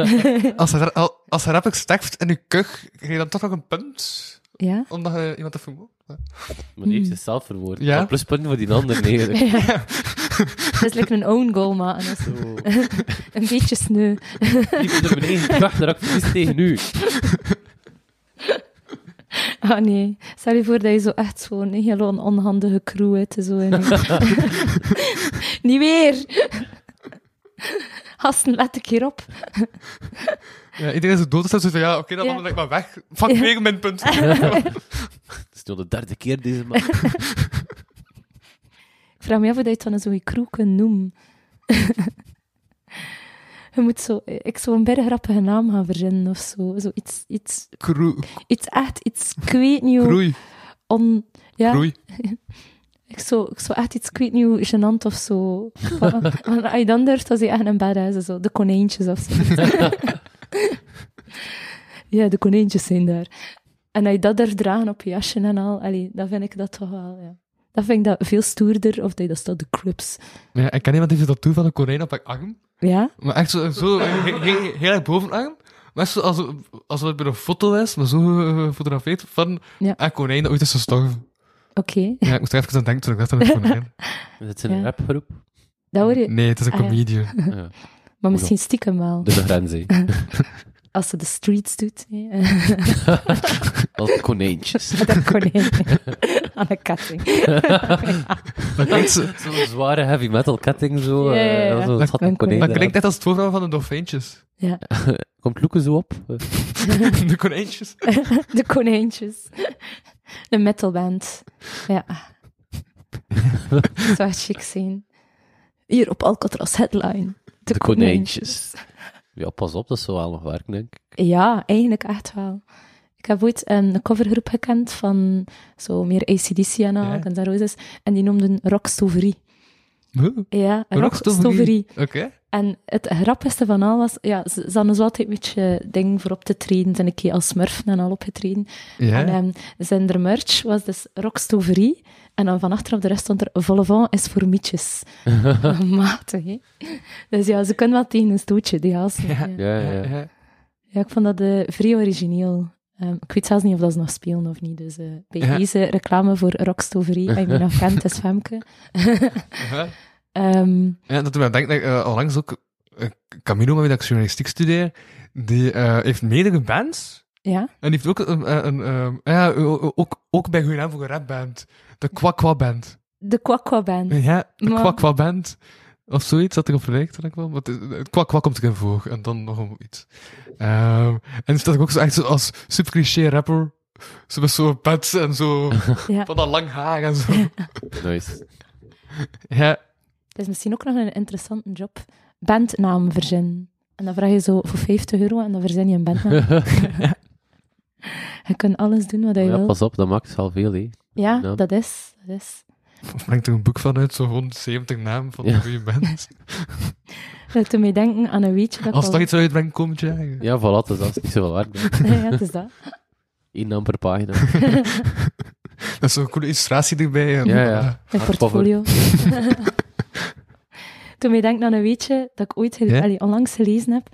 S3: Als hij, al- als hij rappig stijft in je kuch, krijg je dan toch nog een punt?
S4: Ja.
S3: Omdat je iemand te vermoord?
S2: Maar die heeft zichzelf vermoord.
S3: Ja?
S2: Ja? Pluspunten voor die ander, nee.
S4: Dat is lekker een own goal maken. Dat is
S2: Zo.
S4: een beetje sneu.
S2: Die komt er beneden gebracht, daar ook precies tegen u.
S4: Ah nee. Stel je voor dat je zo echt zo'n hele onhandige crew hebt. en Zo in. Niet weer. Gasten, let een keer op.
S3: Ja, iedereen is dood. Dus van, ja, oké, dan
S4: Ja.
S3: ben ik maar weg. Fuck,
S4: Ja.
S3: weer mijn punt.
S2: Het is nu al de derde keer deze maand.
S4: Ik vraag me af of dat je het dan zo'n crew kunt noemen. je moet zo... eh, Ik zou een bergrappige naam gaan verzinnen of zo. Zo iets... iets
S3: Kroei.
S4: iets echt, iets, ik weet niet hoe
S3: Kroei.
S4: on... Ja,
S3: Kroei.
S4: ik zou, ik zou echt iets, ik weet niet hoe gênant of zo. Maar maar als je dan durft, was hij echt een badass. en Zo. De konijntjes of zo. ja, de konijntjes zijn daar. En als je dat durft dragen op je jasje en al, allee, dan vind ik dat toch wel, ja. Dat vind ik dat veel stoerder, of dat je dat staat, de crips.
S3: Ja, ik ken iemand die dat toe van een konijn op haar arm.
S4: Ja?
S3: Maar echt zo, zo he- he- heel erg bovenarm. Maar echt zo, als, als het bij een foto is, maar zo eh, gefotografeerd van
S4: Ja.
S3: een konijn dat ooit is gestorven.
S4: Oké.
S3: Ja, ik moest er even aan denken toen ik dacht aan een konijn.
S2: Het is een
S4: Ja.
S2: rapgroep.
S4: Dat hoor je.
S3: Nee, het is een
S4: Ah, ja.
S3: comedian.
S2: Ja.
S4: Maar misschien stiekem wel.
S2: Dus de grens, hè.
S4: Als ze de streets doet. hè.
S2: Als konijntjes.
S4: Met een konijn. Aan een ketting.
S3: Dat klinkt, zo-
S2: Zo'n zware heavy metal ketting, zo.
S4: Ja, ja, ja.
S2: eh, Zo, het had een konijn.
S3: dat
S2: daar.
S3: klinkt net als het voorval van de dolfijntjes.
S4: Ja.
S2: Komt Loeken zo op? Eh,
S3: de konijntjes.
S4: De konijntjes. De metalband. Ja. Dat zou echt chic zijn. Hier op Alcatraz Headline. De,
S2: De konijntjes. Ja, pas op, dat is zo wel nog werken, denk ik.
S4: Ja, eigenlijk echt wel. Ik heb ooit ehm, een covergroep gekend van zo meer ACDC en al,
S3: Ja.
S4: Guns N' Roses. En die noemden Rockstoverie. Ja, Rockstoverie.
S3: Oké.
S4: En het grappigste van al was, ja, ze, ze hadden zo altijd een beetje ding voor op te treden. Zijn een keer als smurf en al opgetreden.
S3: Ja.
S4: En ehm, zijn er merch was dus Rockstoverie. En dan van achter op de rest stond er Volvant is voor mietjes. Matig, hè? Dus ja, ze kunnen wel tegen een stootje, die haast. Ja. Ja.
S2: Ja, ja. ja.
S3: Ja.
S4: ik vond dat eh, vrij origineel. Ehm, ik weet zelfs niet of dat ze nog spelen of niet. Dus eh, bij
S3: Ja.
S4: deze reclame voor Rockstoverie, als je me nog kent, is Femke.
S3: Ja.
S4: Ehm,
S3: Ja, dat doet mij denken, dat ik, eh, onlangs ook eh, Camilo, met wie dat ik journalistiek studeer, die eh, heeft meerdere bands.
S4: ja,
S3: En die heeft ook een, een, een, ehm, ja, o- o- ook, ook bij Goeie voor een rapband. De Kwakwa Band.
S4: de Kwakwa Band.
S3: Ja, de
S4: Maar-
S3: Kwakwa Band. Of zoiets, dat erop lijkt, denk ik wel. Maar het- het kwakwa komt erin voor. En dan nog een iets. Ehm, en die staat ook zo echt zo als super cliché rapper. Zo met zo'n pet en zo.
S4: Ja.
S3: Van dat lang haar en zo.
S2: Nice.
S3: Ja.
S4: Het is misschien ook nog een interessante job. Bandnaam verzinnen. En dan vraag je zo voor 50 euro en dan verzin je een bandnaam. Je kunt alles doen wat je
S2: Ja,
S4: wil.
S2: pas op, dat maakt al veel, hè.
S4: Ja,
S2: ja.
S4: dat is. Dat is.
S3: Of brengt er een boek van uit, zo 170 namen van
S2: Ja.
S3: hoe je bent.
S4: Dat doet mij denken aan een weetje. Dat ik
S3: Als
S4: al-
S3: dat iets uitbrengt, komend jaar. Ja.
S2: Ja, voilà, dus dat is niet zoveel werk. hè.
S4: ja, het is dat.
S2: Eén naam per pagina.
S3: Dat is zo'n coole illustratie erbij. Ja,
S2: Ja, ja.
S4: Mijn
S2: Hardcover.
S4: portfolio. Toen mij denkt aan een weetje dat ik ooit gele-
S3: Ja?
S4: allee, onlangs gelezen heb.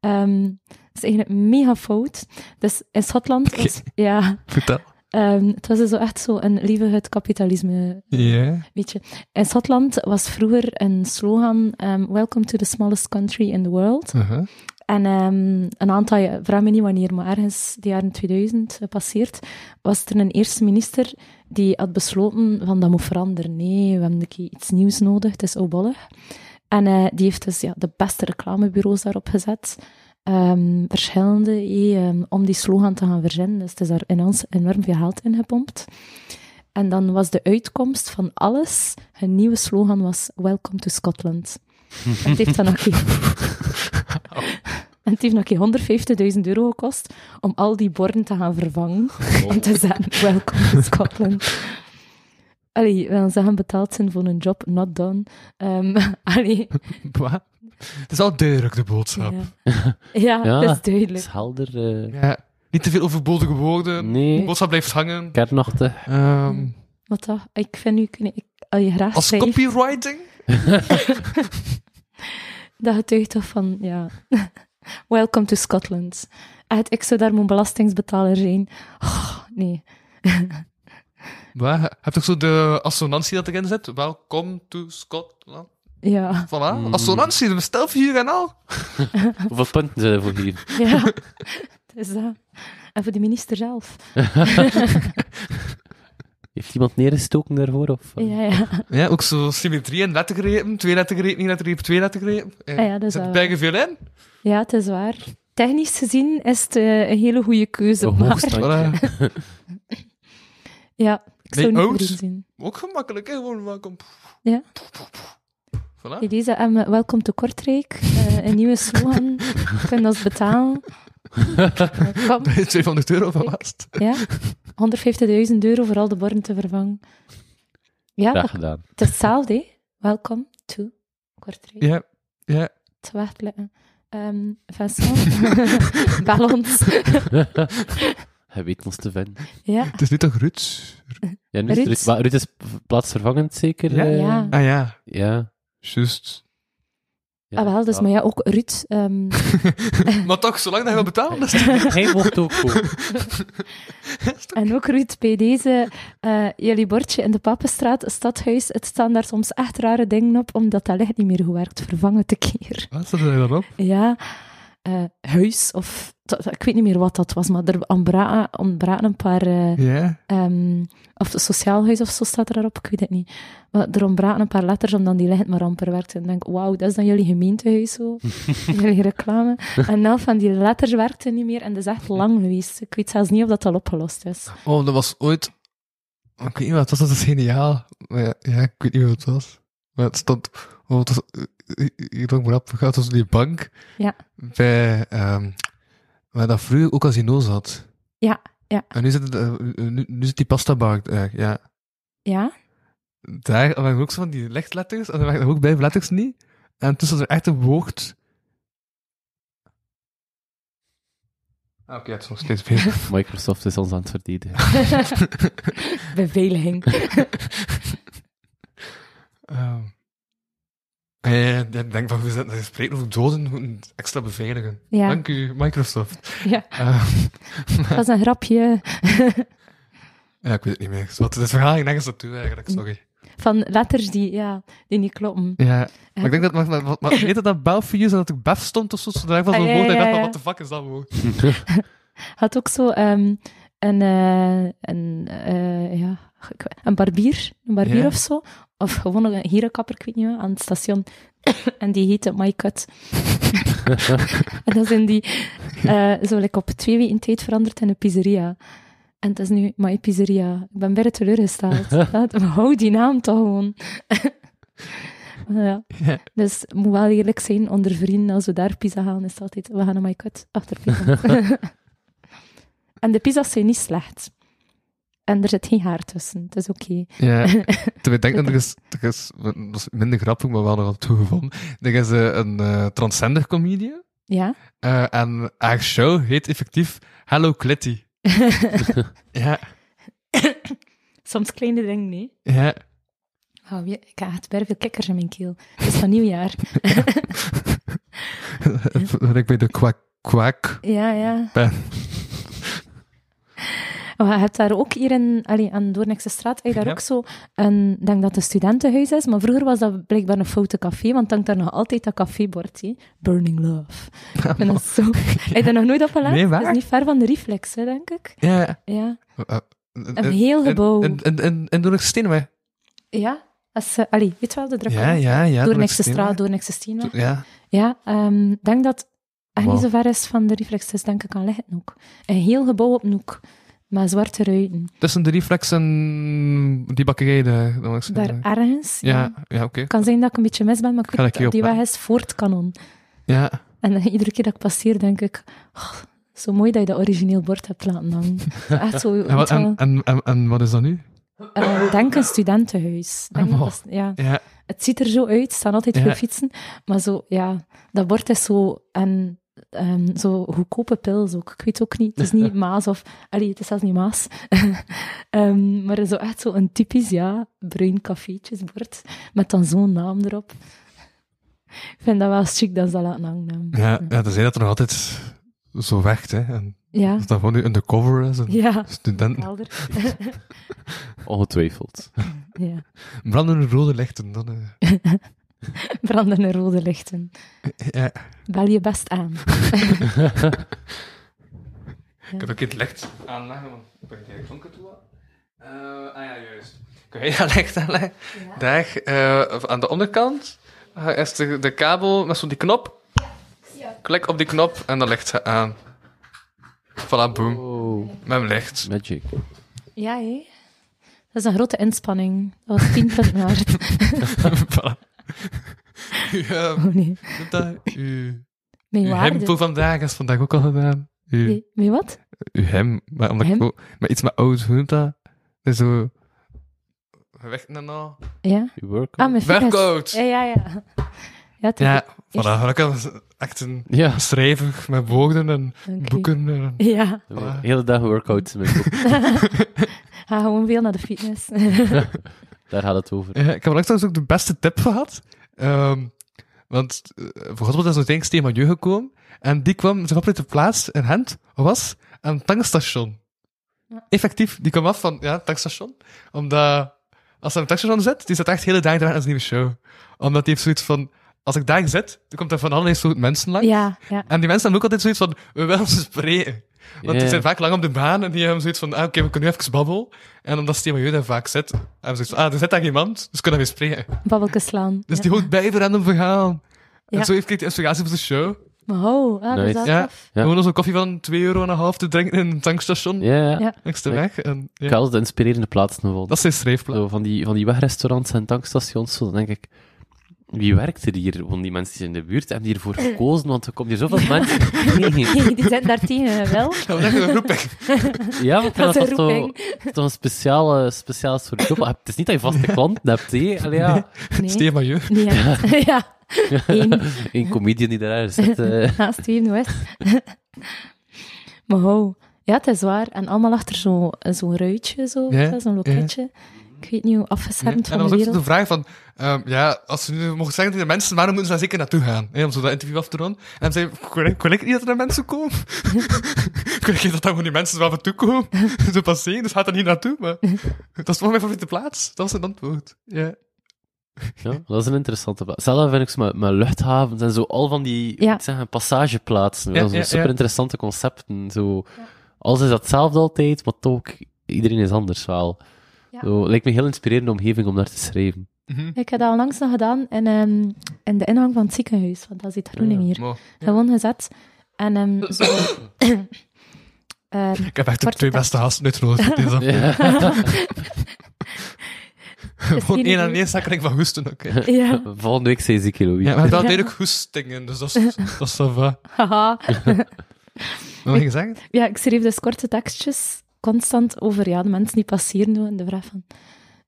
S4: Ehm, dat is eigenlijk mega fout. Dus in Schotland was... Ja,
S3: Vertel.
S4: ehm, het was dus zo echt zo een lieve het kapitalisme
S3: Ja.
S4: Weet je, in Schotland was vroeger een slogan ehm, Welcome to the smallest country in the world.
S3: Uh-huh.
S4: En ehm, een aantal, ja- vraag me niet wanneer, maar ergens de jaren 2000 gepasseerd, was er een eerste minister die had besloten van dat moet veranderen. Nee, we hebben een keer iets nieuws nodig, het is oudbollig. En eh, die heeft dus ja, de beste reclamebureaus daarop gezet. Ehm, verschillende, eh, ehm, om die slogan te gaan verzinnen. Dus het is daar in ons enorm veel geld in gepompt. En dan was de uitkomst van alles, hun nieuwe slogan was Welcome to Scotland. En het heeft dan nog een keer... En het heeft nog een keer 150.000 euro gekost om al die borden te gaan vervangen. En te zeggen, welcome to Scotland. Allee, wel zeggen, betaald zijn voor een job, not done. Ehm, allee,
S3: Wat? Het is al duidelijk, de boodschap.
S4: ja. Ja,
S2: Ja.
S4: dat is
S2: Het is
S4: duidelijk.
S2: helder, eh,
S3: Ja. Niet te veel overbodige woorden. De
S2: nee,
S3: boodschap blijft hangen.
S2: kernachtig.
S3: Ehm,
S4: Wat dat? Ik vind nu, ik, als je graag
S3: als
S4: schrijft,
S3: copywriting?
S4: dat getuigt toch van, ja... welcome to Scotland. Echt, ik zou daar mijn belastingsbetaler zijn. Oh, nee.
S3: Wat? Heb je toch zo de assonantie dat erin zit? Welcome to Scotland.
S4: Ja,
S3: Voilà, assonantie, de stelfiguur en al.
S2: Hoeveel punten zijn er voor hier?
S4: ja. dat is dat. En voor de minister zelf.
S2: Heeft iemand neergestoken daarvoor? Of, eh?
S4: Ja, ja.
S3: Ja, ook zo symmetrie en lettergrepen. Twee lettergrepen, één lettergreep, twee lettergrepen.
S4: Ah ja, dat is
S3: Zit er
S4: waar.
S3: bijge veel in.
S4: ja, het is waar. Technisch gezien is het eh, een hele goede keuze.
S2: Een
S4: maar,
S2: hoogstandje.
S3: Voilà.
S4: ja, ik
S3: Nee,
S4: zou niet
S3: oud.
S4: willen zien.
S3: Ook gemakkelijk, hè? gewoon welkom.
S4: Ja.
S3: Voilà.
S4: Hey, Deze, en eh, welkom te Kortrijk. Eh, een nieuwe slogan. Je kunt ons betalen. Eh, kom,
S3: 200 euro van last.
S4: ja. 150.000 euro voor al de borden te vervangen. Ja,
S2: Graag
S4: dat,
S2: gedaan.
S4: het is hetzelfde. hè. Welkom to Kortrijk.
S3: Ja, ja.
S4: te wachtelijken. Ehm Vincent, bel ons.
S2: Hij weet ons te vinden.
S4: ja.
S3: Het is niet toch Ruts?
S2: Ja, nu is
S4: Ruud.
S2: Ruud, maar Ruud is p- plaatsvervangend zeker?
S3: Ja.
S2: eh?
S4: Ja.
S3: Ah ja,
S2: ja.
S3: juist.
S2: Ja,
S4: Ah, wel, dus,
S2: ja.
S4: maar ja, ook Ruud. ehm,
S3: Maar toch, zolang dat je wil betalen, is het
S2: Hij mocht ook komen.
S4: en ook Ruud, bij deze, eh, jullie bordje in de Papenstraat, stadhuis, het staan daar soms echt rare dingen op, omdat dat licht niet meer goed werkt, vervangen te keer.
S3: Wat staat er dan op?
S4: Ja, eh, huis, of dat- dat- ik weet niet meer wat dat was, maar er ontbra- ontbraken een paar... eh,
S3: Ja.
S4: ehm, of sociaal huis of zo staat er daarop, ik weet het niet. Maar er ontbraken een paar letters om dan die licht maar amper werkt. En ik denk, wauw, dat is dan jullie gemeentehuis zo, jullie reclame. En elf van die letters werkte niet meer en dat is echt lang geweest. Ik weet zelfs niet of dat al opgelost is.
S3: Oh, dat was ooit... Ik weet niet wat het was, dat is geniaal. Maar ja, ja, ik weet niet wat het was. Maar het stond... Oh, het was... Ik dacht maar op, gaat tussen die bank.
S4: Ja.
S3: Bij... ehm waar dat vroeger ook casino zat.
S4: Ja, ja.
S3: En nu zit, het, eh, nu, nu zit die pastabank daar, ja.
S4: Ja?
S3: daar waren ook zo van die lichtletters, en daar waren er ook bij letters niet. En tussen was er echt een woord. Ah, Oké, het is nog steeds veel.
S2: Microsoft is ons aan het verdedigen.
S4: Beveiliging.
S3: Ehm. Ja, ja, ja, ik denk van, we zitten te spreken over doden, we moeten het extra beveiligen.
S4: Ja.
S3: Dank u, Microsoft.
S4: Ja,
S3: Ehm,
S4: dat was een grapje.
S3: ja, ik weet het niet meer. Wat, dit verhaal ging nergens naartoe eigenlijk, sorry.
S4: Van letters die, ja, die niet kloppen.
S3: Ja, maar ik denk dat, maar, maar, maar, maar weet dat dat Belfius en dat er Bef stond of zo, zodat ik van zo'n
S4: Ah, ja,
S3: woord, en ik
S4: ja,
S3: dacht van,
S4: ja.
S3: wat de fuck is dat woord?
S4: Had ook zo ehm, een, eh, een, eh, ja, ik weet- een barbier, een barbier
S3: Ja.
S4: of zo. Of gewoon een hierenkapper, ik weet niet meer, aan het station. en die heette My Cut. en dat zijn die eh, zo like, op twee weken tijd veranderd in een pizzeria. En dat is nu My Pizzeria. Ik ben bijna teleurgesteld. dat, hou die naam toch gewoon. ja.
S3: Ja.
S4: Dus het moet wel eerlijk zijn, onder vrienden, als we daar pizza halen, is het altijd, we gaan naar My Cut, achter pizza. En de pizza's zijn niet slecht. En er zit geen haar tussen, het is oké.
S3: Ja, terwijl ik denk dat er is, er is, dat is minder grappig, maar wel nog wel toegevonden. Er is eh, een eh, transgender comedian
S4: Ja?
S3: eh, en haar show heet effectief Hello Clitty. ja,
S4: Soms kleine dingen, nee.
S3: ja.
S4: Oh, wie- ik heb echt bijna veel kikkers in mijn keel. Het is van nieuwjaar.
S3: Dat ik bij de kwak kwak
S4: Ja, ja.
S3: ben.
S4: Oh, je hebt daar ook hier in, allee, aan Doornikse straat, heb je daar
S3: Ja.
S4: ook zo een, ik denk dat het een studentenhuis is, maar vroeger was dat blijkbaar een foute café, want hangt daar nog altijd dat cafébord, hé. Burning Love. Ik vind dat zo... Heb je dat nog nooit opgelegd?
S3: Nee, waar?
S4: Dat is niet ver van de reflex, hè, denk ik.
S3: Ja.
S4: Ja.
S3: Eh,
S4: Een heel gebouw.
S3: En, en, en, en door de Steenweg.
S4: Ja. Als, ze- allee, weet je wel, de druk
S3: Ja, ja, ja.
S4: Doornikse straat,
S3: Steenweg.
S4: Doornikse Steenweg.
S3: Ja.
S4: Ja, ehm, ik denk dat het
S3: Wow.
S4: niet zo ver is van de reflex, dus denk ik aan Liggen ook. Een heel gebouw op Noek, met zwarte ruiten.
S3: Tussen de reflex en die bakkerij. eh, De, Doornik
S4: Daar
S3: Steenweg.
S4: ergens.
S3: ja, ja, oké.
S4: Het kan zijn dat ik een beetje mis ben, maar ik
S3: Ga
S4: weet
S3: ik
S4: dat die
S3: hierop
S4: weg is voor het kanon.
S3: Ja.
S4: En eh, iedere keer dat ik passeer, denk ik... "Oh, zo mooi dat je dat origineel bord hebt laten hangen. Echt zo...
S3: En, wat, en, en, en, en wat is dat nu?
S4: eh, denk een studentenhuis. Denk
S3: Ah,
S4: dat
S3: wow.
S4: dat is- ja.
S3: Ja.
S4: Het ziet er zo uit, er staan altijd
S3: Ja.
S4: veel fietsen. Maar zo, ja, dat bord is zo... En, ehm, zo goedkope pils ook. Ik weet ook niet, het is niet Maas of... Allee, het is zelfs niet Maas. Ehm, maar zo echt zo een typisch, ja, bruin cafeetjesbord. Met dan zo'n naam erop. Ik vind dat wel chic dat ze dat laten hangen. ehm. hebben.
S3: Ja, ja, dan zijn dat er nog altijd zo vecht, hè. En
S4: Ja,
S3: dat dat gewoon nu undercover is. En
S4: ja.
S3: Studenten.
S4: Helder.
S2: Ongetwijfeld.
S4: ja.
S3: Brandende rode lichten. Dan, eh,
S4: Brandende rode lichten.
S3: ja.
S4: Bel je best aan.
S3: Ik heb ook het licht aanleggen, want ik ben geen donker toe. Eh ah ja, juist. Kun je dat licht aanleggen? Daar, eh, aan de onderkant eh, is de, de kabel met zo'n die knop. Klik op die knop en dan ligt ze aan. Voilà, boom.
S2: Oh,
S3: Met mijn licht.
S2: magic.
S4: Ja, hé. Dat is een grote inspanning. Dat was 10 punten waard.
S3: voilà. Ja,
S4: Oh nee.
S3: doet dat. Uw,
S4: Mijn
S3: uw hem voor
S4: waarde.
S3: vandaag is vandaag ook al gedaan. Uw,
S4: Nee, Mijn wat?
S3: uw hem, maar, omdat ik
S4: Hem?
S3: ook- maar iets met oud, hoe noemt dat? Dus zo... Weg naar nou.
S4: Ja.
S2: You work
S4: Ah, mijn vingers.
S3: Werkcoach.
S4: Ja, ja, ja. Ja, het is-
S3: Ja,
S4: Is-
S3: voilà. Gelukkig was het echt een
S2: Ja.
S3: schrijver met woorden en
S4: Oké.
S3: boeken. En...
S4: Ja,
S2: De hele dag workouts. Met boek.
S4: ga gewoon veel naar de fitness.
S2: Daar gaat het over.
S3: Ja, ik heb straks ook de beste tip gehad. Ehm, want eh, volgens mij is er een thema jeugd gekomen. En die kwam zich op uit de plaats in Gent, was aan het tankstation.
S4: Ja.
S3: Effectief, die kwam af van ja, het tankstation. Omdat als hij aan het tankstation zit, die zit echt hele dagen te wachten aan zijn nieuwe show. Omdat die heeft zoiets van: als ik daar zit, dan komt er van allerlei soort mensen langs.
S4: ja, ja.
S3: En die mensen hebben ook altijd zoiets van, we willen ze spreken. Want die
S2: Ja.
S3: zijn vaak lang op de baan en die hebben zoiets van, ah, oké, we kunnen nu even babbelen. En omdat het milieu daar vaak zit, hebben ze zoiets van, ah, er zit daar iemand, dus kunnen we weer spreken.
S4: Babbelkes slaan.
S3: Dus
S4: ja.
S3: die hoort bij voor aan een verhaal.
S4: Ja.
S3: En zo heeft hij de inspiratie voor de show.
S4: Maar oh, ah, dat is
S2: Nice.
S4: wel
S3: Ja.
S4: tof.
S2: Ja.
S3: Gewoon zo'n koffie van 2,5 euro en een half te drinken in een tankstation.
S2: Ja, ja.
S4: Ja.
S3: Langs de weg. En, ja.
S2: Ik had de inspirerende plaatsen gevonden.
S3: Dat is zijn schrijfplaats.
S2: Zo, van, die, van die wegrestaurants en tankstations, zo, dan denk ik, wie werkt er hier? Want die mensen die in de buurt hebben hiervoor gekozen, want er komt hier zoveel mensen tegen.
S4: Die zijn daar tegen, wel.
S3: Ja, we leggen een roeping.
S2: Ja, maar ik vind
S4: Dat is
S2: dat
S4: een
S2: toch zo-
S4: roeping.
S2: dat is toch een speciale, speciale soort job. Ah, Het is niet dat je vaste klanten hebt, hé. Allee, ja.
S4: Nee,
S3: Thema jeugd.
S4: niet echt. Ja, Eén.
S2: Een comedian die daar zit. eh.
S4: naast Steven West. maar ho, ja, het is waar. En allemaal achter zo'n zo zo'n ruitje, zo,
S3: Ja,
S4: zo'n loketje. Ik weet niet hoe afgeschermd
S3: En dan
S4: van de
S3: was ook
S4: wereld.
S3: de vraag van, ehm, ja, als ze nu mogen zeggen tegen de mensen, waarom moeten ze daar zeker naartoe gaan? Hè, om zo dat interview af te doen. En dan zei kon ik, kon ik niet dat er naar mensen komen? kon ik niet dat daar gewoon die mensen zo af en toe komen? zo passeren, dus gaat er niet naartoe. Maar dat is toch mijn favoriete plaats. Dat was het antwoord. Ja.
S2: Ja, dat is een interessante plaats. Zelf vind ik zo met, met luchthavens en zo, al van die
S4: Ja.
S2: moet ik zeggen, passageplaatsen.
S3: Ja,
S2: wel, zo
S3: ja, ja.
S2: super interessante concepten. Zo, Alles is hetzelfde altijd, maar toch, iedereen is anders wel.
S4: Ja.
S2: Zo, lijkt me een heel inspirerende omgeving om daar te schrijven.
S4: Ik heb dat onlangs nog gedaan in, ehm, in de ingang van het ziekenhuis, want dat zit Groening hier.
S3: Mooi.
S4: Gewoon gezet. En ehm, zo... ehm,
S3: Ik heb echt de
S4: Korte
S3: twee
S4: tekst.
S3: beste gasten uitgenodigd voor deze aflevering. Gewoon
S4: niet
S3: één aan
S4: goed.
S3: één zakkeling van hoesten ook. hè.
S4: ja,
S2: Volgende week zei Ziki Louis.
S3: Ja, maar dat duidelijk hoestingen, dus dat is, dat is wel waar.
S4: haha.
S3: Wat heb je gezegd?
S4: Ja, ik schreef dus korte tekstjes constant over ja, de mensen die passeren doen en de vraag van...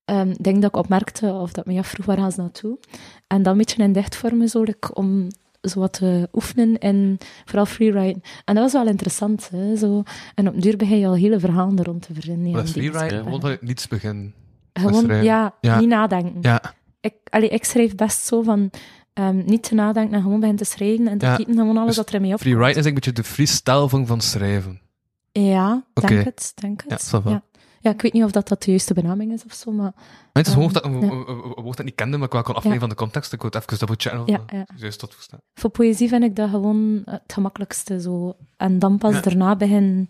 S4: ehm, Ik denk dat ik opmerkte of dat ik me afvroeg waar gaan ze naartoe. En dan een beetje in dichtvormen zo, like, om zo wat te oefenen in vooral freeriden. En dat was wel interessant. Hè, zo. En op den duur begin je al hele verhalen er rond te verzinnen. ja,
S3: Dat is
S4: die
S3: freeride,
S4: bespreek-
S3: gewoon vanuit niets beginnen.
S4: Gewoon,
S3: schrijven.
S4: ja,
S3: Ja.
S4: niet nadenken.
S3: Ja,
S4: Ik, allee, ik schrijf best zo van ehm, niet te nadenken en gewoon begin te schrijven en te
S3: Ja.
S4: gieten, gewoon alles
S3: Dus
S4: wat er mee op.
S3: freeride is eigenlijk een beetje de freestyle van, van schrijven.
S4: Ja, denk
S3: Oké.
S4: het, denk
S3: Ja,
S4: het.
S3: ça va.
S4: ja. Ja, ik weet niet of dat, dat de juiste benaming is of zo, maar
S3: Maar het is een woord dat,
S4: Ehm,
S3: een- een- een- een woord dat ik niet kende, maar ik wel kon afleiden van
S4: Ja.
S3: de context. Ik wou het even double checken of
S4: Ja,
S3: dat
S4: ja.
S3: juist dat verstaan.
S4: voor poëzie vind ik dat gewoon het gemakkelijkste zo. En dan pas
S3: Ja.
S4: daarna beginnen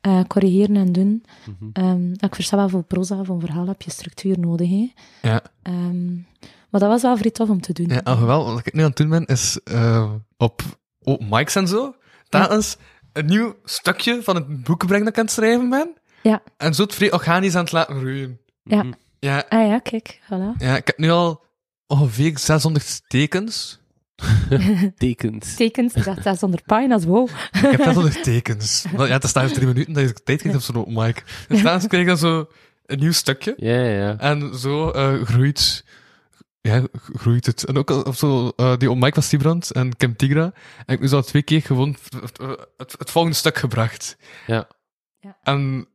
S4: eh, corrigeren en doen.
S3: Mhm.
S4: Ehm, ik versta wel voor proza, voor een verhaal heb je structuur nodig. Hè.
S3: Ja.
S4: Ehm, maar dat was wel vrij tof om te doen.
S3: Ja, oh. alhoewel, wat ik nu aan het doen ben, is eh, op open mics en zo, daar eens een nieuw stukje van het boek brengen dat ik aan het schrijven ben,
S4: Ja.
S3: en zo het vrij organisch aan het laten groeien.
S4: Ja.
S2: Mhm.
S3: Ja,
S4: Ah ja, kijk, voilà.
S3: ja, ik heb nu al ongeveer 600 tekens.
S2: Tekens.
S4: Tekens, ik dacht, dat is onder pagina's, wow.
S3: Ik heb 600 tekens. Want ja, dat staat drie minuten, dat je tijd krijgt op zo'n open mic. Dus daar krijg je dan zo een nieuw stukje.
S2: Ja, ja, ja.
S3: En zo eh, groeit, ja, g- groeit het. En ook al- of zo, eh, die Mike was Sibrand en Kim Tigra. En ik heb al twee keer gewoon v- v- eh, het, het volgende stuk gebracht.
S2: Ja.
S4: Ja.
S3: En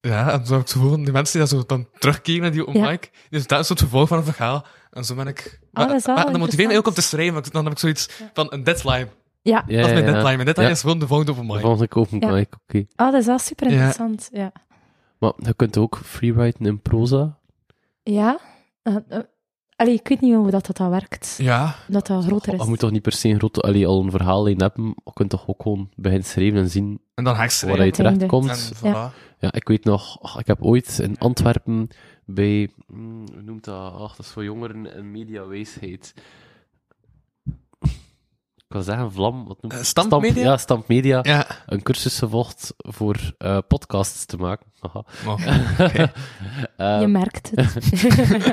S3: ja, en zo heb ik zo gewoon die mensen die dat zo dan terugkeren naar die open
S4: Ja. Oh,
S3: mic, dus dat is het vervolg van een verhaal. En zo ben ik...
S4: dat is wel
S3: maar, dan motiveer
S4: interessant.
S3: ik ook om te schrijven, want dan heb ik zoiets van een deadline.
S4: Ja,
S3: dat
S2: Ja,
S3: is mijn
S2: ja, ja.
S3: deadline. Mijn deadline
S2: Ja.
S3: is gewoon de volgende open
S2: De
S3: mic.
S2: volgende open
S4: Ja.
S2: mic, oké.
S4: ah, dat is wel super
S3: Ja.
S4: interessant. Ja.
S2: Maar je kunt ook freeriden in proza.
S4: Ja? Eh, eh, allee, ik weet niet hoe dat, dat dan werkt.
S3: Ja,
S4: Dat dat
S3: Oh,
S4: groter
S2: Oh, Je
S4: is.
S2: moet toch niet per se een grote, allee, al een verhaallijn hebben. Je kunt toch ook gewoon beginnen schrijven en zien
S3: en dan ga ik
S2: waar
S3: schrijven.
S2: je
S4: Uiteinde.
S2: terechtkomt.
S3: En voilà.
S4: Ja.
S2: Ja, ik weet nog, ach, ik heb ooit in Antwerpen bij, mm, hoe noemt dat? Ach, dat is voor jongeren een mediawijsheid. Ik wil zeggen vlam, wat noemt
S3: Eh, stampmedia?
S2: Stamp- ja, stampmedia.
S3: Ja.
S2: Een cursus gevolgd voor eh, podcasts te maken. Haha.
S3: Oh.
S2: Eh,
S4: Je merkt het.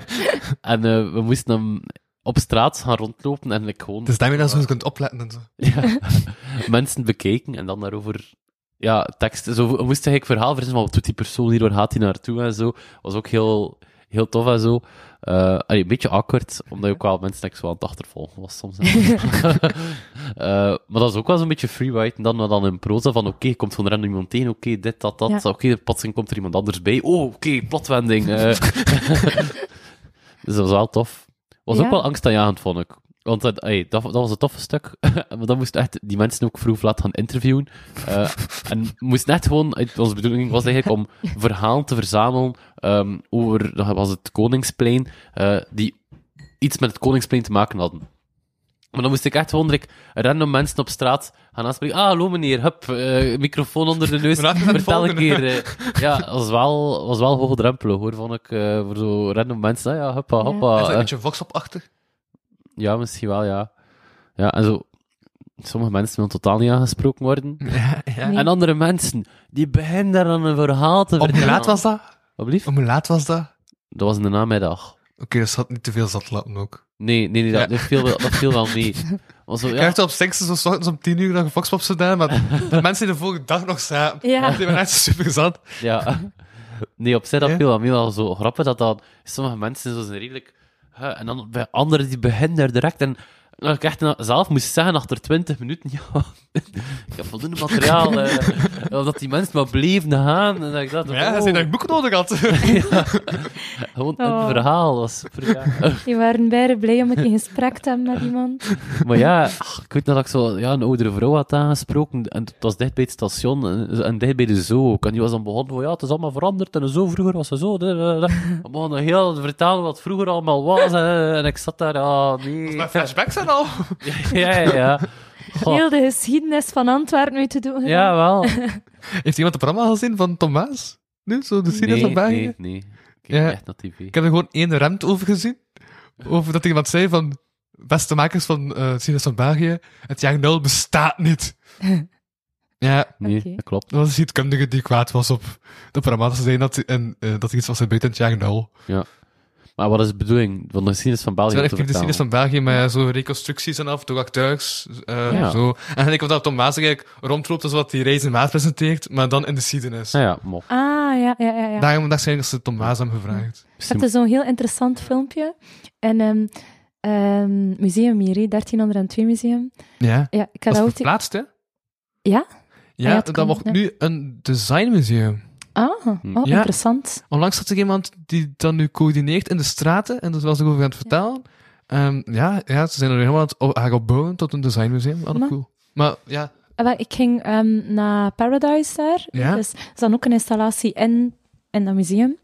S2: en eh, we moesten hem op straat gaan rondlopen en ik gewoon
S3: Dus daarmee dat je zo kunt opletten en zo.
S2: Ah, ja, mensen bekeken en dan daarover ja, teksten. Zo, we moesten eigenlijk verhaal verzinnen van wat doet die persoon hier, waar gaat hij naartoe en zo. Was ook heel, heel tof en zo. Eh, allee, een beetje awkward, omdat je ook wel mensen echt zo aan het achtervolgen was soms. Eh, maar dat is ook wel zo'n beetje free ride. En dan, maar dan in proza van, oké, je komt van random iemand tegen, oké, dit, dat, dat.
S4: Ja.
S2: Oké, plotseling komt er iemand anders bij. Oh, oké, plotwending. eh. dus dat was wel tof. Was
S4: Ja.
S2: ook wel angstaanjagend, vond ik. Want dat, ey, dat, dat was het toffe stuk. maar dan moest echt die mensen ook vroeg of laat gaan interviewen. Eh, en moest net gewoon... het- Onze bedoeling was eigenlijk om verhalen te verzamelen ehm, over... Dat was het Koningsplein. eh, die iets met het Koningsplein te maken hadden. Maar dan moest ik echt gewoon direct random mensen op straat gaan aanspreken. Ah, hallo meneer, hup, eh, microfoon onder de neus.
S3: Maar laten we naar de
S2: Vertel een
S3: volgende.
S2: keer. eh. ja, dat was wel, was wel hoge drempelen, hoor, vond ik. eh, voor zo random mensen. Ah, ja, huppa,
S4: Ja.
S2: hoppa.
S3: Is dat een
S2: eh.
S3: beetje voxopachtig?
S2: Ja, misschien wel, ja. Ja, en zo... Sommige mensen willen totaal niet aangesproken worden.
S3: Ja, ja.
S4: Nee.
S2: En andere mensen, die beginnen daar aan een verhaal te
S3: Op hoe
S2: vertellen.
S3: laat was dat?
S2: Wat blieft?
S3: Om hoe laat was dat? Oké,
S2: Dat was in de namiddag.
S3: dus had niet te veel zat laten ook.
S2: Nee, nee, nee dat,
S3: Ja.
S2: dat, viel, wel- dat viel wel mee. Maar zo,
S3: Ik
S2: ja,
S3: heb op 6 zo 's ochtends om 10 uur nog een foxpop gedaan, maar de mensen die de volgende dag nog zaten.
S4: Ja.
S3: Die waren echt super gezond.
S2: ja. Nee, op zich, dat
S3: Ja.
S2: viel wel mee. Wel zo grappig dat dan... Sommige mensen zo zijn redelijk... hè, en dan bij anderen, die beginnen daar direct. En dat ik echt na- zelf moest zeggen, achter 20 minuten, ja... ik heb voldoende materiaal. eh, omdat die mensen maar bleven gaan. En dat ik dacht,
S3: Maar ja, ze
S2: wow.
S3: zijn dat ik boek nodig had.
S2: Ja. Gewoon een
S4: Oh.
S2: verhaal was super. ja.
S4: Die waren bijna blij om het in gesprek te hebben met iemand.
S2: maar ja, ach, ik weet nog dat ik zo ja, een oudere vrouw had aangesproken. En het was dicht bij het station en, en dicht bij de zoo. ook. En die was dan begonnen van ja, het is allemaal veranderd. En zo vroeger was ze zo. da, da, da. We begonnen heel te vertellen wat vroeger allemaal was. hè. En ik zat daar, ah nee.
S3: Maar flashbacks zijn al.
S2: Ja, ja, ja.
S3: Oh.
S2: Goh.
S4: Heel de geschiedenis van Antwerpen mee te doen.
S2: Ja, wel.
S3: Heeft iemand het programma gezien van Thomas? Nu, zo de serie
S2: Nee,
S3: van België?
S2: nee, nee. Ik kijk
S3: Ja.
S2: echt naar tv.
S3: Ik heb er gewoon één rent over gezien. Over dat iemand zei van... Beste makers van eh Sinus van België, het jaar nul bestaat niet. ja,
S2: Nee,
S4: Oké.
S2: dat klopt.
S3: Dat was een geschiedkundige die kwaad was op de programma's. Ze zeiden dat, hij- en, eh, dat er iets was in buiten het jaar nul.
S2: Ja. Maar wat is de bedoeling van de geschiedenis van
S3: Ze
S2: België?
S3: zijn
S2: te
S3: echt in de geschiedenis
S2: vertalen?
S3: van België met zo reconstructies en af, toch acteurs, eh,
S2: Ja.
S3: zo. En ik vond dat Tom Maas eigenlijk rondloopt als wat die Reis in Maas presenteert, maar dan in de geschiedenis.
S2: Ah ja, mo.
S4: Ah, ja, ja, ja. ja.
S3: Daarom dacht ik dat ze Tom Maas hem gevraagd.
S4: Het is zo'n heel interessant filmpje. En ehm, ehm, Museum Miri, 1302 Museum.
S3: Ja.
S4: Ja, ik ga
S3: Dat
S4: dat
S3: is
S4: ook...
S3: verplaatst, hè? Ja,
S4: ja, het
S3: dat
S4: kan,
S3: wordt
S4: ja.
S3: nu een designmuseum.
S4: Ah, oh,
S3: Ja.
S4: interessant.
S3: Onlangs had er iemand die dat nu coördineert in de straten, en dat was ik over aan het vertellen. Ehm, ja, ja, ze zijn er helemaal aan het op- aan het opbouwen tot een designmuseum. Ah, dat is
S4: Maar-
S3: cool. Maar ja,
S4: Ah, wel, ik ging ehm, naar Paradise daar.
S3: Ja.
S4: Dus er is dan ook een installatie in, in dat museum.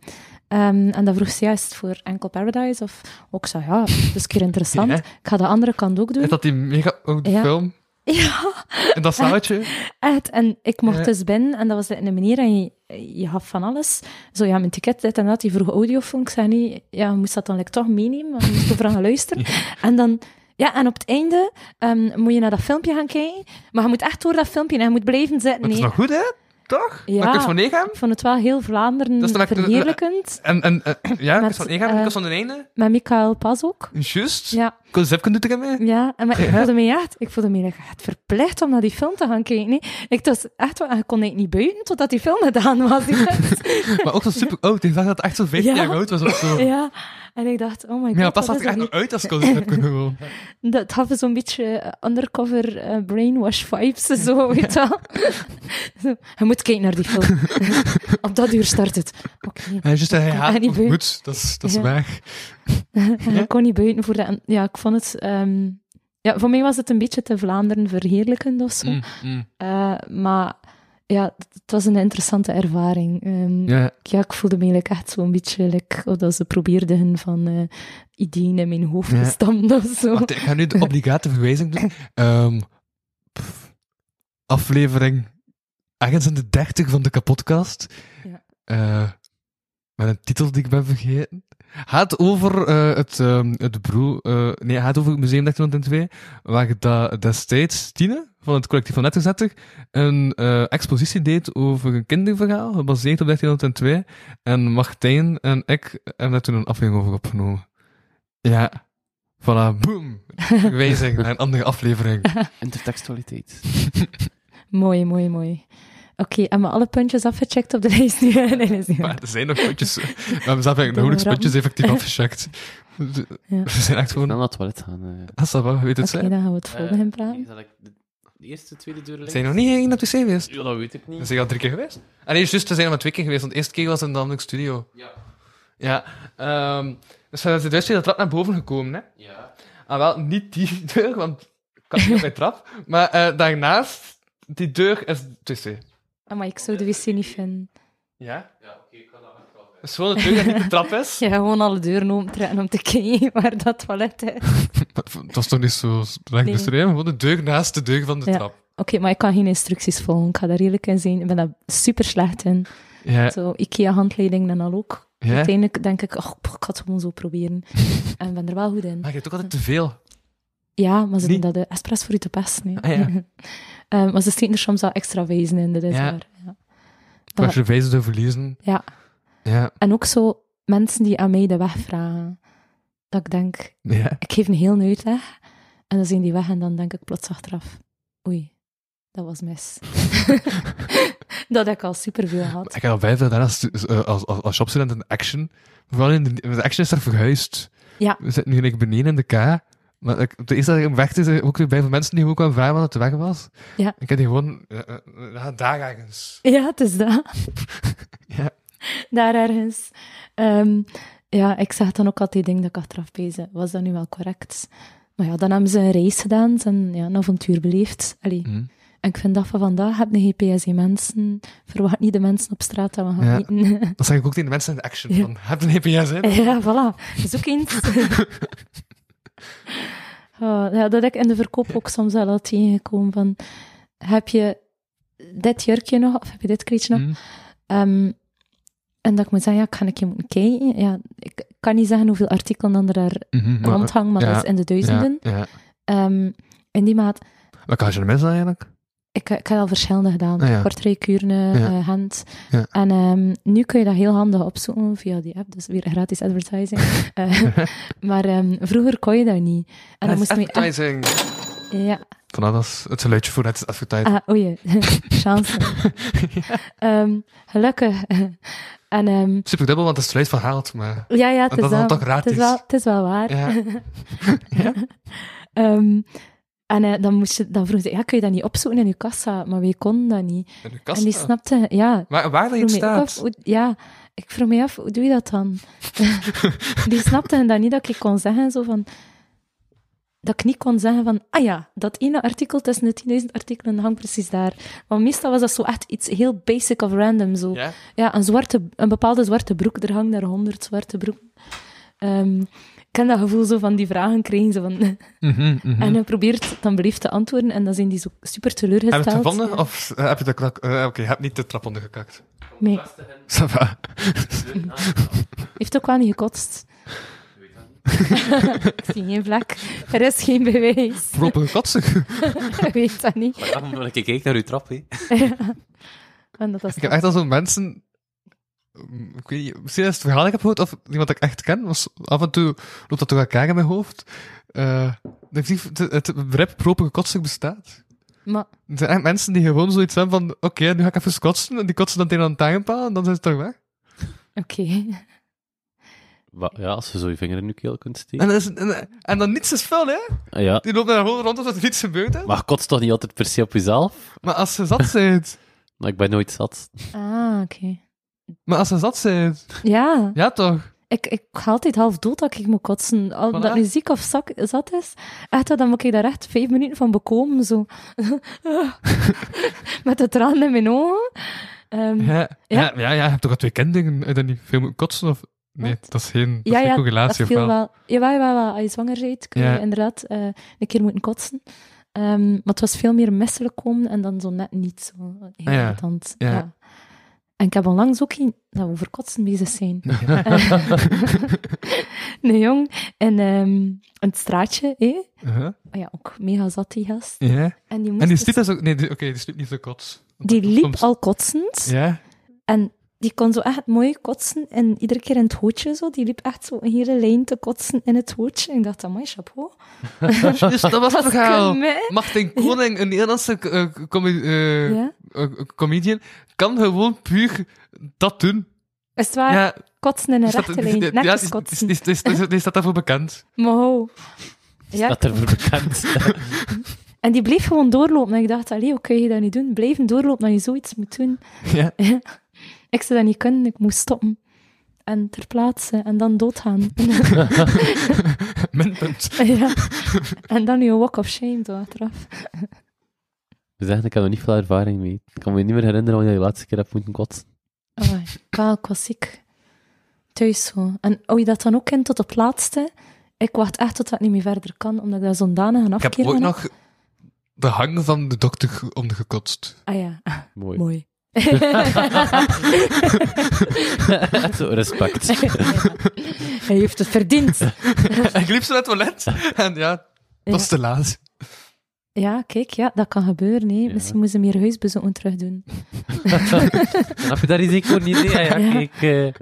S4: Ehm, en dat vroeg ze juist voor enkel Paradise. Of ook zo, ja, dat is een keer interessant.
S3: Ja.
S4: Ik ga de andere kant ook doen.
S3: is dat die mega oude
S4: Ja.
S3: film?
S4: Ja,
S3: En dat zaaltje?
S4: echt. En ik mocht
S3: Ja.
S4: dus binnen en dat was in een manier en je, je gaf van alles. Zo, ja, mijn ticket, dit en dat. Die vroeg audiofilm. Ik zei niet, ja, je moest dat dan like, toch meenemen? Want je moest overal gaan luisteren. En dan... Ja, en op het einde ehm, moet je naar dat filmpje gaan kijken. Maar je moet echt door dat filmpje en je moet blijven zitten.
S3: Maar het is
S4: Nee.
S3: nog goed, hè? Toch?
S4: Ja.
S3: Maar ik kan van nee gaan.
S4: Ik vond het wel heel Vlaanderen
S3: Dat is dan ook de- de-
S4: verheerlijkend.
S3: En, en eh, ja, ik
S4: Met,
S3: was van één gaan, ik
S4: eh,
S3: was van de ene.
S4: Met Michael Pas ook.
S3: Juist. Ja.
S4: Ja,
S3: Concept doet er mee.
S4: ja. En maar ik
S3: Ja.
S4: voelde me echt, ik voelde me echt verplicht om naar die film te gaan kijken. Nee, ik was echt, wel- ik kon eigenlijk niet buiten totdat die film gedaan was. Ik dacht,
S3: Maar ook zo super oud. Ik dacht dat het echt zo 15
S4: Ja.
S3: jaar oud was of zo. Ja,
S4: ja. En ik dacht, oh my god,
S3: maar pas
S4: wat
S3: zag
S4: is
S3: ik echt
S4: dat
S3: nog
S4: hier?
S3: uit als concept gewoon.
S4: Dat had zo'n beetje eh, undercover eh, brainwash vibes, zo, weet je wel. Zo, je moet kijken naar die film. Op dat uur start het. Oké.
S3: Hij is juist hij haat
S4: En die
S3: of
S4: beuk.
S3: moet. Dat is, dat is
S4: Ja.
S3: waar.
S4: En ik kon niet buiten voor dat. en Ja, ik vond het... ehm, ja, voor mij was het een beetje te Vlaanderen verheerlijkend of zo.
S3: Mm, mm.
S4: Eh, maar ja, het- het was een interessante ervaring. Ehm, ja.
S3: Ja.
S4: ik voelde me eigenlijk echt zo'n beetje... Like, oh, dat ze probeerden hun van eh, ideeën in mijn hoofd
S3: Ja.
S4: te stampen of zo.
S3: Wacht, ik ga nu de obligate verwijzing doen. Ehm, pff, aflevering ergens in de 30 van de kapotkast.
S4: Ja.
S3: Eh, met een titel die ik ben vergeten. Gaat over eh, het, ehm, het broer. eh, nee, gaat over het Museum 1902. Waar je da- destijds Tine van het collectief van Netterzetter een eh, expositie deed over een kinderverhaal gebaseerd op 1902. En Martijn en ik hebben daar toen een aflevering over opgenomen. Ja. Voilà, boom. Wijzing naar een andere aflevering.
S2: Intertextualiteit.
S4: Mooi, mooi, mooi. Oké, hebben we alle puntjes afgecheckt op de lijst? Nee, nee, dat is niet waar.
S3: Maar er zijn nog puntjes. We hebben zelf eigenlijk nauwelijks puntjes effectief afgecheckt. We
S4: Ja.
S3: zijn echt
S2: Snel
S3: gewoon...
S2: naar het toilet gaan. eh.
S3: Ah, ça va, weet het
S4: Oké,
S3: zijn.
S4: dan gaan we het volgende in praten.
S2: Eh, zal ik de, de eerste, tweede deur
S3: We
S2: links?
S3: zijn nog niet één naar de wc geweest.
S2: Ja, dat weet ik
S3: We
S2: niet.
S3: zijn al drie keer geweest. Ah nee, juist, we zijn er maar twee keer geweest. Want de eerste keer was in de andere studio.
S2: Ja.
S3: Ja. ehm, dus we zijn dus via dat trap naar boven gekomen, hè.
S2: Ja.
S3: Ah, wel, niet die deur, want ik kan niet op mijn trap. Maar eh, daarnaast, die deur is het wc.
S4: maar ik zou de wc niet vinden.
S3: Ja? Ja, oké, ik kan dat wel. Het is gewoon de deur dat niet de trap is.
S4: Ja, gewoon alle deuren opentrekken om te kijken waar dat toilet is. Oké,
S3: Dat is toch niet zo slecht
S4: Nee.
S3: beschreven? Gewoon de deur naast de deur van de
S4: Ja.
S3: trap.
S4: maar ik kan geen instructies volgen. Ik ga daar eerlijk in zijn. Ik ben daar super slecht in.
S3: Ja.
S4: Zo, IKEA-handleiding en al ook.
S3: Eh. Ja.
S4: Uiteindelijk denk ik, oh, pff, ik had het gewoon zo proberen. en ik ben er wel goed in.
S3: Maar je hebt ook altijd te veel.
S4: Ja, maar ze
S3: Die-
S4: doen dat de expres voor u te passen. hè.
S3: Ah, ja.
S4: Ehm, maar ze steken er soms wel extra wijzen in, dat is
S3: Ja.
S4: waar. Ja.
S3: Als je wijzen te verliezen.
S4: Ja.
S3: Ja.
S4: En ook zo mensen die aan mij de weg vragen. Dat ik denk,
S3: Ja.
S4: ik geef een heel uitleg en dan zijn die weg en dan denk ik plots achteraf, oei, dat was mis. dat heb ik al superveel
S3: Ik
S4: had.
S3: heb al bij veel gedaan als, eh, als, als, als shopstudent in Action. Vooral in de, de Action is daar verhuisd.
S4: Ja.
S3: We zitten nu gelijk beneden in de K. Maar ik, de eerste dat ik hem weg is, eh, ook weer bij veel mensen die ook wel vragen wat het weg was.
S4: Ja.
S3: Ik heb die gewoon... eh, eh, eh, daar ergens.
S4: Ja, het is dat.
S3: Ja.
S4: Daar ergens. Ehm, ja, ik zeg dan ook altijd dingen dat ik achteraf bezig was dat nu wel correct? Maar ja, dan hebben ze een race gedaan, ze hebben ja, een avontuur beleefd. Allee.
S3: Hm.
S4: En ik vind dat van vandaag, heb de GPSE-mensen, verwacht niet de mensen op straat dat we gaan
S3: Ja.
S4: eten.
S3: Dat zeg ik ook tegen de mensen in de Action.
S4: Ja.
S3: Van, heb een EPS in?
S4: Ja, voilà. Zoek eens. Oh, ja, dat heb ik in de verkoop ook soms wel al tegengekomen. Van, heb je dit jurkje nog? Of heb je dit kleedje nog?
S3: Hm.
S4: Ehm, en dat ik moet zeggen, ja, ik ga een keer moeten kijken. Ja, ik kan niet zeggen hoeveel artikelen dan er daar
S3: Mhm, maar-
S4: rondhangen, maar
S3: ja,
S4: dat is in de
S3: ja,
S4: duizenden.
S3: ja.
S4: Ehm, in die maat...
S3: Wat kan je de mensen eigenlijk?
S4: Ik, ik heb al verschillende gedaan.
S3: Ah, ja.
S4: Portreekuren, eh,
S3: Ja.
S4: eh, hand.
S3: Ja.
S4: En ehm, nu kun je dat heel handig opzoeken via die app. Dus weer gratis advertising. Eh, maar ehm, vroeger kon je dat niet. En dan moest je echt...
S3: advertising.
S4: Ja,
S3: Vanaf dat is het geluidje voor het is advertising.
S4: Ah, oei, chance. Ehm, gelukkig. en ehm,
S3: Super dubbel, want het is het geluid van haalt, maar...
S4: ja, ja, het
S3: Dat dat
S4: is,
S3: dan
S4: wel-
S3: toch raar
S4: het is
S3: is.
S4: wel, het is wel waar.
S3: Ja. Ja.
S4: Ehm, en eh, dan, moest je, dan vroeg ze, ja, kun je dat niet opzoeken in je kassa? Maar we konden dat niet.
S3: In de
S4: En die
S3: kast.
S4: snapte, ja,
S3: Waar, waar dat je
S4: vroeg
S3: het
S4: mij ook
S3: staat?
S4: af, hoe, ja, ik vroeg me af, hoe doe je dat dan? die snapte dat niet, dat ik kon zeggen zo van... Dat ik niet kon zeggen van, ah ja, dat ene artikel tussen de 10.000 artikelen hangt precies daar. Want meestal was dat zo echt iets heel basic of random, zo.
S3: Ja.
S4: Ja, een, zwarte, een bepaalde zwarte broek, er hangt daar 100 zwarte broeken. Ehm, ik ken dat gevoel zo van die vragen krijgen ze van... En hij probeert dan beleefd te antwoorden en dan zijn die zo super
S3: Heb
S4: teleurgesteld.
S3: je het gevonden?
S4: Ja.
S3: Of eh, heb je de knak... eh, Oké, je hebt niet de trap ondergekakt.
S4: Nee,
S3: Ça va.
S4: heeft ook wel niet gekotst. ik zie geen vlek. Er is geen bewijs.
S3: Voorlopig katsen.
S4: Ik weet dat niet.
S2: Maar dan, ik kijk naar uw trap, hè.
S4: En dat was
S3: Ik heb echt al zo'n mensen. Mm, Ik weet niet, misschien is het verhaal dat ik heb gehoord, of iemand dat ik echt ken, was af en toe loopt dat door elkaar in mijn hoofd. Eh, dat ik zie- het, het begrip proper kotsen bestaat.
S4: Maar
S3: Er zijn echt mensen die gewoon zoiets hebben van, oké, nu ga ik even kotsen, en die kotsen dan tegen een tangenpaal, en dan zijn ze toch weg.
S4: oké.
S2: Wa- Ja, als je zo je vinger in je keel kunt steken.
S3: En, dat is, en, en dan niets is vuil, hè?
S2: Ah, ja.
S3: Die loopt daar gewoon rond alsof er niets gebeurd is.
S2: Maar je kotst toch niet altijd per se op jezelf?
S3: Maar als ze zat zijn,
S2: Maar ik ben nooit zat.
S4: Ah, oké.
S3: maar als ze zat zijn,
S4: Ja,
S3: ja toch?
S4: ik, ik ga altijd half dood dat ik moet kotsen. Al
S3: Voilà.
S4: dat nu ziek of zak, zat is, echt, dan moet ik daar echt vijf minuten van bekomen. Zo. Met de tranen in mijn ogen. Ehm,
S3: Ja,
S4: Ja.
S3: ja, ja, ja, je hebt toch al twee kinderen, en dan niet veel moeten kotsen, of... Nee,
S4: Wat?
S3: dat is geen, dat is
S4: Ja,
S3: geen
S4: ja,
S3: correlatie,
S4: dat
S3: of wel?
S4: viel wel. Jawel, jawel, jawel. Als je zwanger bent, kun je
S3: Ja.
S4: inderdaad eh, een keer moeten kotsen. Ehm, maar het was veel meer misselijk komen en dan zo net niet. Zo heel
S3: Ah, ja.
S4: irritant.
S3: Ja.
S4: Ja. En ik heb onlangs ook geen... Dat we over kotsen bezig zijn. een jong in, ehm, in het straatje, hè?
S3: Uh-huh.
S4: Ah ja, ook mega zat die gast.
S3: Ja.
S4: En die, moest
S3: En die
S4: dus-
S3: sliep dus ook... Nee, die- oké, die sliep niet zo kots.
S4: die liep
S3: Soms-
S4: al kotsend.
S3: Ja?
S4: En die kon zo echt mooi kotsen en iedere keer in het hootje zo. Die liep echt zo een hele lijn te kotsen in het hootje. En ik dacht, amai, chapeau.
S3: Dus dat was het verhaal.
S4: Kunnen we?
S3: Martin Koning, een Nederlandse eh, com- eh,
S4: Ja.
S3: eh, comedian, kan gewoon puur dat doen.
S4: Is het waar?
S3: ja,
S4: Kotsen in Ah, een
S3: die staat-
S4: rechte lijn.
S3: die- ja,
S4: Netjes
S3: die-
S4: kotsen.
S3: die- die- die- die- die staat daarvoor bekend.
S4: Maar ho. Ja,
S2: Dat er voor bekend.
S4: en die bleef gewoon doorlopen. En ik dacht, allee, hoe kun je dat nu doen? Blijven doorlopen dat je zoiets moet doen.
S3: Ja.
S4: Ik zou dat niet kunnen, ik moest stoppen. En ter plaatse, en dan doodgaan.
S3: Minpunt.
S4: ja. En dan je walk of shame, zo achteraf.
S2: We zeggen, ik heb nog niet veel ervaring mee. Ik kan me niet meer herinneren wanneer je de laatste keer hebt moeten kotsen.
S4: Oh, ik wel, ik was ziek. Thuis zo. En hou je dat dan ook in tot op het laatste? Ik wacht echt tot dat niet meer verder kan, omdat ik daar zo'n danige
S3: Ik heb
S4: afkeer
S3: ooit
S4: van
S3: nog de hang van de dokter omgekotst.
S4: Ah ja, ah,
S2: Mooi.
S4: mooi.
S2: Zo, respect.
S4: Hij heeft het verdiend.
S3: ik liep zo naar het toilet en ja, het was
S4: Ja.
S3: te laat.
S4: Ja, kijk, ja, dat kan gebeuren. Nee.
S2: Ja.
S4: Misschien moeten ze meer huisbezoeken terug doen.
S2: Heb je daar risico niet? Nee, ja, ja,
S4: Ja.
S2: kijk.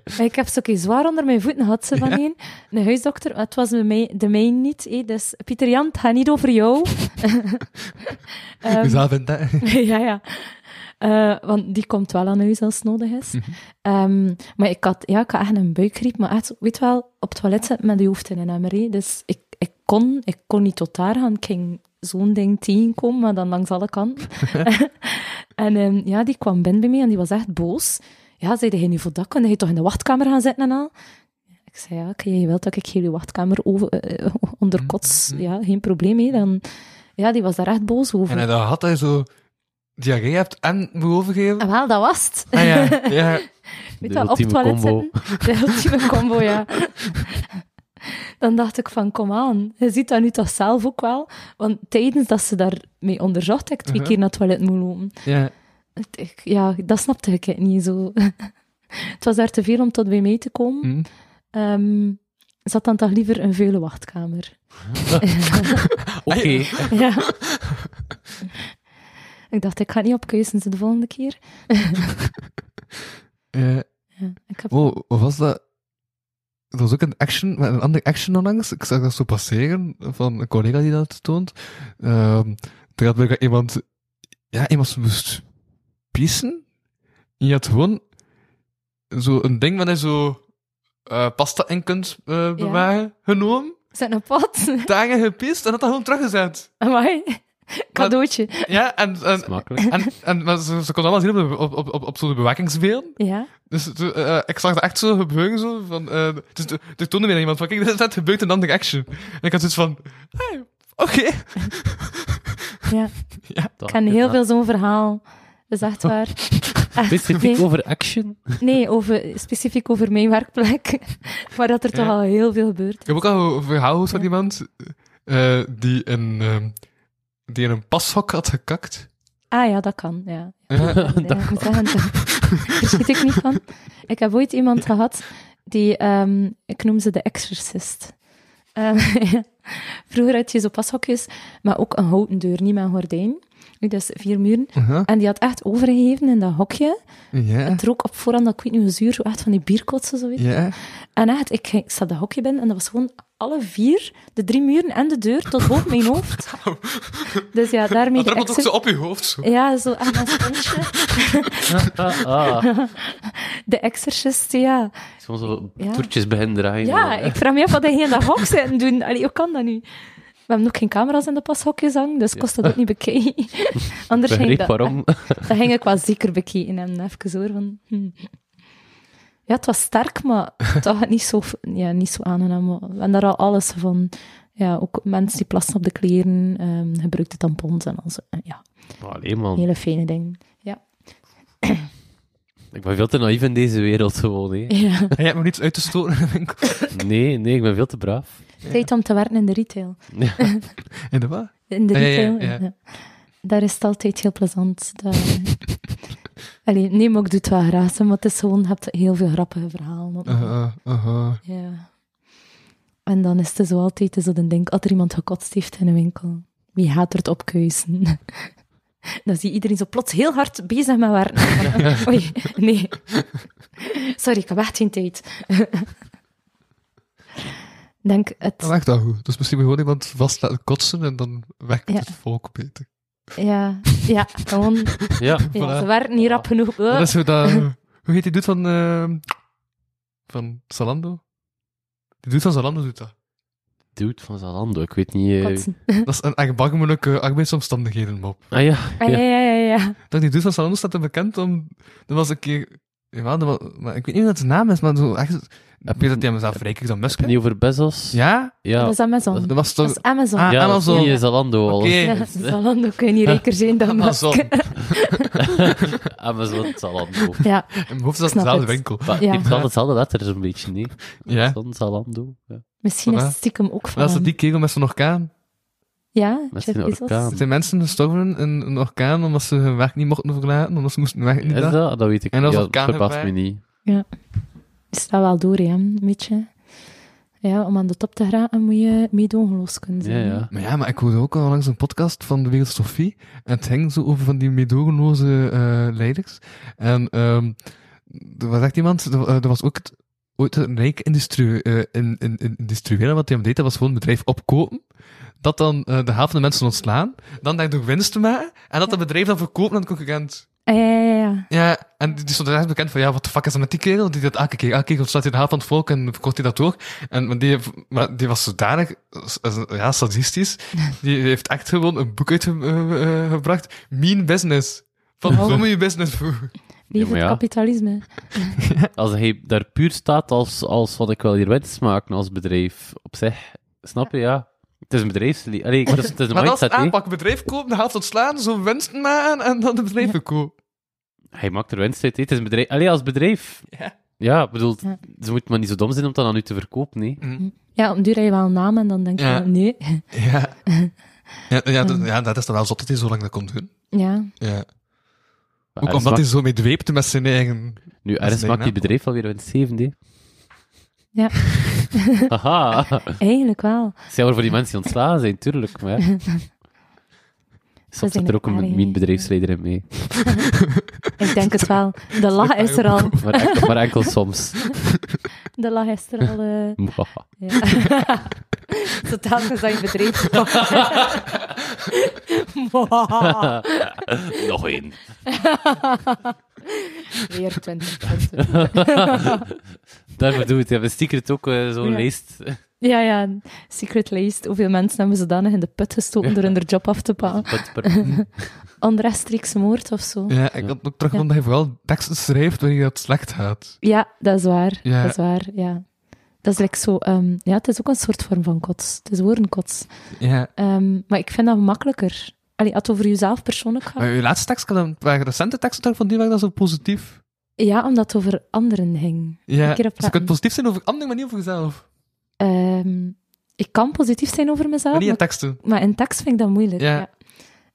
S2: eh,
S4: Maar Ik heb ze ook eens zwaar onder mijn voeten gehad, ze van een. Een huisdokter, maar het was de mij- de mijne niet. hè. Dus Pieter Jan, het gaat niet over jou. Ehm,
S3: Dus dat vindt dat.
S4: ja, ja. Eh, want die komt wel aan huis als het nodig is.
S3: Mhm.
S4: Ehm, maar ik had, ja, ik had echt een buikgriep, maar echt, weet wel, op het toilet zitten met de hoofd in een emmer. hè. Dus ik, ik, kon, ik kon niet tot daar gaan. Ik ging zo'n ding tegenkomen, maar dan langs alle kanten. en ehm, ja, die kwam binnen bij mij en die was echt boos. Ja, zei hij nu voor dat, kun je toch in de wachtkamer gaan zitten en al? Ik zei, ja, oké, je wilt dat ik heel je wachtkamer over, eh, onder
S3: Mhm.
S4: kots. Ja, geen probleem, hè. Dan, ja, die was daar echt boos over.
S3: En dan had hij zo diarree hebt en moet overgeven.
S4: Ah, wel, dat was het.
S3: Ah ja, ja.
S4: Weet
S2: De
S4: je wel, op het
S2: ultieme
S4: toilet
S2: combo.
S4: zitten. De ultieme combo, ja. Dan dacht ik van, kom aan. Je ziet dat nu toch zelf ook wel. Want tijdens dat ze daarmee onderzocht, heb ik twee
S3: Uh-huh.
S4: keer naar het toilet moet lopen.
S3: ja.
S4: Het- ik- Ja, dat snapte ik het niet zo. Het was daar te veel om tot bij mij te komen.
S2: Mm.
S3: Hm.
S4: Ehm, zat dan toch liever een vuile wachtkamer.
S2: Oké.
S4: Ja. Ik Ik dacht, ik ga niet op keuzes de volgende keer. Hm.
S3: Eh,
S4: Ja, ik heb...
S3: oh, wat was dat? Dat was ook een action, maar een andere action onlangs. Ik zag dat zo passeren van een collega die dat toont. Ehm er had blijkbaar iemand, ja, iemand moest pissen. En je had gewoon zo een ding waar je zo eh, pasta in kunt eh, bewaren, genomen.
S4: Zet een pot.
S3: Dagen gepist en had dat gewoon teruggezet.
S4: Amai. Cadeautje.
S3: Ja, en, en,
S2: Makkelijk.
S3: en, en maar ze, ze kon alles zien op, de- op, op, op, op zo'n bewakingsbeeld.
S4: Ja.
S3: Dus toen, eh, ik zag dat echt zo gebeuren. Zo, van, eh dus toen- toen toonde mij aan iemand van, kijk, dit is net gebeurd in een andere action. En ik had zoiets van, hey, oké.
S4: ja. Ik ken heel veel zo'n verhaal. Dat is echt waar. Echt,
S2: Specifiek
S4: nee.
S2: over action?
S4: Nee, over, specifiek over mijn werkplek. Maar dat er toch
S3: Ja.
S4: al heel veel gebeurt.
S3: Ik heb ook al een verhaal gehoord van iemand eh, die, een, ehm, die in een pashok had gekakt.
S4: Ah ja, dat kan, ja.
S3: Ja.
S4: Ja, ik moet zeggen, daar schiet ik niet van. Ik heb ooit iemand gehad die, ehm, ik noem ze de exorcist. Ehm, Vroeger had je zo pashokjes, maar ook een houten deur, niet met een gordijn. Nu, Dus vier muren.
S3: Aha.
S4: En die had echt overgegeven in dat hokje.
S3: Ja,
S4: Het rook op voorhand, dat ik weet niet hoe zuur, zo echt van die bierkotsen, zo weet je.
S3: ja.
S4: En echt, ik, ging- ik zat dat hokje binnen en dat was gewoon alle vier, de drie muren en de deur, tot boven mijn hoofd. Dus ja, daarmee
S3: Dat
S4: de
S3: druppelt ook zo
S4: exorcist.
S3: op je hoofd. Zo.
S4: Ja, zo aan dat sponsje.
S2: Ah, ah.
S4: De Exorcist, ja.
S2: Zo'n zo
S4: Ja.
S2: toertjes bij hen draaien.
S4: Ja,
S2: Eh,
S4: ik vraag me af wat hij in dat hok zit te doen. Allee, hoe kan dat nu? We hebben ook geen camera's in de pashokjes hangen, dus ik kost dat ook niet bekijken. Anders ging ik
S2: Begreep
S4: dat,
S2: waarom.
S4: dat ging ik wel zeker bekijken en even hoor. Van, hm. Ja, het was sterk, maar toch niet zo, ja, niet zo aangenaam. We hebben daar al alles van. Ja, ook mensen die plassen op de kleren, ehm, gebruikte tampons en al zo. Ja,
S2: Maar Allee, man.
S4: hele fijne dingen. Ja.
S2: Ik ben veel te naïef in deze wereld gewoon, hè.
S4: ja.
S3: En je hebt me niets uit te stoten in de winkel.
S2: Nee, nee, ik ben veel te braaf.
S4: Tijd om te werken in de retail.
S3: In de wat?
S4: In de
S3: Ja, ja, ja,
S4: retail.
S3: ja.
S4: ja. Daar is het altijd heel plezant. Dat... Allee, nee, maar ik doe het wel graag. hè, Maar het is gewoon, je hebt heel veel grappige verhalen. op-
S3: Aha, aha.
S4: Ja. En dan is het zo altijd zo een ding, als er iemand gekotst heeft in een winkel, wie gaat er het opkuisen? Dan zie je iedereen zo plots heel hard bezig met werken. Oei, nee. Sorry, ik heb echt geen tijd. Denk het...
S3: Dat werkt wel goed. Dus misschien moet je gewoon iemand vast laten kotsen en dan werkt
S4: Ja.
S3: het volk beter.
S4: Ja, ja, gewoon...
S2: Ja.
S3: Voilà.
S4: Ja, ze waren niet rap genoeg.
S3: Dat is hoe dat... Hoe heet die doet van... ehm, van Zalando? Die doet van Zalando doet dat.
S2: Dude van Zalando, ik weet niet... eh,
S4: Oh, Kotsen.
S3: Dat is een echt baggermoeilijke arbeidsomstandigheden, mop.
S2: Ah ja,
S4: Ah, ja, ja, ja, ja.
S3: Dat die doet van Zalando staat er bekend om... Er was een keer... Ja, er was- maar ik weet niet wat zijn naam is, maar zo echt... Ik weet dat hij mezelf rijker dan Musk. hè?
S2: niet over Bezos.
S3: Ja?
S2: ja.
S4: Dat is Amazon.
S3: Dat was
S4: Dat
S3: toch...
S4: is Amazon.
S3: Ah,
S2: Ja, dat is
S3: Amazon.
S2: niet in Zalando al.
S3: Oké.
S4: Ja, Zalando kun je niet rijker zijn dan
S3: Amazon.
S4: Musk.
S2: Amazon, Zalando.
S4: Ja,
S3: In mijn hoofd is dat
S4: Snap
S3: dezelfde
S4: het.
S3: winkel.
S2: Maar
S4: Ja.
S2: heeft wel hetzelfde letter zo'n beetje, nee?
S3: Ja.
S2: Zan, Zalando. Ja.
S4: misschien is
S3: Voilà.
S4: het stiekem ook van
S3: Dat is
S4: hem.
S3: die kerel met zo'n orkaan.
S4: Ja,
S2: Met
S4: Jeff
S2: zijn
S4: Bezos.
S2: orkaan.
S3: Er zijn mensen gestorven in een orkaan omdat ze hun werk niet mochten verlaten, omdat ze moesten hun werk niet
S2: Is
S3: doen.
S2: dat? Dat weet ik
S3: En
S2: niet.
S3: als
S2: Ja,
S3: het kan
S2: verbaast me
S3: erbij.
S2: niet.
S4: Is dat wel door, hè, een beetje. Ja, om aan de top te geraken moet je meedogenloos kunnen
S2: Ja,
S4: zijn. hè.
S2: ja.
S3: Maar ja, maar ik hoorde ook al langs een podcast van de Wereld Sophie. En het ging zo over van die meedogenloze eh, leiders. En ehm, er was echt iemand, er, eh, er was ook het, ooit een rijk industrie, eh, in, in, in, industrieel. Wat hij hem deed, dat was gewoon een bedrijf opkopen. Dat dan eh, de helft van de mensen ontslaan. Dan daardoor winst te maken. En dat dat bedrijf dan verkoopt aan de concurrent.
S4: Ah, ja, ja, ja.
S3: Ja, en die die stond er echt bekend van, ja, wat de fuck is dat met die kerel? Die dat elke keer, elke keer ontslaat hij de helft van het volk en verkoopt hij dat door. En maar die, maar die was zodanig, eh, ja, sadistisch. Die heeft echt gewoon een boek uitgebracht. eh, mean Business. Van,
S4: Oh.
S3: hoe moet je business doen?
S4: Lief
S2: Ja, maar
S4: het
S2: ja.
S4: kapitalisme.
S2: Als hij daar puur staat als, als wat ik wel hier winst maken als bedrijf, op zich, snap je, ja. Het is een bedrijfsleven. Allee, het is, het is een
S3: Maar dat is
S2: mindset,
S3: het
S2: hè.
S3: aanpak. Bedrijf kopen, de helft ontslaan, zo'n winsten maken en dan het bedrijf verkopen.
S2: Hij maakt er winst uit, hè. Het is een bedrijf. Allee, als bedrijf.
S3: Ja.
S2: Ja, ik bedoel,
S4: Ja.
S2: ze moet maar niet zo dom zijn om dat aan u te verkopen, nee.
S4: Ja, om duur heb je wel een naam en dan denk je,
S3: Ja.
S4: nee.
S3: Ja. Ja, ja, dat, ja, dat is dan wel zot dat hij zo lang dat kon doen.
S4: Ja,
S3: Ja.
S2: Maar
S3: Ook omdat
S2: ergens
S3: hij
S2: maakt-
S3: zo mee dweepte met zijn eigen...
S2: Nu, ergens
S3: zijn
S2: maakt die
S3: naam.
S2: bedrijf alweer winst 7, hè.
S4: Ja.
S2: Haha.
S4: eigenlijk wel.
S2: Het zijn maar voor die mensen die ontslagen zijn, tuurlijk, maar... ja.
S4: zijn
S2: Soms zit er ook een
S4: ervaringen
S2: min
S4: niet.
S2: bedrijfsleider in mee.
S4: Ik denk het wel. De lach is er al.
S2: Maar enkel, maar enkel soms.
S4: De lach is er al. eh,
S2: Mwahaha.
S4: Ja. Zo telkens dat je bedreven wordt.
S2: Nog één.
S4: Weer 20 punten.
S2: Daarvoor doen we het. Ja, bij Secret ook eh, zo'n
S4: Ja.
S2: lijst.
S4: Ja, ja. Secret lijst. Hoeveel mensen hebben ze dan in de put gestoken door hun er job af te pakken?
S2: Wat per-
S4: Onrechtstreeks moord of zo.
S3: Ja, ik had ook teruggevonden dat hij vooral teksten schrijft wanneer dat slecht gaat.
S4: Ja, dat is waar.
S3: Ja.
S4: Dat is waar, ja. Dat is like zo... ehm, ja, het is ook een soort vorm van kots. Het is woordenkots.
S3: Ja.
S4: Ehm, maar ik vind dat makkelijker. Allee, als het over jezelf persoonlijk gaat...
S3: Maar uw laatste tekst, kan dan, waren recente teksten terug van die waren dat zo positief.
S4: Ja, omdat het over anderen ging.
S3: Ja.
S4: Een keer
S3: Ze
S4: op
S3: dus je kunt
S4: praten.
S3: positief zijn over anderen, maar niet over
S4: Ah,
S3: jezelf.
S4: Ehm, ik kan positief zijn over mezelf,
S3: Maar niet in
S4: maar,
S3: teksten.
S4: maar in tekst vind ik dat moeilijk.
S3: Ja.
S4: ja.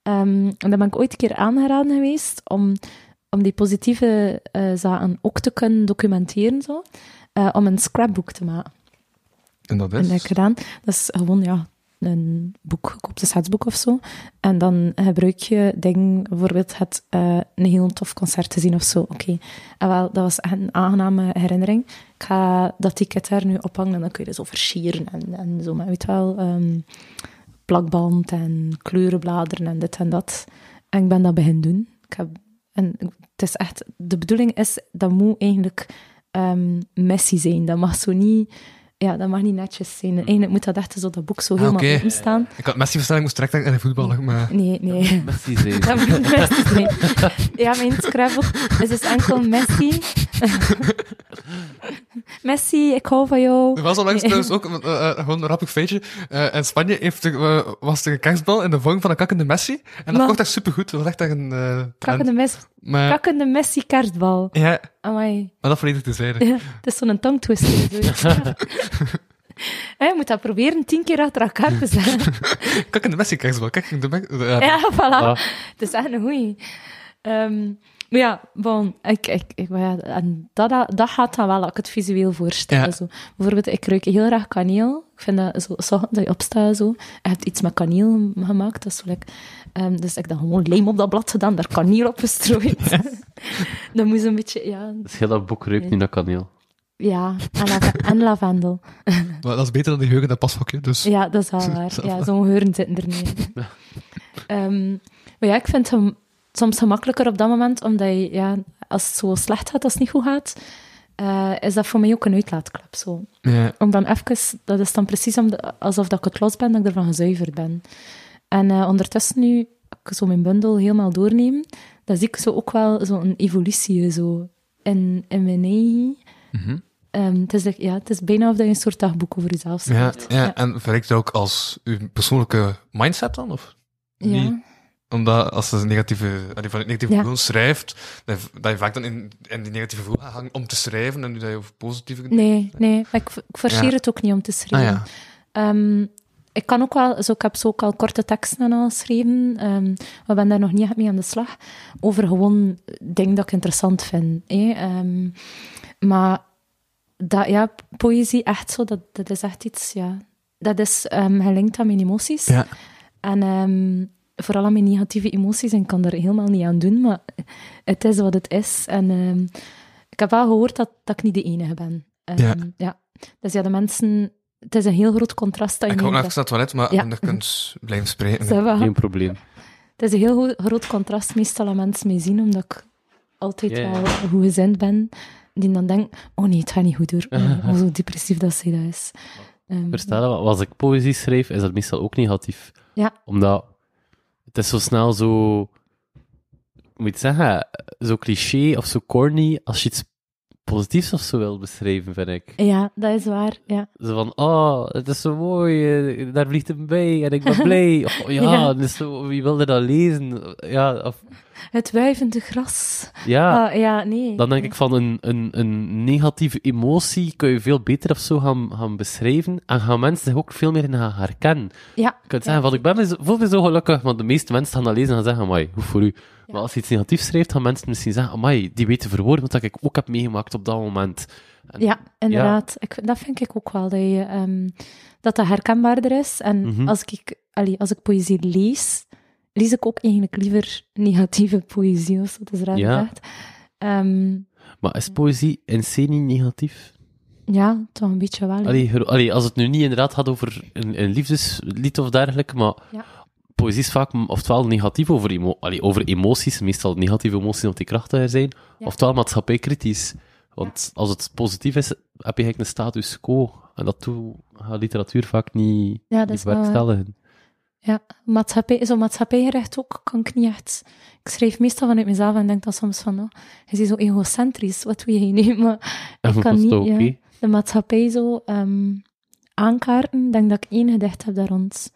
S4: Ehm, en dan ben ik ooit een keer aangeraden geweest om, om die positieve eh, zaken ook te kunnen documenteren, zo, eh, om een scrapbook te maken.
S3: En dat
S4: En dat heb
S3: is.
S4: ik gedaan. Dat is gewoon, ja, een boek, gekoopt, een schetsboek of zo. En dan gebruik je dingen, bijvoorbeeld het, eh, een heel tof concert te zien of zo. Oké, en wel, dat was echt een aangename herinnering. Ik ga dat ticket daar nu ophangen en dan kun je er zo versieren en, en zo. Maar weet wel, ehm, plakband en kleurenbladeren en dit en dat. En ik ben dat begin doen. Ik heb, en het is echt, de bedoeling is, dat moet eigenlijk ehm messy zijn. Dat mag zo niet, ja, dat mag niet netjes zijn. Eigenlijk moet dat echt zo, dat boek zo helemaal
S3: oké.
S4: openstaan.
S3: Ik had Messi verstelling moest direct denken aan de voetballer, maar...
S4: Nee, nee.
S2: Merci, zei ze.
S4: Dat moet het beste zijn. Ja, mijn scrapbook is dus enkel Messi. Messi, ik hou van jou.
S3: Er was al langs trouwens ook eh, eh, gewoon een rappig feitje. Eh, in Spanje heeft er, eh, was er een kerstbal in de vorm van een kakkende Messi. En dat
S4: Maar-
S3: vond ik echt supergoed. Dat was echt echt een eh, trend.
S4: Kakkende, mes,
S3: Maar,
S4: kakkende Messi kaartbal.
S3: ja,
S4: Amai.
S3: maar dat volledig te zeggen.
S4: Ja, het is zo'n tongue twister. zo. Hè, je moet dat proberen tien keer achter elkaar te zeggen.
S3: Kakkende Messi kerstbal. Kijk, de eh, Messi. Ja.
S4: ja, voilà.
S2: Ah.
S4: Het is echt een goeie. Ehm, maar ja, bon, ik, ik, ik, maar ja, en dat, dat, dat gaat dan wel, als ik het visueel voorstel.
S3: Ja.
S4: Zo. Bijvoorbeeld, ik ruik heel graag kaneel. Ik vind dat zo, zo dat je opstaat zo. Je hebt iets met kaneel gemaakt. Dat is zo like, ehm, dus ik heb dan gewoon lijm op dat blad gedaan, daar kaneel op gestrooid. dat moest een beetje, ja,
S2: Dus heel dat boek ruikt nu naar kaneel.
S4: ja en, lave- en lavendel.
S3: Maar dat is beter dan die heugen dat pashokje. Dus
S4: Ja, dat is wel waar. Ja, zo'n geuren zitten er niet in. Ehm, maar ja, ik vind het gem- soms gemakkelijker op dat moment, omdat je, ja, als het zo slecht gaat, als het niet goed gaat, eh, is dat voor mij ook een uitlaatklep. Zo.
S3: ja.
S4: Om dan even, dat is dan precies om de- alsof dat ik het los ben, dat ik ervan gezuiverd ben. En eh, ondertussen nu, als ik zo mijn bundel helemaal doorneem, dan zie ik zo ook wel zo'n evolutie zo, in, in mijn eigen... Ehm, het, is, like- ja, het is bijna of dat je een soort dagboek over jezelf
S3: Ja,
S4: schrijft.
S3: ja. En verrijkt dat ook als uw persoonlijke mindset dan? Of?
S4: Ja.
S3: niet? Omdat als ze een negatieve, als je van het negatieve
S4: Ja.
S3: gevoel schrijft, dat je, dat je vaak dan in, in die negatieve gevoel gaat hangen om te schrijven en nu dat je over positieve
S4: Nee, nee. Maar ik, ik forceer
S3: Ja.
S4: het ook niet om te
S3: Ah
S4: schrijven.
S3: ja.
S4: Ehm, ik kan ook wel, zo, ik heb zo ook al korte teksten en al geschreven, ehm maar ben daar nog niet echt mee aan de slag, over gewoon dingen dat ik interessant vind. hè. Ehm, maar dat, ja, poëzie echt zo, dat, dat is echt iets, ja. Dat is ehm gelinkt aan mijn emoties.
S3: Ja.
S4: En ehm, vooral aan mijn negatieve emoties, en ik kan er helemaal niet aan doen, maar het is wat het is. En ehm, ik heb wel gehoord dat, dat ik niet de enige ben. Ehm,
S3: Ja.
S4: ja. Dus ja, de mensen... Het is een heel groot contrast dat je
S3: Ik ga ook
S4: neemt,
S3: naar het toilet, maar
S4: Ja.
S3: je kunt blijven
S4: hè.
S3: spreken.
S4: Zeg maar,
S2: Geen probleem.
S4: Het is een heel gro- groot contrast meestal aan mensen mee zien, omdat ik altijd
S2: Ja, ja.
S4: wel goed gezind ben. Die dan denkt, oh nee, het gaat niet goed door. Oh, nee, oh, zo depressief dat ze dat is. Ehm,
S2: Verstaan dat? Want als ik poëzie schrijf, is dat meestal ook negatief.
S4: Ja.
S2: Omdat het is zo snel zo... hoe Moet je het zeggen? Zo cliché of zo corny als je iets positiefs of zo wil beschrijven, vind ik.
S4: ja, dat is waar. Ja.
S2: Zo van, oh, het is zo mooi, eh, daar vliegt een bij en ik ben blij. Of, oh, ja,
S4: Ja.
S2: het is zo, wie wilde dat lezen? Ja, of,
S4: Het wuivende gras.
S2: ja.
S4: Ah, ja, nee.
S2: Dan denk ik van een, een, een negatieve emotie kun je veel beter of zo gaan, gaan beschrijven. En gaan mensen zich ook veel meer in gaan herkennen.
S4: Ja,
S2: Je kunt zeggen van, ik ben zo, voel me zo gelukkig, want de meeste mensen gaan dat lezen en gaan zeggen, amai, hoe voor u. Maar als je iets negatiefs schrijft, gaan mensen misschien zeggen, amai, die weten verwoorden wat ik ook heb meegemaakt op dat moment. En-
S4: Ja, inderdaad. Ik, vind- dat vind ik ook wel, dat, je,
S2: Mhm.
S4: ehm, dat dat herkenbaarder is. En als, ik, allee, als ik poëzie lees, lees ik ook eigenlijk liever negatieve poëzie, als dat is raar
S2: Ja.
S4: gezegd. Ehm,
S2: Maar is poëzie in C niet negatief?
S4: ja, toch een beetje wel. hè.
S2: Allee, gero- allee, als het nu niet inderdaad gaat over een, een liefdeslied of dergelijke, maar
S4: Ja.
S2: poëzie is vaak m- oftewel negatief over, emo- allee, over emoties, meestal negatieve emoties omdat die krachtiger zijn,
S4: Ja.
S2: oftewel maatschappijkritisch. Want als het positief is, heb je eigenlijk een status quo. En dat doet gaat literatuur vaak niet,
S4: Ja, dat
S2: niet
S4: is wel waar.
S2: werkstelligen.
S4: maatschappij, is op maatschappijgerecht ook, kan ik niet echt. Ik schrijf meestal vanuit mezelf en denk dan soms van, oh, hij is zo egocentrisch, wat wil je nu? Maar ik
S2: Dat
S4: kan
S2: is
S4: niet
S2: toch
S4: ja,
S2: oké?
S4: de maatschappij zo ehm, aankaarten. Ik denk dat ik één gedicht heb daar rond.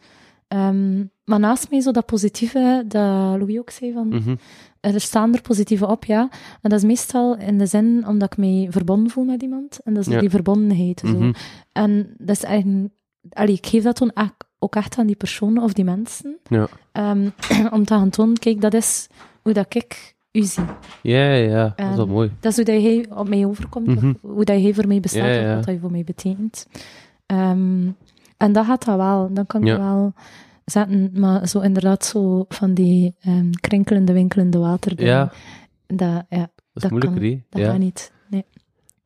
S4: Ehm, maar naast mij zo dat positieve, dat Louis ook zei, van, eh,
S2: Mhm.
S4: er staan er positieve op, ja. En dat is meestal in de zin omdat ik mij verbonden voel met iemand. En dat is
S2: Ja.
S4: die verbondenheid. Zo.
S2: Mhm.
S4: En dat is eigenlijk... Allee, ik geef dat toen echt- ook echt aan die personen of die mensen.
S2: Ja.
S4: Ehm, om te gaan tonen, kijk, dat is hoe dat ik u zie.
S2: Ja, ja, ja, dat is wel
S4: Ehm,
S2: mooi.
S4: Dat is hoe dat jij op mij overkomt,
S2: Mhm.
S4: of hoe dat jij voor mij bestaat,
S2: Ja, ja.
S4: of wat dat je voor mij betekent. Ehm, en dat gaat dat wel. Dan kan ik
S2: Ja.
S4: wel zetten, maar zo inderdaad zo van die ehm, krinkelende, winkelende waterdingen.
S2: Ja.
S4: Dat, ja,
S2: Dat is
S4: dat
S2: moeilijker,
S4: kan-
S2: hè?
S4: dat
S2: ja.
S4: gaat niet. Nee.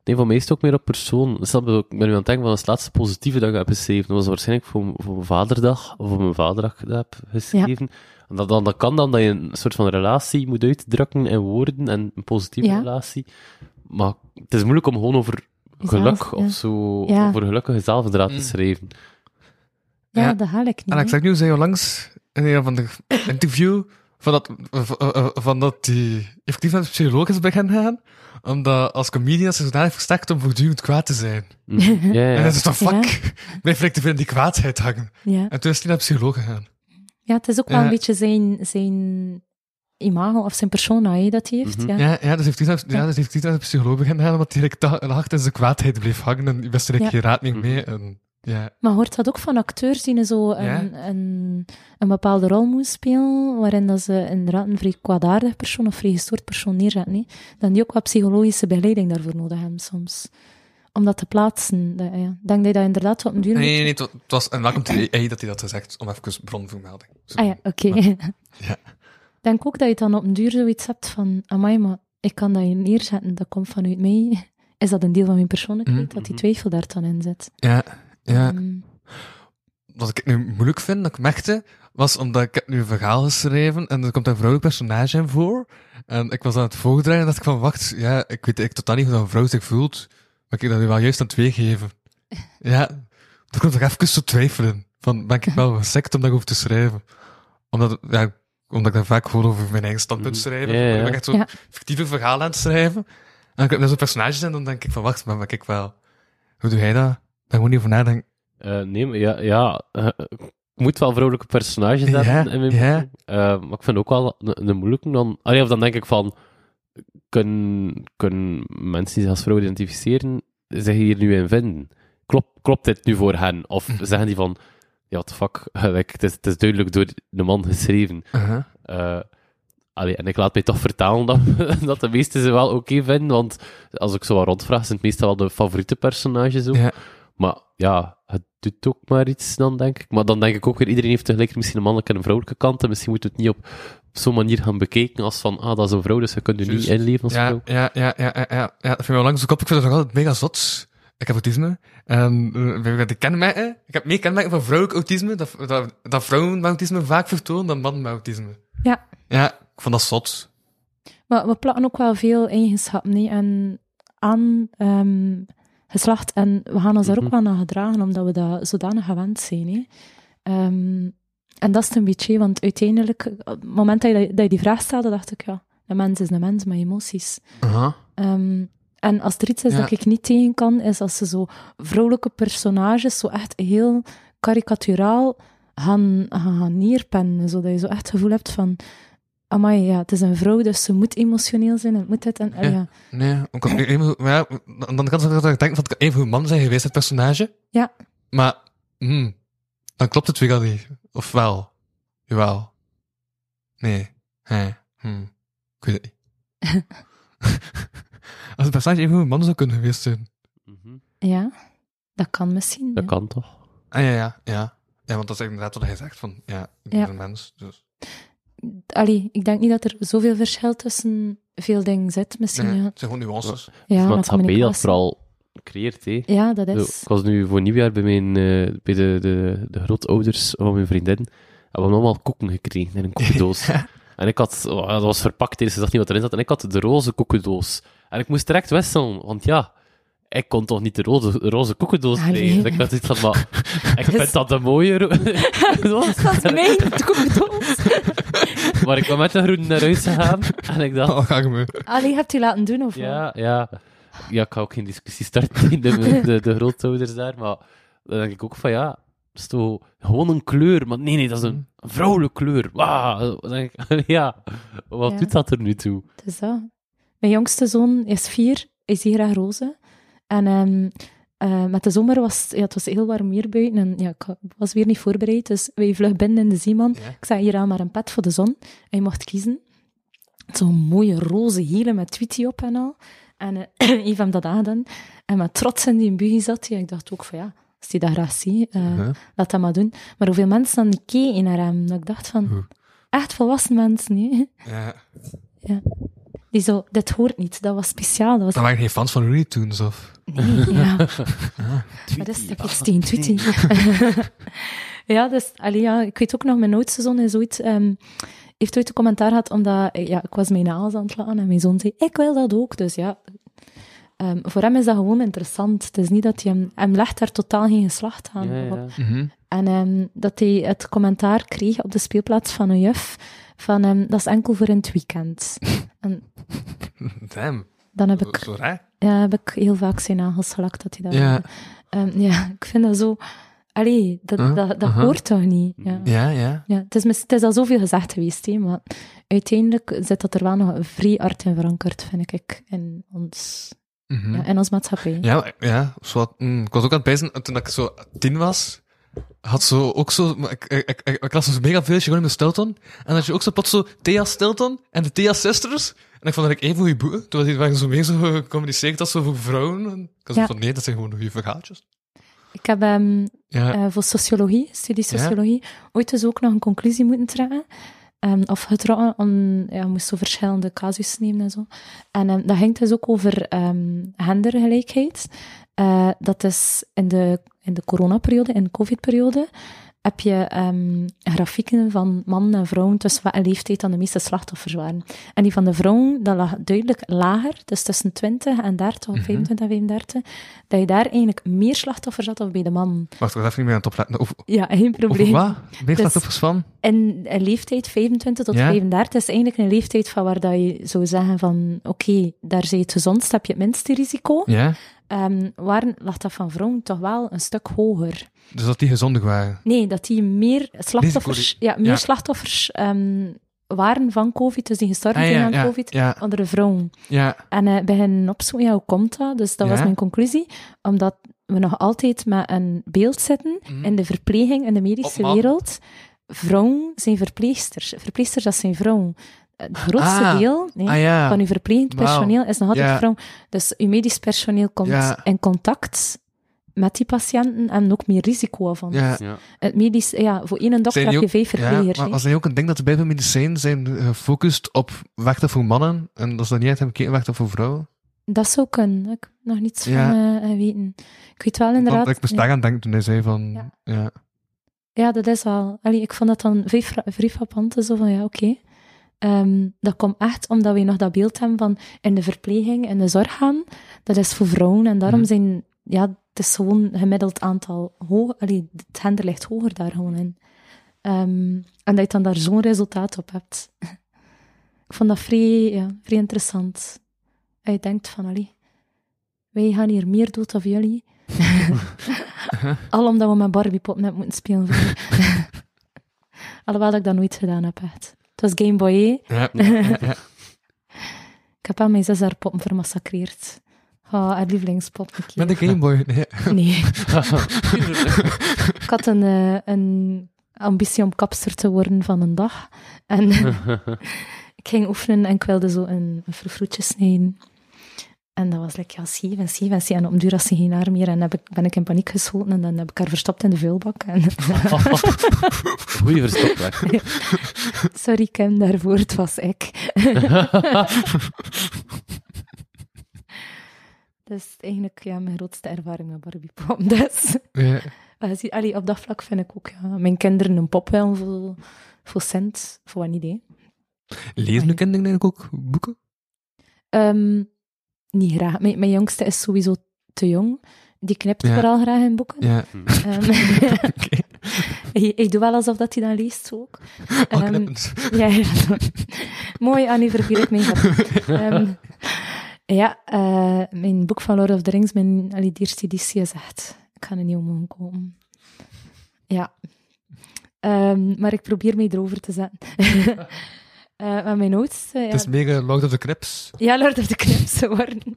S2: Nee, voor mij is het ook meer op persoon. Stel, ik ben nu aan het denken van het laatste positieve dat ik heb geschreven. Dat was waarschijnlijk voor, voor mijn vaderdag, of voor mijn vaderdag dat ik heb geschreven. En dat, dan, dat kan dan dat je een soort van relatie moet uitdrukken in woorden, en een positieve
S4: Ja.
S2: relatie. Maar het is moeilijk om gewoon over
S4: Jezelf,
S2: geluk
S4: ja.
S2: of zo,
S4: Ja.
S2: over gelukkige zelfdraad
S3: Mm.
S2: te schrijven.
S4: Ja,
S3: Ja.
S4: dat haal ik niet.
S3: En Ah, nou, ik
S4: hè.
S3: zag nu, zei je langs in een van de interview van dat, v- eh, van dat die effectief naar de psycholoog is beginnen gaan, omdat als comedian ze zodanig versterkt om voortdurend kwaad te zijn.
S2: Mm. Ja, ja,
S3: En
S2: ja.
S3: dan is het van, fuck, blijf ik te veel in die kwaadheid hangen.
S4: Ja.
S3: En toen is hij naar de psycholoog gegaan.
S4: ja, het is ook wel
S3: Ja.
S4: een beetje zijn, zijn imago of zijn persona hè, dat hij heeft.
S2: Mhm.
S4: ja.
S3: Ja, ja, dus heeft hij naar, ja, dus heeft hij naar de psycholoog beginnen gaan, omdat hij like, dag en nacht in zijn kwaadheid bleef hangen en die wist er like,
S4: Ja.
S3: geen raad meer mee. En, ja.
S4: Maar hoort dat ook van acteurs die zo een,
S3: Ja.
S4: een, een bepaalde rol moeten spelen, waarin dat ze inderdaad een vrij kwaadaardig persoon of vrij gestoord persoon neerzetten, hè, dan die ook wat psychologische begeleiding daarvoor nodig hebben soms. Om dat te plaatsen. Dat, ja. Ik Denk dat je dat inderdaad op een duur...
S3: Nee,
S4: moet-
S3: nee, nee, het wa- het was een welkom to AA dat hij dat gezegd, om even bronvermelding.
S4: Ah ja, oké.
S3: Ja.
S4: Ik denk ook dat je dan op een duur zoiets hebt van, amai, maar ik kan dat hier neerzetten, dat komt vanuit mij. Is dat een deel van mijn persoonlijkheid,
S3: Mhm.
S4: dat die twijfel daar dan in zit?
S3: Ja, ja.
S4: Ehm,
S3: Wat ik nu moeilijk vind, dat ik merkte, was omdat ik heb nu een verhaal geschreven en er komt een vrouwelijk personage in voor. En ik was aan het voordragen en dacht ik van, wacht, ja, ik weet ik totaal niet hoe zo'n vrouw zich voelt, maar ik dat nu wel juist aan het weergeven. Ja, toen kwam ik even zo twijfelen. Van, ben ik wel gesekt om dat over te schrijven? Omdat, ja, omdat ik daar vaak gewoon over mijn eigen standpunt
S2: Mhm.
S3: schrijven.
S2: Ja,
S3: Dan
S2: ja.
S3: ben ik echt zo'n
S4: Ja.
S3: fictieve verhaal aan het schrijven. En ik heb net zo'n personage zijn, dan denk ik van, wacht, maar ben ik wel... Hoe doe jij dat? Daar gewoon niet over nadenken.
S2: Eh, nee, maar ja, ja eh, ik moet wel vrouwelijke personages hebben
S3: Ja,
S2: in mijn
S3: ja.
S2: boeken. Eh, maar ik vind ook wel een, een moeilijke dan... Allee, of dan denk ik van, kunnen, kunnen mensen die zich als vrouw identificeren zich hier nu in vinden? Klopt, klopt dit nu voor hen? Of zeggen die van, ja, what the fuck, like, het, is, het is duidelijk door de man geschreven.
S3: Uh-huh.
S2: Eh, allee, en ik laat mij toch vertalen dat, dat de meesten ze wel oké vinden, want als ik zo wat rondvraag, zijn het meestal wel de favoriete personages ook.
S3: Ja.
S2: Maar ja, het doet ook maar iets dan, denk ik. Maar dan denk ik ook weer, iedereen heeft tegelijk misschien een mannelijke en een vrouwelijke kant, en misschien moet het niet op zo'n manier gaan bekeken als van, ah, dat is een vrouw, dus je kunt er niet
S3: Juist.
S2: inleven als
S3: Ja,
S2: vrouw.
S3: ja, ja, ja, ja, ja, ja. Dat vind ik wel langs de kop. Ik vind dat nog altijd mega zot. Ik heb autisme. En eh, weet ik wat de kenmerken? Ik heb meer kenmerken van vrouwelijk autisme. Dat, dat, dat vrouwen met autisme vaak vertonen dan mannen met autisme.
S4: Ja.
S3: Ja, ik vond dat zot.
S4: Maar we plakken ook wel veel eigenschappen nee? en aan ehm, geslacht. En we gaan ons daar ook
S2: Mhm.
S4: wel naar gedragen, omdat we dat zodanig gewend zijn. hè. Ehm, en dat is het een beetje, want uiteindelijk, op het moment dat je, dat je die vraag stelde, dacht ik, ja, een mens is een mens met emoties. Ehm, en als er iets is
S3: Ja.
S4: dat ik niet tegen kan, is als ze zo vrouwelijke personages zo echt heel karikaturaal gaan, gaan, gaan neerpennen. Zodat je zo echt het gevoel hebt van... Amai, ja, het is een vrouw, dus ze moet emotioneel zijn. en Het moet dit en... ah,
S3: Ja.
S4: ja.
S3: Nee, ik had nu even, maar ja, aan de andere kant zou ik denken dat ik even hoe man zijn geweest, het personage.
S4: Ja.
S3: Maar, hmm, dan klopt het weer al niet. Of wel? Jawel. Nee. Hè. Hmm. Ik weet het niet. Als het personage even hoe man zou kunnen geweest zijn.
S2: Mhm.
S4: Ja, dat kan misschien.
S2: Dat
S4: ja.
S2: kan toch?
S3: Ah ja, ja, ja. Ja, want dat is inderdaad wat hij zegt, van ja, ik ben
S4: Ja.
S3: een mens, dus...
S4: allee, ik denk niet dat er zoveel verschil tussen veel dingen zit. Misschien
S3: Nee,
S4: ja.
S3: het zijn gewoon nuances.
S4: Ja, maar
S2: maatschappij dat
S4: communicatie.
S2: vooral creëert, hè.
S4: Ja, dat
S2: Zo,
S4: is.
S2: ik was nu voor nieuwjaar bij, mijn, eh, bij de, de, de grootouders van mijn vriendin. En we hebben allemaal koeken gekregen in een koekendoos. En ik had, oh, dat was verpakt, dus ze zag niet wat erin zat. En ik had de roze koekendoos. En ik moest direct wisselen, want ja, ik kon toch niet de roze, roze koekendoos
S4: Allee.
S2: krijgen. Dus ik had iets van, maar ik vind dat een mooie roze.
S4: Dat is mijn koekdoos.
S2: maar ik ben met de groene naar huis gegaan. En ik dacht,
S3: Oh, ga ik me.
S4: Allee, hebt u laten doen of wat?
S2: ja, ja. Ja, ik ga ook geen discussie starten in de, de, de grootouders daar, maar dan denk ik ook van ja, dat is toch gewoon een kleur, maar nee, nee, dat is een
S4: Mm.
S2: een vrouwelijke kleur. Wauw, dan denk ik, ja, wat
S4: Ja.
S2: doet dat er nu toe?
S4: Het is dat. Mijn jongste zoon is vier, hij zie graag rozen. En ehm, eh, met de zomer was ja, het was heel warm weer buiten. En ja, ik was weer niet voorbereid, dus wij vlug binnen in de Zeeman.
S3: Ja.
S4: Ik zei hier aan maar een pet voor de zon. Hij mocht kiezen. Zo'n mooie roze hele met Tweety op en al. En eh, Yves heeft hem dat aangedaan. En met trots in die buggy zat hij. Ik dacht ook van ja, als hij dat graag ziet, eh,
S3: Ja.
S4: laat dat maar doen. Maar hoeveel mensen dan niet keken naar hem. Dat ik dacht van, echt volwassen mensen, hè?
S3: Ja.
S4: Die zo, dit hoort niet, dat was speciaal. Dat
S3: Dan
S4: was...
S3: waren geen fans van Looney Tunes of.
S4: Nee, ja. Dat is de Christine Tweety. ja, dus, allee, ja, ik weet ook nog, mijn oudste zoon is ooit, ehm, heeft ooit een commentaar gehad, omdat eh, ja, ik was mijn naals aan het laten en mijn zoon zei, ik wil dat ook. Dus ja, ehm, voor hem is dat gewoon interessant. Het is niet dat hij hem, hem legt daar totaal geen geslacht aan.
S2: Ja,
S4: Op-
S2: ja.
S4: en ehm, dat hij het commentaar kreeg op de speelplaats van een juf, van ehm, dat is enkel voor in het weekend. en
S3: Damn.
S4: dan heb
S3: Zo-
S4: ik
S3: Zo raar.
S4: ja, heb ik heel vaak zijn nagels gelakt dat hij dat
S3: Ja.
S4: wilde. Ehm, ja, ik vind dat zo... Allee, dat,
S3: Huh?
S4: dat, dat
S3: Aha.
S4: hoort toch niet? Ja.
S3: Ja, ja.
S4: Ja, het, is, mis- het is al zoveel gezegd geweest, hè, maar uiteindelijk zit dat er wel nog vrij hard in verankerd, vind ik, in ons,
S3: Mhm.
S4: ja, in ons maatschappij.
S3: Ja, maar- ja zo had- mm, ik was ook aan het bijzen, en toen ik zo tien was, had zo ook zo, maar ik, ik, ik, ik, ik las dus mega veel gewoon in mijn Stilton, en had je ook zo plots zo Thea Stilton en de Thea Sisters, en ik vond dat ik één goede boeken, toen was die waren zo mee zo gecommuniceerd als zo voor vrouwen, en ik was
S4: Ja.
S3: van nee, dat zijn gewoon goede verhaaltjes.
S4: Ik heb ehm,
S3: Ja,
S4: eh, voor sociologie, studie sociologie, ooit dus ook nog een conclusie moeten trekken. Ehm, of getrokken, om, ja, je moest zo verschillende casussen nemen en zo. En ehm, dat ging dus ook over ehm, gendergelijkheid. Eh, dat is in de, in de coronaperiode, in de covid-periode, heb je ehm, grafieken van mannen en vrouwen tussen wat een leeftijd dan de meeste slachtoffers waren. En die van de vrouwen, dat lag duidelijk lager, dus tussen 20 en 30, of 25 en 35, dat je daar eigenlijk meer slachtoffers had dan bij de mannen.
S3: wacht, ik was even niet meer aan het opletten. Over,
S4: Ja, geen probleem.
S3: over wat? Meer
S4: Dus-
S3: slachtoffers van?
S4: En een leeftijd 25 tot
S3: Ja.
S4: 35 is eigenlijk een leeftijd van waar dat je zou zeggen van oké, daar zie je het gezondst, heb je het minste risico.
S3: Ja,
S4: Ehm, waar lag dat van vrouwen toch wel een stuk hoger?
S3: dus dat die gezondig waren.
S4: Nee, dat die meer slachtoffers,
S3: Risico-
S4: ja, meer
S3: ja.
S4: slachtoffers ehm, waren van COVID, dus die gestorven
S3: Ah,
S4: zijn
S3: ja,
S4: aan
S3: ja,
S4: COVID,
S3: ja.
S4: andere vrouwen.
S3: Ja,
S4: En eh bij hen opzoeken, ja, hoe komt dat? Dus dat
S3: Ja.
S4: was mijn conclusie, omdat we nog altijd met een beeld zitten in de verpleging, in de medische
S3: Hm. Op man.
S4: wereld. Vrouwen zijn verpleegsters. Verpleegsters, dat zijn vrouwen. Het grootste
S3: Ah.
S4: deel nee,
S3: Ah, ja.
S4: van uw verplegend
S3: Wauw.
S4: personeel is nog altijd
S3: Ja.
S4: vrouw. Dus uw medisch personeel komt
S3: Ja.
S4: in contact met die patiënten en ook meer risico van.
S3: ja.
S2: Ja.
S4: Het medisch, ja, voor één dokter
S3: Zijn die
S4: heb je
S3: ook-
S4: vijf
S3: Ja,
S4: verplegers.
S3: maar
S4: hè.
S3: was er niet ook een ding dat de Bijbel medicijnen zijn eh, gefocust op wachten voor mannen en dat ze dan niet echt hebben gekeken wachten voor vrouwen?
S4: Dat zou kunnen. Ik heb nog niets
S3: Ja.
S4: van eh, weten. Ik weet wel inderdaad...
S3: Want ik moest
S4: ja.
S3: daar aan denken toen hij zei van, ja,
S4: Ja. Ja, dat is wel. Allee, ik vond dat dan vrij fra- vrij frappant. Zo van, ja, oké. Ehm, dat komt echt omdat we nog dat beeld hebben van in de verpleging, in de zorg gaan. Dat is voor vrouwen en daarom
S3: Mhm.
S4: zijn... Ja, het is gewoon gemiddeld aantal hoog... Allee, het gender ligt hoger daar gewoon in. Ehm, en dat je dan daar zo'n resultaat op hebt. ik vond dat vrij, ja, vrij interessant. En je denkt van, allee, wij gaan hier meer dood dan jullie. Al omdat we met Barbie-poppen hebben moeten spelen. vroeger. Alhoewel dat ik dat nooit gedaan heb, echt. Het was Game Boy, hè.
S3: ja, ja, ja.
S4: Ik heb al mijn zes haar poppen vermassacreerd. Ah, haar lievelingspop. een keer.
S3: met de Gameboy. Nee.
S4: Nee. ik had een, eh, een ambitie om kapster te worden van een dag. En ik ging oefenen en ik wilde zo een, een verfroetje snijden. En dat was like, ja, Steven, Steven, Steven. En op een duur had ze geen haar meer en heb ik, ben ik in paniek geschoten en dan heb ik haar verstopt in de vuilbak. En
S2: Goeie verstopplek.
S4: sorry Kim, daarvoor, het was ik. dus eigenlijk, ja, mijn grootste ervaring met Barbie Pop. Dus,
S3: Ja.
S4: eh, zie- allee, op dat vlak vind ik ook, ja, mijn kinderen een pop wel voor, voor cent, voor een idee.
S3: Lezen de kinderen eigenlijk ook boeken?
S4: Ehm, niet graag. Mijn, mijn jongste is sowieso te jong. Die knipt
S3: Ja.
S4: vooral graag in boeken.
S3: Ja.
S4: Ehm, ik, ik doe wel alsof dat hij dan leest ook.
S3: Al
S4: Ehm,
S3: knippend.
S4: ja, ja. Mooi, Annie, vergeet ik mijn grap. Ehm, ja, eh, mijn boek van Lord of the Rings, mijn allee, die eerste editie, is echt... Ik ga er niet om mogen komen. Ja. Ehm, maar ik probeer mij erover te zetten. Eh, maar mijn oudste... ja,
S3: Het is mega Lord of the Crips.
S4: ja, Lord of the Crips ze worden.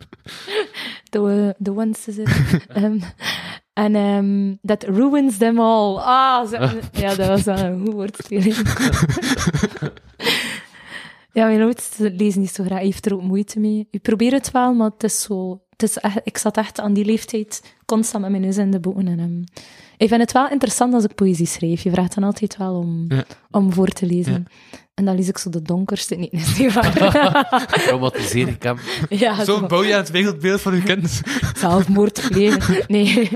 S4: De, de ones is het. Ehm, En ehm, dat ruins them all. Ah, ze- ja, dat was wel een goed woordspeling. ja, mijn oudste leest niet zo graag. Hij heeft er ook moeite mee. Ik probeer het wel, maar het is zo... Het is echt, ik zat echt aan die leeftijd constant met mijn neus in de boeken. En, ehm, ik vind het wel interessant als ik poëzie schrijf. Je vraagt dan altijd wel om,
S3: Ja.
S4: om voor te lezen. En dan lees ik zo de donkerste. Nee, dat is niet waar.
S2: Traumatiseer ik hem.
S4: Ja, zo
S3: Zo bouw je het wereldbeeld van je kind.
S4: zelfmoord plegen. Nee,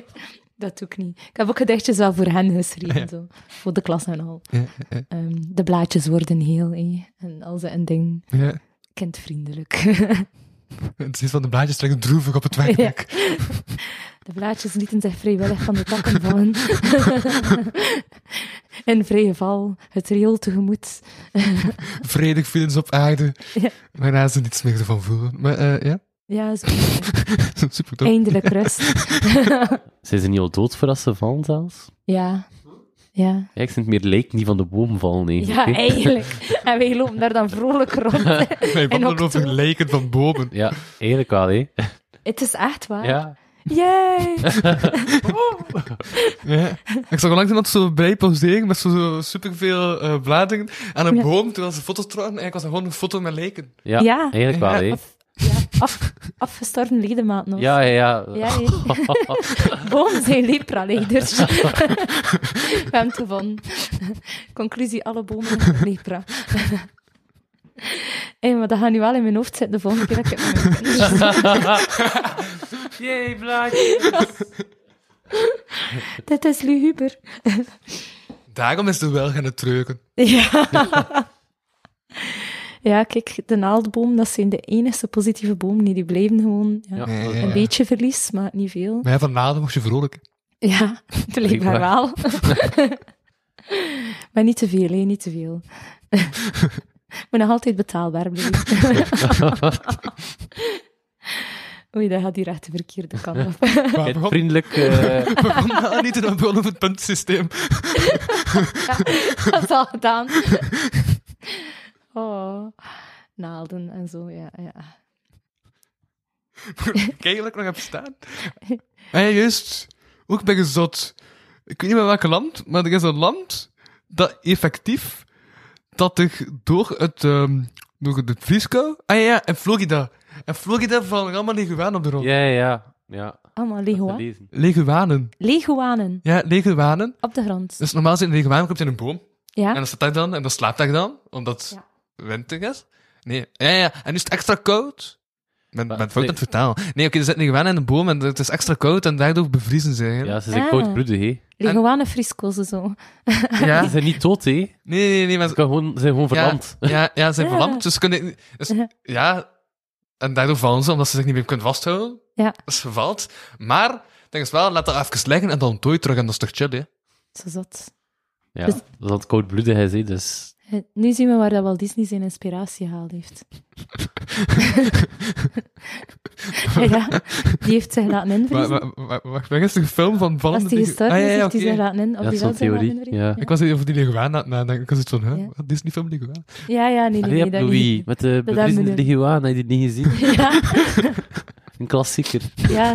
S4: dat doe ik niet. Ik heb ook gedichtjes wel voor hen geschreven, zo. voor de klas en al.
S3: Ja, ja,
S4: Ehm, de blaadjes worden heel, eh. en al ze een ding,
S3: ja.
S4: kindvriendelijk.
S3: Het is van de blaadjes trekt droevig op het werk.
S4: De blaadjes lieten zich vrijwillig van de takken vallen. In vrije val, het riool tegemoet.
S3: Vredig vielen ze op aarde.
S4: Ja.
S3: Waarna ze niets meer ervan voelen. Maar eh, ja,
S4: Ja, zo.
S3: super tof.
S4: eindelijk rust.
S2: Zijn ze niet al dood voor als ze vallen zelfs?
S4: Ja, ja.
S2: Ja, ik vind het meer lijk niet van de boom vallen, nee.
S4: Ja, eigenlijk. En wij lopen daar dan vrolijk rond.
S3: Wij wandelen
S4: oktober.
S3: over lijken van bomen.
S2: Ja, eigenlijk wel, hè.
S4: Het is echt waar.
S2: Ja.
S4: Yay!
S3: Ja. Ik zag onlangs iemand zo bij poseren met zo, zo superveel eh, bladeren aan een
S4: Ja.
S3: boom, terwijl ze foto's trokken. Eigenlijk was het gewoon een foto met lijken.
S2: Ja,
S4: Ja.
S2: eigenlijk wel, hè.
S4: Af, ja, af, afgestorven ledemaat nog.
S2: Ja, ja, ja.
S4: Ja, hè. Boom zijn lepra-leiders. dus. We hebben het gevonden. Conclusie, alle bomen hebben lepra. Hé, maar dat gaat nu wel in mijn hoofd zitten de volgende keer dat ik het met mijn kinderen doe.
S2: Jee, blaadje.
S4: Dit is luguber.
S3: Daarom is de wel gaan het treuken.
S4: Ja. Ja, kijk, de naaldboom, dat zijn de enige positieve bomen. Nee, die blijven gewoon ja,
S2: Ja,
S3: Ja, ja,
S2: dat is-
S3: ja.
S4: een beetje verlies, maar niet veel.
S3: Maar ja, van naden mocht je vrolijk.
S4: Ja, blijkbaar wel. maar niet te veel, hè, niet te veel. Moet nog altijd betaalbaar blijven. Oei, dat gaat hier echt de verkeerde kant op.
S3: Maar
S2: Het
S3: waarom,
S2: vriendelijk... eh,
S3: waarom nou niet een bron op het puntsysteem?
S4: dat is al gedaan. Oh, naalden en zo, ja. ja.
S3: Kijk wat ik nog heb staan. En ja, juist, ook bij gezot. Ik weet niet meer welk land, maar er is een land dat effectief dat er door het ehm, door de vrieskou... Ah ja, ja, en Florida. En Florida vallen er allemaal leguanen op de grond.
S2: Ja, ja, ja.
S4: Allemaal
S2: Te
S4: leguanen.
S2: lezen.
S3: Leguanen.
S4: Leguanen,
S3: Ja, leguanen.
S4: op de grond.
S3: Dus normaal zit een leguaan komt in een boom.
S4: Ja,
S3: En dan staat hij dan, en dan slaapt hij dan, omdat het winter is. Nee, ja, ja, en nu is het extra koud. Met,
S2: Maar-
S3: met fout aan het vertaal. Nee, oké, er zit een leguaan in een boom en het is extra koud en daardoor bevriezen ze. hè.
S2: Ja, ze zijn
S4: Ah.
S2: koud bloedig, hè.
S4: leguanen friskozen zo.
S3: Ja.
S2: Ze zijn niet dood, hè. Ze
S3: Nee, nee, nee, maar...
S2: kan gewoon- ze zijn gewoon
S3: Ja,
S2: verlamd.
S3: ja, ja, ze zijn
S4: Ja.
S3: verlamd, dus ze kunnen... Dus,
S4: Ja.
S3: ja, en daardoor vallen ze, omdat ze zich niet meer kunnen vasthouden.
S4: Ja.
S3: Dus ze valt. Maar, denk eens wel, laat dat even liggen en dan dooi terug en dat is toch chill, hè.
S4: Zo zat.
S2: Ja,
S4: Dus-
S2: dat is wat koud bloedig is, hè. Dus
S4: Eh, Nu zien we waar dat Walt Disney zijn inspiratie gehaald heeft. ja, die heeft zich laten
S3: Maar,
S4: invriezen.
S3: maar, maar, wacht, waar is de film van
S4: Als
S3: vallende
S4: die gestorven
S3: Ah, ja,
S4: is,
S3: ja,
S4: heeft hij
S3: oké.
S4: zich laten in, op
S2: dat
S4: die
S2: is zo'n
S4: wel zijn laten
S2: theorie.
S4: invriezen.
S2: Ja.
S3: Ik was even over die leguaan aan het nadenken. Ik was iets van, hè,
S4: Ja.
S3: wat, Disney-film leguaan?
S4: Ja, ja, nee, nee,
S2: Allee,
S4: nee.
S2: heb
S4: dat
S2: Louis,
S4: niet.
S2: met de
S4: Dat hebben
S2: bevriezende
S4: we nu.
S2: leguaan, heb je die niet gezien?
S4: Ja,
S2: Een klassieker.
S4: ja.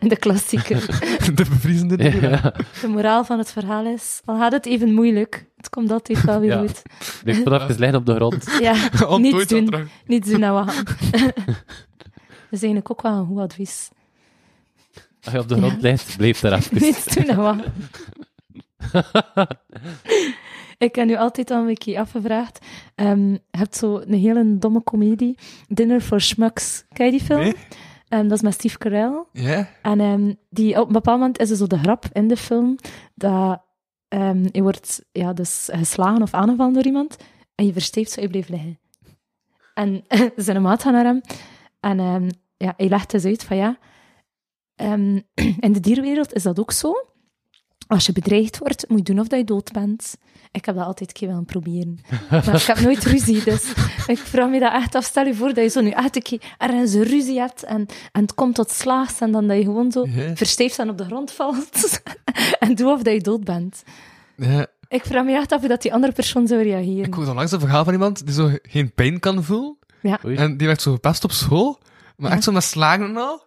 S4: De klassieker.
S3: De bevriezende leguaan.
S2: Ja.
S4: De moraal van het verhaal is, al gaat het even moeilijk, het komt altijd wel weer
S2: Ja.
S4: goed.
S2: Ik vond even liggen op de grond.
S4: Ja,
S3: Ontdooid
S4: niets
S3: dat
S4: doen.
S3: terug.
S4: Niets doen aan wachten. is eigenlijk ook wel een goed advies.
S2: Als je op de grond ligt, blijf daar even.
S4: Niets doen, hè, wat. Ik heb nu altijd al een keer afgevraagd. ehm, je hebt zo een hele domme komedie, Dinner for Schmucks. Ken je die film?
S3: Nee.
S4: Ehm, dat is met Steve Carell.
S3: Ja?
S4: En ehm, die, op een bepaald moment is er zo de grap in de film dat ehm, je wordt ja, dus geslagen of aangevallen door iemand en je versteeft zo, je blijft liggen. En zijn maat gaat naar hem en ehm, ja, hij legt dus uit van ja, ehm, in de dierwereld is dat ook zo. Als je bedreigd wordt, moet je doen of dat je dood bent. Ik heb dat altijd een keer willen proberen. Maar ik heb nooit ruzie, dus ik vraag me dat echt af. Stel je voor dat je zo nu echt een keer ergens een ruzie hebt en, en het komt tot slaags en dan dat je gewoon zo
S3: Ja.
S4: versteefd en op de grond valt. en doe of dat je dood bent.
S3: ja.
S4: Ik vraag me echt af hoe dat die andere persoon zou reageren.
S3: Ik hoorde onlangs een verhaal van iemand die zo geen pijn kan voelen.
S4: Ja.
S2: Oei.
S3: En die werd zo gepest op school, maar echt zo met slagen en al.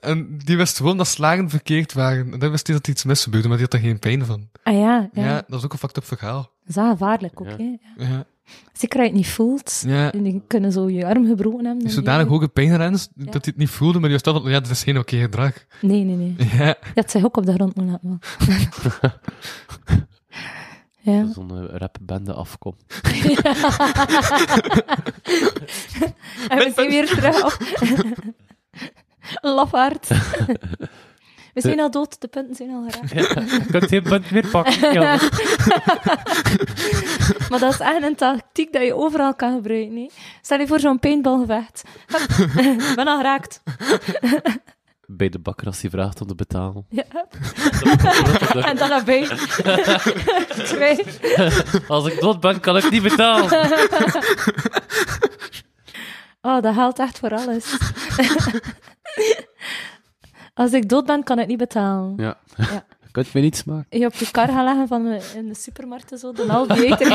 S3: En die wist gewoon dat slagen verkeerd waren. En dan wist hij dat er iets mis gebeurde, maar die had er geen pijn van.
S4: Ah ja, ja.
S3: Ja, dat is ook een fucked up verhaal.
S4: dat is wel gevaarlijk ook.
S2: Ja.
S4: hè. Ja.
S3: Ja.
S4: Zeker als je het niet voelt.
S3: ja.
S4: En die kunnen zo je arm gebroken hebben.
S3: Die
S4: dan
S3: zodanig
S4: weer.
S3: hoge pijngrens dat hij het niet voelde, maar die was wel van, ja, dat is geen oké gedrag.
S4: Nee, nee, nee.
S3: Ja.
S4: Je had zich ook op de grond moeten laten. man. ja.
S2: Zo'n eh, rapbende afkomt.
S4: En we zijn weer terug op... Lafaard. We zijn al dood, de punten zijn al geraakt.
S2: Je kunt geen punt meer pakken.
S4: Maar dat is echt een tactiek dat je overal kan gebruiken. hè. Stel je voor zo'n paintballgevecht. Hup, ben al geraakt.
S2: Bij de bakker als hij vraagt om te betalen.
S4: Ja, hup. en dan naar bij. Twee.
S2: Als ik dood ben, kan ik niet betalen.
S4: Oh, dat geldt echt voor alles. Als ik dood ben, kan ik niet betalen.
S2: Ja.
S4: Ja.
S2: Je kunt me niets maken.
S4: Je op je kar gaan leggen van eh, in de supermarkt en zo, dan al die eten.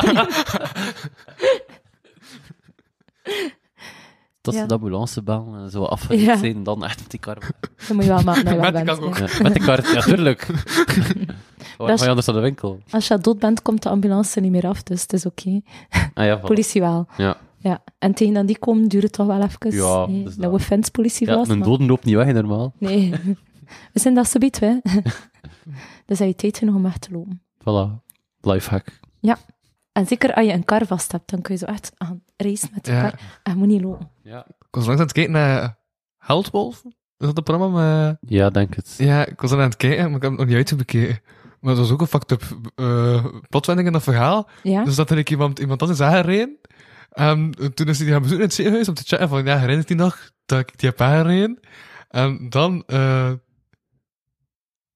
S2: Dat is
S4: Ja.
S2: de ambulance bellen en zo afgericht
S4: Ja.
S2: zijn, dan echt met die kar.
S4: Dat moet je wel maken, dat je wel
S3: Met die
S4: bent.
S3: kar ook.
S4: ja.
S2: Ja, met de kar, ja, tuurlijk. Waar
S4: Dat
S2: ga
S4: is-
S2: je anders aan de winkel?
S4: Als je dood bent, komt de ambulance niet meer af, dus het is oké.
S2: Ah ja, voilà.
S4: Politie wel.
S2: Ja.
S4: Ja. En tegen dat die komen, duurt het toch wel even.
S2: Ja,
S4: nee,
S2: dat is
S4: dat
S2: dat.
S4: we fans politie
S2: Ja,
S4: vast.
S2: een
S4: maar-
S2: doden loopt niet weg, hè, normaal.
S4: Nee. We zijn dat subiet, hè. Dus heb je tijd genoeg om weg te lopen.
S2: Voilà. Lifehack.
S4: En zeker als je een kar vast hebt, dan kun je zo echt aan racen met de
S3: Ja.
S4: kar. En je moet niet lopen.
S2: Ja.
S3: Ik was langs aan het kijken naar Heldwolf. Is dat een programma? Maar...
S2: Ja, denk het.
S3: Ja, ik was aan het kijken, maar ik heb het nog niet uitbekeken. Maar dat was ook een fucked up eh, plotwending in dat verhaal.
S4: Ja?
S3: Dus dat er ik iemand, iemand anders aangereden. Ehm, En toen is hij die gaan bezoeken in het ziekenhuis om te checken van, ja, herinnert hij nog dat ik die heb aangereden? En dan, eh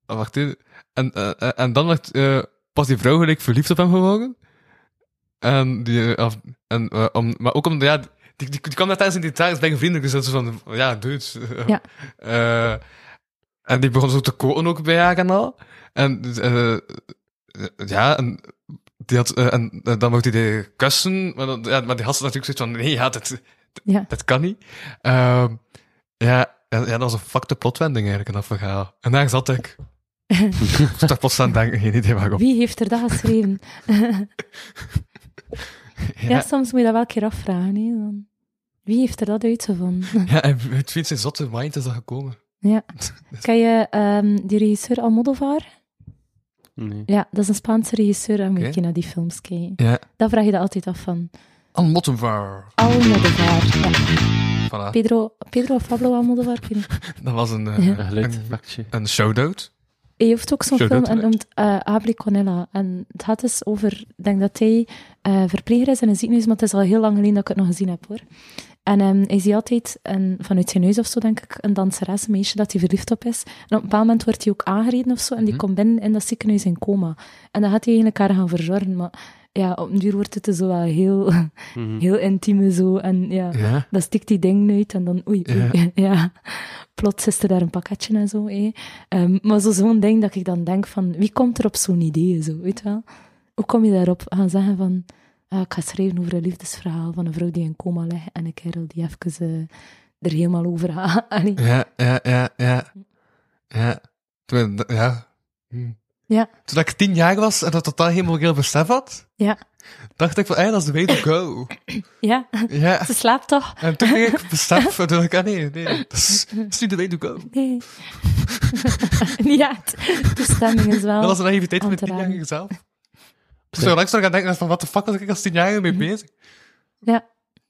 S3: oh, wacht even. En, eh, eh, en dan werd, eh, pas die vrouw gelijk verliefd op hem geworden. En die, eh, af- en, eh, om, maar ook omdat, ja, die, die, die kwam net tijdens in die taak, is vriendelijk, dus dat is van, ja, dudes.
S4: Ja.
S3: Eh, en die begon zo te koken ook bij haar en al. En, eh, eh, ja, en die had, eh, en eh, dan mocht hij die kussen, maar, dan- ja, maar die had ze natuurlijk zoiets van, nee, ja, dat,
S4: Ja.
S3: dat kan niet. Ehm, ja, ja, ja, dat was een fucked up plotwending eigenlijk in dat verhaal. En daar zat ik. ik was daar plots aan het denken, geen idee waarom.
S4: Wie heeft er dat geschreven? Ja,
S3: Ja,
S4: soms moet je dat wel een keer afvragen. Hè? Dan, wie heeft er dat uitgevonden?
S3: ja, en het vindt zijn zotte mind is dat gekomen.
S4: ja. Ken je ehm, die regisseur Almodovar?
S2: Nee.
S4: Ja, dat is een Spaanse regisseur. En moet je
S3: Oké.
S4: een keer naar die films kijken.
S3: Ja.
S4: Daar vraag je dat altijd af van.
S3: An Mottenvar.
S4: Almodovar.
S3: Voilà,
S4: Ja. Pedro, Pedro of Pablo Almodovar. ik weet niet.
S3: dat was een, eh,
S4: Ja.
S2: Een
S3: een,
S2: geluidfactje.
S3: een shoutout.
S4: Hij heeft ook zo'n
S3: Zo
S4: film
S3: doet hij
S4: en
S3: dat.
S4: noemt eh Abri Conella. En het gaat dus over, ik denk dat hij eh, verpleger is in een ziekenhuis, maar het is al heel lang geleden dat ik het nog gezien heb hoor. En ehm, hij ziet altijd een, vanuit zijn huis of zo, denk ik, een danseres, een meisje dat hij verliefd op is. En op een bepaald moment wordt hij ook aangereden of zo, en die komt binnen in dat ziekenhuis in coma. En dan gaat hij eigenlijk haar gaan verzorgen, maar ja, op een duur wordt het dus zo wel heel, heel intieme zo. En ja,
S3: Ja.
S4: dan stikt die ding uit en dan oei, oei.
S3: Ja.
S4: Ja. Plots is er daar een pakketje en zo. hè. Ehm, maar zo- zo'n ding dat ik dan denk van, wie komt er op zo'n idee? Zo, weet je wel? Hoe kom je daarop gaan zeggen van, ah, ik ga schrijven over een liefdesverhaal van een vrouw die in coma ligt en een kerel die even eh, er helemaal over gaat. Allee.
S3: Ja, ja, ja, ja. Ja. Terwijl, ja. Hm.
S4: Ja,
S3: Toen ik tien jaar was en dat totaal geen moreel besef had,
S4: ja,
S3: dacht ik van, hey, dat is de way to go.
S4: ja.
S3: Ja.
S4: Ze slaapt toch?
S3: En toen kreeg ik besef, en toen dacht ik, ah nee, nee, dat is, dat is niet de way to go.
S4: Nee. ja, de stemming is wel...
S3: Dat was de naïviteit van
S4: aan
S3: de
S4: te raden.
S3: tienjarige zelf. Dus toen ik straks nog aan denken was van, wat de fuck was ik als tienjarige
S4: Hmm.
S3: mee bezig?
S4: Ja,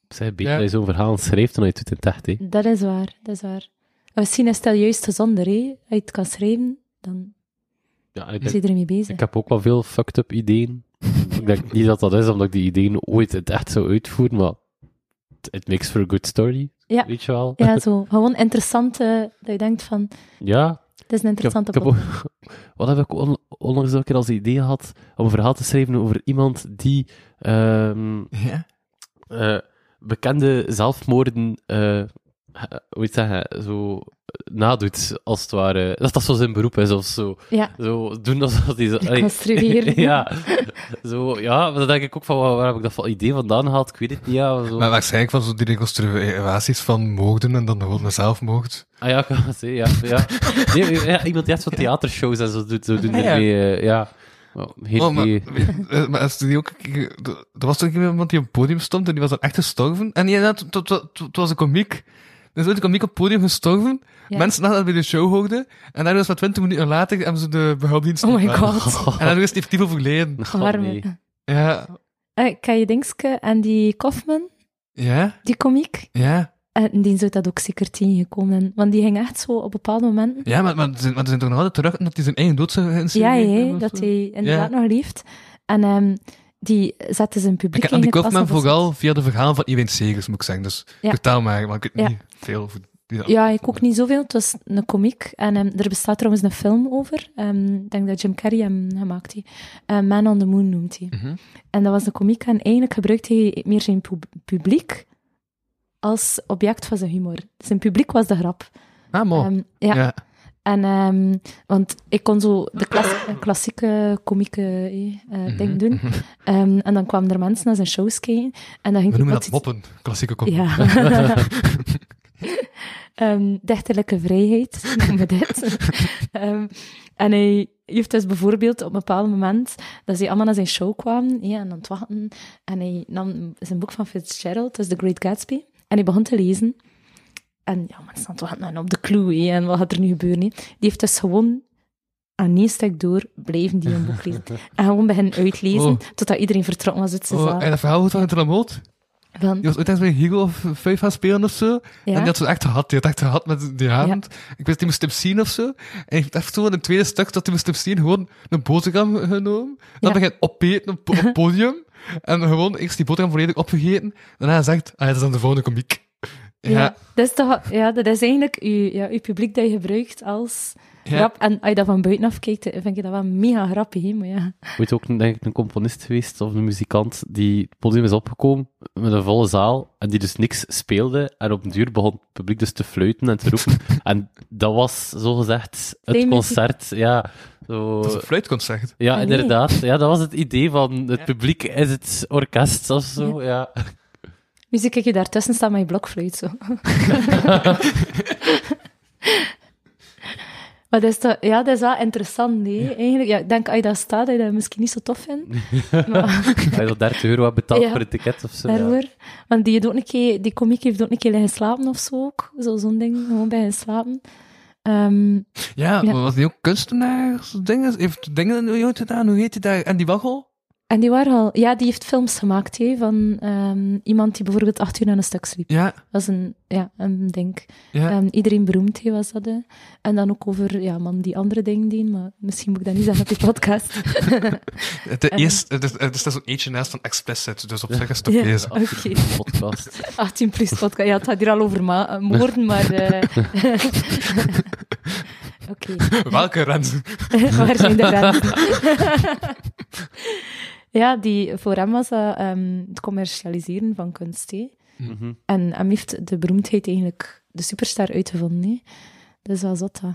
S2: Zeg, Beek,
S3: Ja.
S2: dat je zo'n verhaal schrijft en dat je het doet in het echt, hè.
S4: dat is waar, dat is waar. En misschien is dat juist gezonder, hè. Als je het kan schrijven, dan
S2: Ja, en ik,
S4: ben
S2: denk-
S4: je ermee bezig.
S2: ik heb ook wel veel fucked up ideeën. ik denk niet dat dat is omdat ik die ideeën ooit in het echt zou uitvoeren, maar het- it makes for a good story,
S4: Ja.
S2: weet je wel.
S4: Ja, zo. Gewoon interessant, eh, dat je denkt van,
S2: ja,
S4: het is een
S2: Ik heb-
S4: interessante
S2: ik heb
S4: podcast.
S2: ook- Wat heb ik on- onlangs ook een keer als idee gehad om een verhaal te schrijven over iemand die ehm,
S3: Ja.
S2: eh, bekende zelfmoorden, eh, eh, hoe heet dat, zo eh, nadoet, als het ware. Dat dat zo zijn beroep is, of zo.
S4: Ja,
S2: Zo doen alsof die... zo- allee.
S4: Reconstrueren.
S2: ja. Zo, ja, maar dan denk ik ook van, waar, waar heb ik dat van idee vandaan gehaald? Ik weet het niet, ja. maar Zo.
S3: Maar waarschijnlijk van zo die reconstruaties van moorden en dan gewoon mezelf moord.
S2: Ah ja, ik kan het zeggen, ja. ja. Nee, ja, iemand die echt van theatershows en zo doet, zo doen
S3: Ah, ja.
S2: ermee, eh, ja. Oh, Geen
S3: Oh, maar,
S2: idee.
S3: eh, maar als die ook, er was toch iemand die op het podium stond en die was dan echt gestorven. En ja, het het- het- het was een komiek. Er is ooit een komiek op het podium gestorven.
S4: Ja.
S3: Mensen hadden dat bij de show hoorden. En daar was maar 20 minuten later hebben ze de behulpdienst.
S4: oh my
S3: gebeld.
S4: god.
S3: En daar is het effectief overleden.
S2: Oh,
S4: Arme.
S2: nee.
S3: Ja.
S4: Eh, kan je Dingske en die Kaufman,
S3: Ja?
S4: die komiek,
S3: Ja?
S4: en die zou dat ook zeker tien gekomen. Want die ging echt zo op bepaalde momenten.
S3: Ja, maar, maar, er zijn- maar er zijn toch nog altijd terug dat hij zijn eigen dood zou
S4: Ja,
S3: geïnstalleerd
S4: hè,
S3: hebben of
S4: dat
S3: zo?
S4: hij inderdaad nog leeft. En ehm, die zette zijn
S3: Ik
S4: publiek
S3: ken die
S4: eigenlijk
S3: Kaufman
S4: pas op-
S3: vooral via de verhaal van Iwijn Segers, moet ik zeggen. Dus
S4: Ja.
S3: vertel maar, maar ik weet
S4: Ja.
S3: niet veel over die
S4: Ja, ik ook niet zoveel. Het was een komiek. En ehm, er bestaat trouwens een film over. Ehm, ik denk dat Jim Carrey hem gemaakt heeft. Eh, Man on the Moon noemt hij.
S3: Mhm.
S4: En dat was een komiek. En eigenlijk gebruikte hij meer zijn pub- publiek als object van zijn humor. Zijn publiek was de grap.
S3: Ah, mooi.
S4: Ehm, ja.
S3: ja.
S4: En, ehm, want ik kon zo de klas- klassieke komieke eh,
S3: Mhm,
S4: eh, ding doen. Ehm, en dan kwamen er mensen naar zijn shows kijken. En dan ging
S3: We
S4: die
S3: noemen dat
S4: plots-
S3: moppen. Klassieke kop.
S4: Ja. Ehm dichterlijke vrijheid, noemen we dit. Ehm, en hij heeft dus bijvoorbeeld op een bepaald moment dat ze allemaal naar zijn show kwamen ja, en aan het wachten. En hij nam zijn boek van Fitzgerald, dus The Great Gatsby, en hij begon te lezen. En ja, mensen aan het wachten en op de clue, hè, en wat gaat er nu gebeuren? hè? Die heeft dus gewoon aan één stuk door blijven die een boek lezen. En gewoon beginnen uitlezen,
S3: Oh.
S4: totdat iedereen vertrokken was uit zijn
S3: Oh,
S4: zaal.
S3: en dat verhaal wordt van Hunter Lamoot.
S4: Van,
S3: Die was ooit eens bij Hegel of Vijf gaan spelen of zo. En die
S4: ja,
S3: had ze echt gehad. Die had echt gehad met die avond. Ik wist, die moest hem zien of zo. En die heeft echt zo in het tweede stuk dat hij moest hem zien, gewoon een boterham genomen. Dan
S4: Ja.
S3: begint opeten op, op het podium. en gewoon eerst die boterham volledig opgegeten. Daarna zegt, ah, ja, dat is dan de volgende komiek. Ja.
S4: ja. Dat, is toch, ja, dat is eigenlijk je, ja, uw publiek dat je gebruikt als
S3: Ja.
S4: grap. En als je dat van buitenaf kijkt, eh, vind ik dat wel mega grappig. Hè? Maar ja.
S2: Ooit ook, denk ik, een componist geweest of een muzikant die het podium is opgekomen met een volle zaal en die dus niks speelde. En op een duur begon het publiek dus te fluiten en te roepen. en dat was, zogezegd, het
S4: Playmuziek.
S2: concert. Ja, zo...
S3: Dat is een fluitconcert.
S2: ja
S4: Ah, nee.
S2: inderdaad. Ja, dat was het idee van het publiek is het orkest of zo. Ja.
S4: Nu zie ik je daartussen staan met je blokfluit. Zo. maar dat is, toch, ja, dat is wel interessant. Hè? Eigenlijk, ja, ik denk als je dat staat, dat je dat misschien niet zo tof vindt.
S2: Als je dat 30 euro hebt betaald
S4: Ja.
S2: voor een ticket of zo. ja.
S4: Daarvoor. Want die, heeft ook een keer, die komiek heeft ook een keer liggen slapen of zo. Ook. Zo, zo'n ding, gewoon bij hen slapen. Ehm,
S3: Ja,
S4: Ja.
S3: maar was die ook kunstenaars? Dingen, heeft dingen ooit gedaan? Hoe heet die daar? En die waggel?
S4: En die waren al, ja, die heeft films gemaakt hè, van ehm, iemand die bijvoorbeeld acht uur aan een stuk sliep.
S3: Ja,
S4: Dat is een, ja, een ding.
S3: ja.
S4: Ehm, iedereen beroemd hè, was dat. hè. En dan ook over, ja, man, die andere dingen doen, maar misschien moet ik dat niet zeggen op die podcast.
S3: Het is, het is, het is dus zo'n eentje naast van explicit, dus op zich is het oké.
S4: Ja,
S3: zo.
S4: Oké,
S2: Podcast.
S4: 18 plus podcast. Ja, het gaat hier al over ma- eh, moorden, maar... eh, Oké.
S3: Welke rente?
S4: Waar zijn de grenzen? ja, die, voor hem was dat ehm, het commercialiseren van kunst. hè.
S2: Mhm.
S4: En hem heeft de beroemdheid eigenlijk de superster uitgevonden. hè. Dat is wel zot, hè.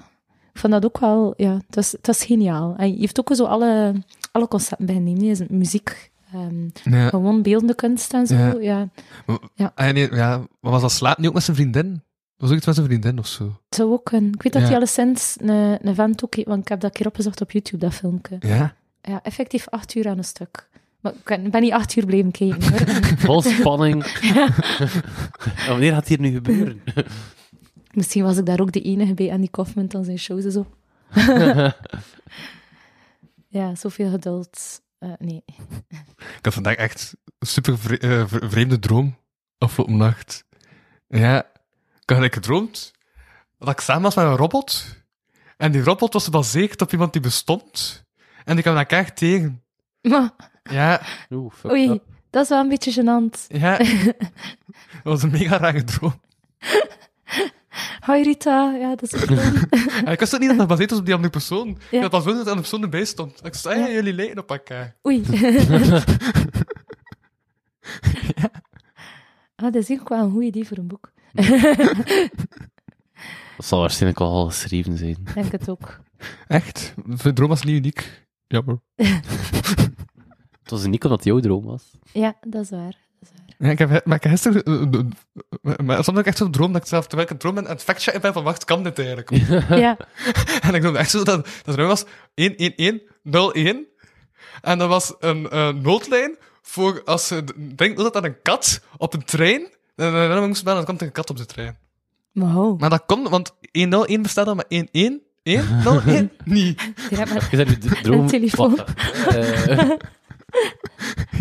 S4: Ik vond dat ook wel... Ja, het was, het was geniaal. En hij heeft ook zo alle, alle concepten bijgeneemd. hè. Dus muziek, ehm,
S3: Ja.
S4: gewoon beeldende kunst en zo.
S3: Ja.
S4: Ja.
S3: Ah, nee, ja. Maar was dat slaap niet ook met zijn vriendin? was ook iets met zijn vriendin of zo.
S4: Het zou ook kunnen. Ik weet dat
S3: Ja.
S4: hij alleszins een, een vent ook... heeft, Want ik heb dat een keer opgezocht op YouTube, dat filmpje.
S3: Ja?
S4: Ja, effectief acht uur aan een stuk. Maar ik ben- ben niet acht uur blijven kijken, hoor.
S2: Vol spanning. En wanneer gaat het hier nu gebeuren?
S4: Misschien was ik daar ook de enige bij Andy Kaufman aan zijn shows en zo. ja, zoveel geduld. Eh, nee.
S3: Ik had vandaag echt een super vre- eh, vre- vreemde droom afgelopen nacht. Ja, ik had eigenlijk gedroomd dat ik samen was met een robot. En die robot was gebaseerd op iemand die bestond. En die kwam elkaar tegen.
S4: Maar,
S3: Ja,
S2: Oeh, fuck
S4: oei,
S2: up.
S4: dat is wel een beetje gênant.
S3: ja. dat was een mega rare droom.
S4: Hoi Rita, ja, dat is ook dan.
S3: En ik wist ook niet dat dat gebaseerd was op die andere persoon.
S4: Ja.
S3: Ik had pas wel dat er een persoon erbij stond. Ik zei,
S4: Ja.
S3: "Hey, jullie lijken op elkaar.
S4: Oei. Ah, dat is ook wel een goed idee voor een boek.
S2: Dat zal waarschijnlijk al al geschreven zijn.
S4: Ik Denk het ook.
S3: Echt? De droom was niet uniek. Jammer.
S2: Het was niet omdat het jouw droom was.
S4: Ja, dat is waar.
S3: Ja, ik heb, maar ik heb gisteren... eh, eh, eh, maar soms heb ik echt zo'n droom dat ik zelf, terwijl ik een droom ben, aan het factchecken ben van, wacht, kan dit eigenlijk?
S4: Ja,
S3: En ik droomde echt zo dat, dat er was 11101. En dat was een eh, noodlijn voor als ze d- denkt dat aan een kat op een trein. En dan dan moest ze bellen, dan komt er een kat op de trein.
S4: maar ho.
S3: Maar dat komt, want 101 bestaat al, maar 11101 niet.
S4: Je hebt maar-
S2: Je zei de droom...
S4: Een telefoon.
S2: Wa- eh,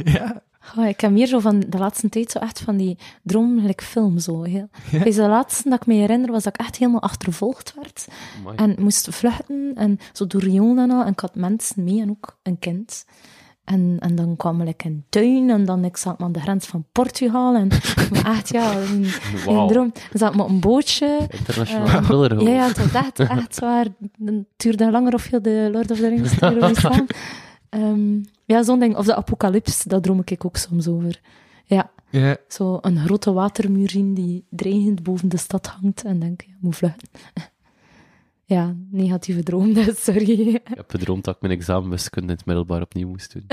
S3: Ja.
S4: Goh, ik heb meer zo van de laatste tijd zo echt van die droomelijk film zo. Heel. Bij de laatste dat ik me herinner was dat ik echt helemaal achtervolgd werd.
S2: amai.
S4: En moest vluchten en zo door Rion en al. En ik had mensen mee en ook een kind. En, en dan kwam ik in tuin en dan ik zat me aan de grens van Portugal. En maar echt, ja, een,
S2: Wauw.
S4: een droom. Dan zat ik me op een bootje.
S2: Internationaal
S4: Eh,
S2: thriller
S4: Ja, ja, het was echt, echt zwaar. Het duurde langer of je de Lord of the Rings erover staan. Ehm, ja, zo'n ding. Of de apocalyps, daar droom ik ook soms over. Ja,
S3: Ja.
S4: zo een grote watermuur zien die dreigend boven de stad hangt. En denk, ja, moet vluchten. Ja, negatieve droom, dus sorry.
S2: Ik heb gedroomd dat ik mijn examen wiskunde in het middelbaar opnieuw moest doen.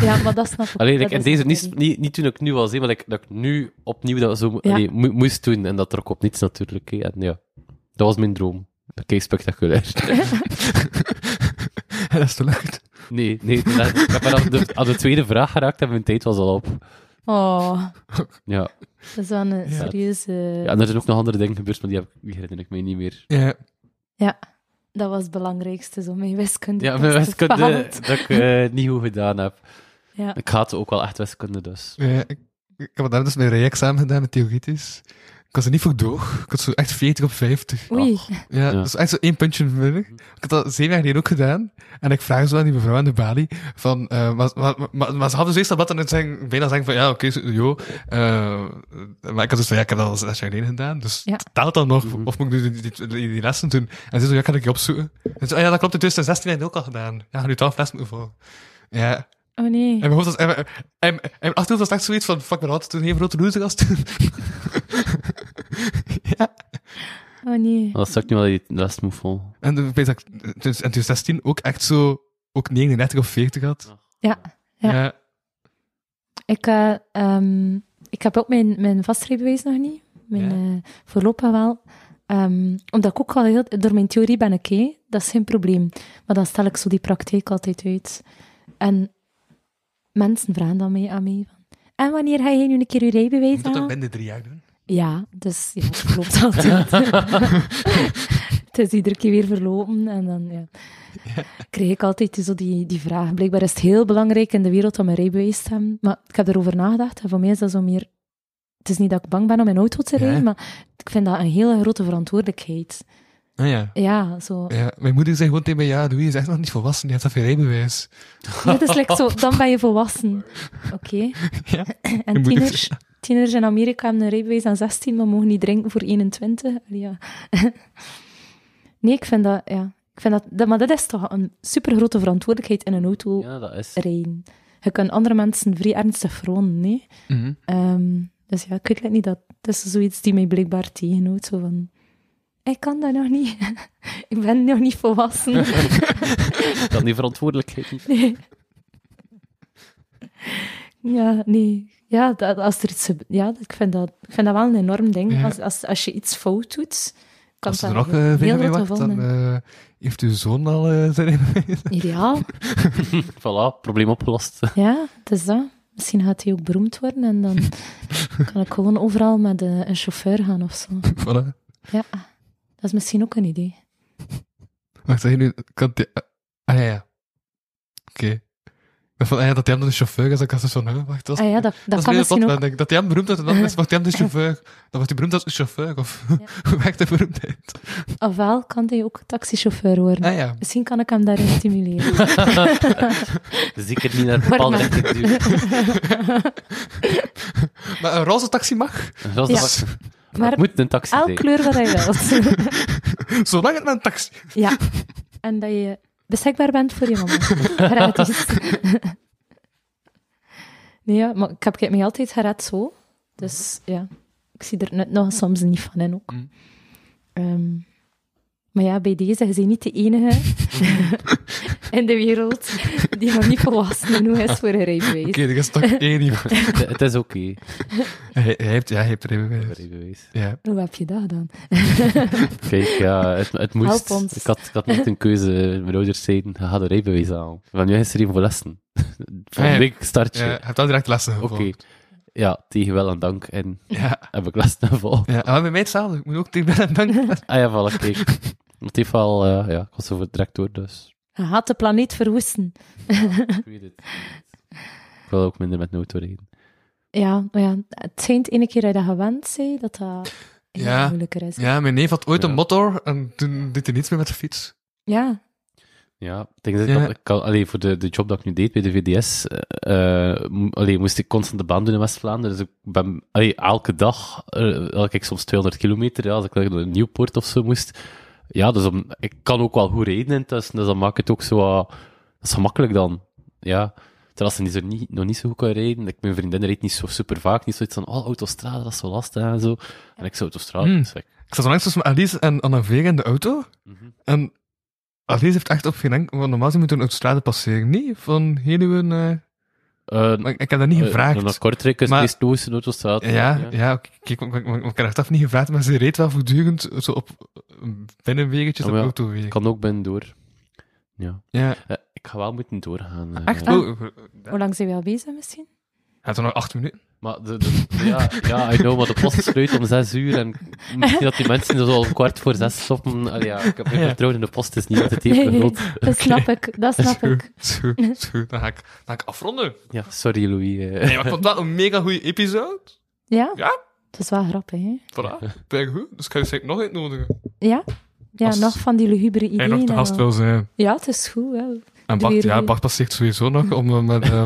S4: Ja, maar dat snap ik.
S2: Alleen,
S4: dat
S2: ik, en
S4: is
S2: deze,
S4: een
S2: niet,
S4: ding.
S2: niet, niet toen ik nu was, hè, maar dat ik, dat ik nu opnieuw dat zo mo-
S4: Ja.
S2: allee, mo- moest doen. En dat trok op niets natuurlijk. hè. En ja, dat was mijn droom. Dat keek spectaculair.
S3: dat is te lucht.
S2: Nee, nee. dat- Ik heb maar aan de, aan de tweede vraag geraakt en mijn tijd was al op.
S4: Oh,
S2: Ja.
S4: dat is wel een serieuze...
S2: ja, en er zijn ook nog andere dingen gebeurd, maar die, heb, ik- die herinner ik mij niet meer.
S3: Ja.
S4: Dat was het belangrijkste, zo mijn wiskunde.
S2: Ja, mijn
S4: test is
S2: wiskunde
S4: gefaald.
S2: dat ik eh, niet goed gedaan heb.
S4: Ja.
S2: Ik haat ook wel echt wiskunde, dus.
S3: Ja, ik, ik heb daar dus mijn rijexamen gedaan met theoretisch. Ik was er niet voor door. Ik had zo echt 40 op 50.
S2: Oh.
S4: Oei.
S3: Ja,
S2: Ja.
S3: dat is echt zo één puntje minder. Ik had dat zeven jaar geleden ook gedaan. En ik vraag zo aan die mevrouw aan de balie van... eh, maar, maar, maar, maar ze hadden dus eerst dat wat en het zijn, bijna zeggen van... Ja, oké, zo, joh. eh, maar ik had dus van... Ja, ik heb dat al zes jaar geleden gedaan. Dus
S4: Ja.
S3: taalt dan nog? Of moet ik nu die, die, die- die lessen doen? En ze zo... Ja, kan ik je opzoeken? En zo... ah ja, dat klopt. In 2016 heb ik ook al gedaan. Ja, nu 12 lessen moeten volgen. Ja.
S4: Oh nee.
S3: En mijn hoofd was... En, en, en, en mijn achterhoofd was echt zoiets van... Fuck, mijn had toen geen grote loser als toen.
S4: Oh nee.
S2: Maar dat zou ik nu wel die les moet vol.
S3: En de- ik weet dat ik dus- in 2016 ook echt zo ook 39 of 40 had.
S4: Ja. Ja. Ik, eh, ehm, ik heb ook mijn, mijn vastrijbewijs nog niet. Mijn eh, voorlopig wel. Ehm, omdat ik ook al heel... Door mijn theorie ben ik hé, dat is geen probleem. Maar dan stel ik zo die praktijk altijd uit. En mensen vragen dan mee aan mij van... En wanneer ga je nu een keer je rijbewijs
S3: Moet dat
S4: halen?
S3: binnen drie jaar doen?
S4: Ja, dus ja, het verloopt altijd. het is iedere keer weer verlopen en dan ja. kreeg ik altijd zo die, die vraag. Blijkbaar is het heel belangrijk in de wereld om een rijbewijs te hebben. Maar ik heb erover nagedacht en voor mij is dat zo meer... Het is niet dat ik bang ben om in auto te
S3: Ja.
S4: rijden, maar ik vind dat een hele grote verantwoordelijkheid.
S3: Ah ja.
S4: Ja, zo.
S3: ja. Mijn moeder zei gewoon tegen mij, ja, doe je is echt nog niet volwassen, je hebt dat rijbewijs.
S4: Ja, het is like zo, dan ben je volwassen. Oké.
S3: Ja.
S4: En
S3: moet-
S4: tieners, tieners in Amerika hebben een rijbewijs aan 16, maar mogen niet drinken voor 21. Allee, ja. nee, ik vind dat, ja. Ik vind dat, dat- maar dat is toch een super grote verantwoordelijkheid in een auto
S2: Ja, dat is.
S4: rijden. Je kunt andere mensen vrij ernstig verwonden, nee.
S3: Mhm.
S4: Ehm, dus ja, ik weet het niet, dat, dat is zoiets die mij blijkbaar tegenhoudt. Zo van, ik kan dat nog niet. ik ben nog niet volwassen.
S2: Dan die verantwoordelijkheid niet.
S4: Ja, nee. Ja, dat, als er iets... gebe- Ja, ik vind dat, ik vind dat wel een enorm ding.
S3: Ja.
S4: Als, als, als je iets fout doet, kan
S3: Als ze
S4: dat
S3: er nog
S4: heel-
S3: eh
S4: heel
S3: vinger mee
S4: grote
S3: wacht, dan
S4: gevolgen
S3: eh, heeft uw zoon al eh, zijn in
S4: hebben. Ideaal,
S2: Voilà, probleem opgelost.
S4: ja, het is dat. Misschien gaat hij ook beroemd worden en dan kan ik gewoon overal met eh, een chauffeur gaan of zo.
S3: Voilà.
S4: Ja, dat is misschien ook een idee.
S3: Wacht, zeg je nu... Kan die, ah, ja, ja. Oké. Dat Van, ah, ja, dat hij hem dan de chauffeur is, dat kan ze zo... hè, Wacht, dat is...
S4: Ah ja, dat, dat
S3: is
S4: kan
S3: weer
S4: misschien
S3: tot-
S4: ook.
S3: denk ik, Dat hij hem beroemd is, en dan is, wordt hij hem de chauffeur. Dan wordt hij beroemd als een chauffeur, of hoe werkt de beroemdheid?
S4: Ofwel ah, kan hij ook taxichauffeur worden.
S3: Ah ja,
S4: Misschien kan ik hem daarin stimuleren.
S2: Zeker niet naar bepaalde
S4: Warm.
S2: richting duwen.
S3: maar een roze taxi mag,
S2: Zoals
S4: Ja.
S2: dat was. Maar het
S4: Maar
S2: moet een taxi
S4: elk
S2: zijn.
S4: kleur wat hij wilt.
S3: zolang het maar een taxi...
S4: Ja. En dat je beschikbaar bent voor je mama. Gratis. nee, ja, maar ik heb het mij altijd gered zo. Dus ja, ik zie er net nog soms niet van in ook.
S3: Mm.
S4: Ehm, maar ja, bij deze, je bent niet de enige in de wereld die nog niet volwassen genoeg is voor een rijbewijs.
S3: Oké, er is toch één iemand.
S2: Het- Het is oké.
S3: Hij, hij heeft, ja, hij heeft er even bij.
S2: Rijbewijs.
S3: Ja.
S4: Hoe heb je dat gedaan?
S2: Kijk, ja, het, het moest.
S4: Help ons.
S2: Ik had, ik had net een keuze. Mijn ouders zeiden, ga de rijbewijs halen. Van nu is er een voor lessen. Van
S3: Ah, ja.
S2: week start je.
S3: Ja, hij heeft al direct lessen
S2: Oké.
S3: gevolgd.
S2: Ja, tegen wel en dank. En
S3: Ja,
S2: heb ik lessen gevolgd.
S3: ja. Ah, bij mij hetzelfde. Ik moet ook tegen Ben en Dank.
S2: Ah ja, voilà, kijk. In ieder geval, eh, ja, ik was zo voor direct door, dus...
S4: Je gaat de planeet verwoesten.
S2: Ik weet het. Ik wil ook minder met de auto rijden.
S4: Ja, maar ja, het schijnt ene keer dat je dat gewend bent, dat dat heel
S3: Ja.
S4: moeilijker is.
S3: Ja, mijn neef had ooit
S2: Ja.
S3: een motor en toen deed hij niets meer met de fiets.
S4: ja,
S2: Ja, ik denk dat ik,
S3: Ja.
S2: al- ik al- allee, voor de, de job dat ik nu deed bij de VDS, eh, eh, mo- allee, moest ik constant de baan doen in West-Vlaanderen. Dus ik ben allee, elke dag, eh had ik soms 200 kilometer, ja, als ik naar een Nieuwpoort of zo moest. Ja, dus om- ik kan ook wel goed rijden intussen, dus dan maakt het ook zo wat- dat is gemakkelijk dan. Ja. Terwijl ze niet zo niet, nog niet zo goed kan rijden. Ik, mijn vriendin rijdt niet zo super vaak, niet zoiets van, oh, autostrade, dat is zo lastig en zo. En ik zou autostrade,
S3: Hmm.
S2: dus ik-
S3: Ik zat onlangs tussen Alice en Anna Vega in de auto.
S2: Mhm.
S3: En Alice heeft echt op geen enkel... Want normaal moeten we een autostrade passeren. Nee, van Heduwen... eh
S2: Eh,
S3: maar ik heb dat niet
S2: eh,
S3: gevraagd.
S2: Naar Kortrijk is
S3: Maar-
S2: het meest autostrade.
S3: ja, ja, oké, kijk, ik, ik, ik, ik heb haar echt niet gevraagd, maar ze reed wel voortdurend zo op eh, binnenwegetjes
S2: Oh,
S3: op
S2: ja.
S3: autowegen.
S2: Ik kan ook binnen door. Ja.
S3: Ja,
S2: Eh, ik ga wel moeten doorgaan. eh.
S3: echt?
S4: Ah.
S3: Oh, eh,
S4: hoe lang zijn we al bezig misschien?
S3: Hij had er nog acht minuten.
S2: Maar de, de- de- ja, ja, I know, maar de post sluit om zes uur en misschien dat die mensen zo al om kwart voor zes stoppen. Allee, ja, ik heb geen
S3: Ja.
S2: vertrouwen in de post, het is niet altijd even groot.
S4: dat snap ik, dat snap
S3: Zo,
S4: ik.
S3: zo, zo. Dan ga ik, dan ga ik afronden.
S2: Ja, sorry Louis. eh.
S3: Nee, maar ik vond dat een mega goede episode.
S4: Ja?
S3: Ja?
S4: Het is wel grappig, hè?
S3: Voilà, ben goed. Dus ik ga je zeker nog uitnodigen.
S4: Ja? Ja,
S3: Als-
S4: nog van die lugubere
S3: En
S4: ideeën.
S3: nog de
S4: en
S3: gast
S4: al.
S3: wil zijn.
S4: Ja, het is goed, hè.
S3: En
S4: Doe
S3: Bart,
S4: weer
S3: ja,
S4: mee.
S3: Bart passeert sowieso nog om eh, met, eh,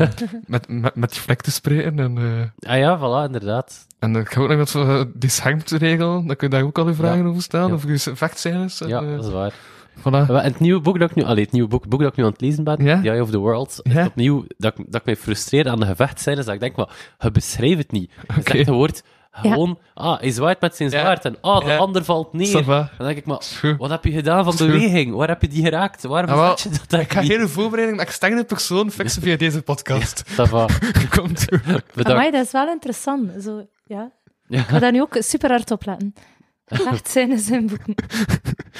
S3: met, met, met die vlek te spreken. En, eh
S2: Ah ja, voilà, inderdaad.
S3: en dan ga ik ook nog met eh, die schermregel, dan kun je daar ook al uw vragen over stellen.
S2: Ja.
S3: Of je vechtscènes. en,
S2: Ja,
S3: eh,
S2: dat is waar.
S3: voilà.
S2: En het nieuwe boek dat ik nu, allee, het nieuwe boek, boek dat ik nu aan het lezen ben,
S3: Ja?
S2: The Eye of the World, is
S3: Ja?
S2: opnieuw dat ik, dat ik mij frustreer aan de gevechtscènes, dat ik denk, maar, je beschrijft het niet. Je
S3: Oké.
S2: zegt een woord, gewoon, ah, hij zwaait met zijn
S3: Ja.
S2: zwaard en ah, de
S3: Ja.
S2: ander valt neer.
S3: Ça va.
S2: Dan denk ik, maar
S3: Is goed.
S2: wat heb je gedaan van
S3: Is goed.
S2: beweging? Waar heb je die geraakt? Waarom
S3: Ah, wel,
S2: zet je dat daar
S3: Ik ga
S2: niet?
S3: hele voorbereiding een externe persoon fixen via deze podcast.
S2: Ça va.
S3: Kom toe.
S2: Bedankt.
S4: Amai, dat is wel interessant. Zo, ja.
S2: Ja.
S4: Ik ga daar nu ook super hard op letten. Echt zijn in zijn boeken.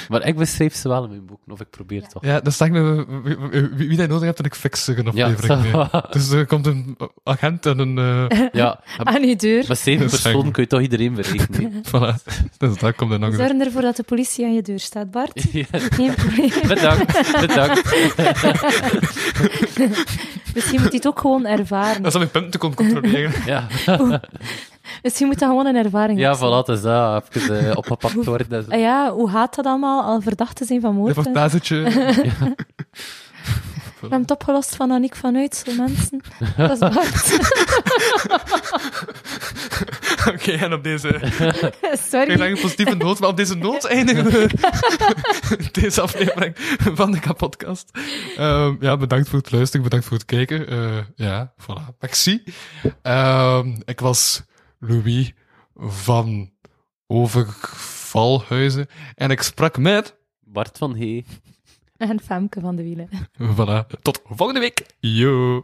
S2: Maar ik beschrijf ze wel in mijn boeken, of ik probeer toch.
S3: Ja, dan sta ik me eh, wie, wie, wie dat nodig hebt, dat ik fix een
S2: Ja,
S3: aflevering.
S2: ça
S3: mee.
S2: va.
S3: Dus er komt een agent en een... eh,
S2: ja.
S4: Aan uw deur.
S2: Met zeven
S3: Dat is
S2: personen
S3: eng.
S2: kun je toch iedereen berekenen. hè?
S3: voilà. Dus daar komt er nog
S4: We
S3: een...
S4: zorgen ervoor dat de politie aan je deur staat, Bart.
S2: Ja,
S4: Geen probleem.
S2: bedankt, bedankt.
S4: Misschien moet hij het ook gewoon ervaren.
S3: Dat is om je punten te komen controleren.
S2: Ja,
S4: Misschien moet dat gewoon een ervaring
S2: ja
S4: ook zijn.
S2: voilà, dus dat. Even eh, opgepakt worden. en zo.
S4: Ah ja, hoe gaat dat allemaal, al verdacht te zijn van moord?
S3: Even
S4: hè?
S3: een tazetje.
S4: We hebben het opgelost van Annick van Uitsel, mensen. Dat is Bart.
S3: Oké, en op deze... Ik zeg
S4: Sorry.
S3: een positieve noot, maar op deze noot eindigen we deze aflevering van de podcast. ja, bedankt voor het luisteren, bedankt voor het kijken. Eh, ja, voilà. Merci. Ehm, ik was Louis van Overvalhuizen en ik sprak met...
S2: Bart van Hee.
S4: En Femke van de Wielen.
S3: Voilà. Tot volgende week. Yo.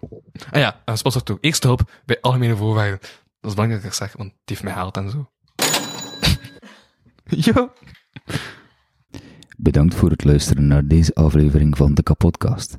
S3: Ah ja, en sponsor toe. Eerste hulp bij algemene voorwaarden. Dat is belangrijk dat ik dat zeg, want die heeft mij gehaald en zo. Yo.
S6: Bedankt voor het luisteren naar deze aflevering van de Kapodcast.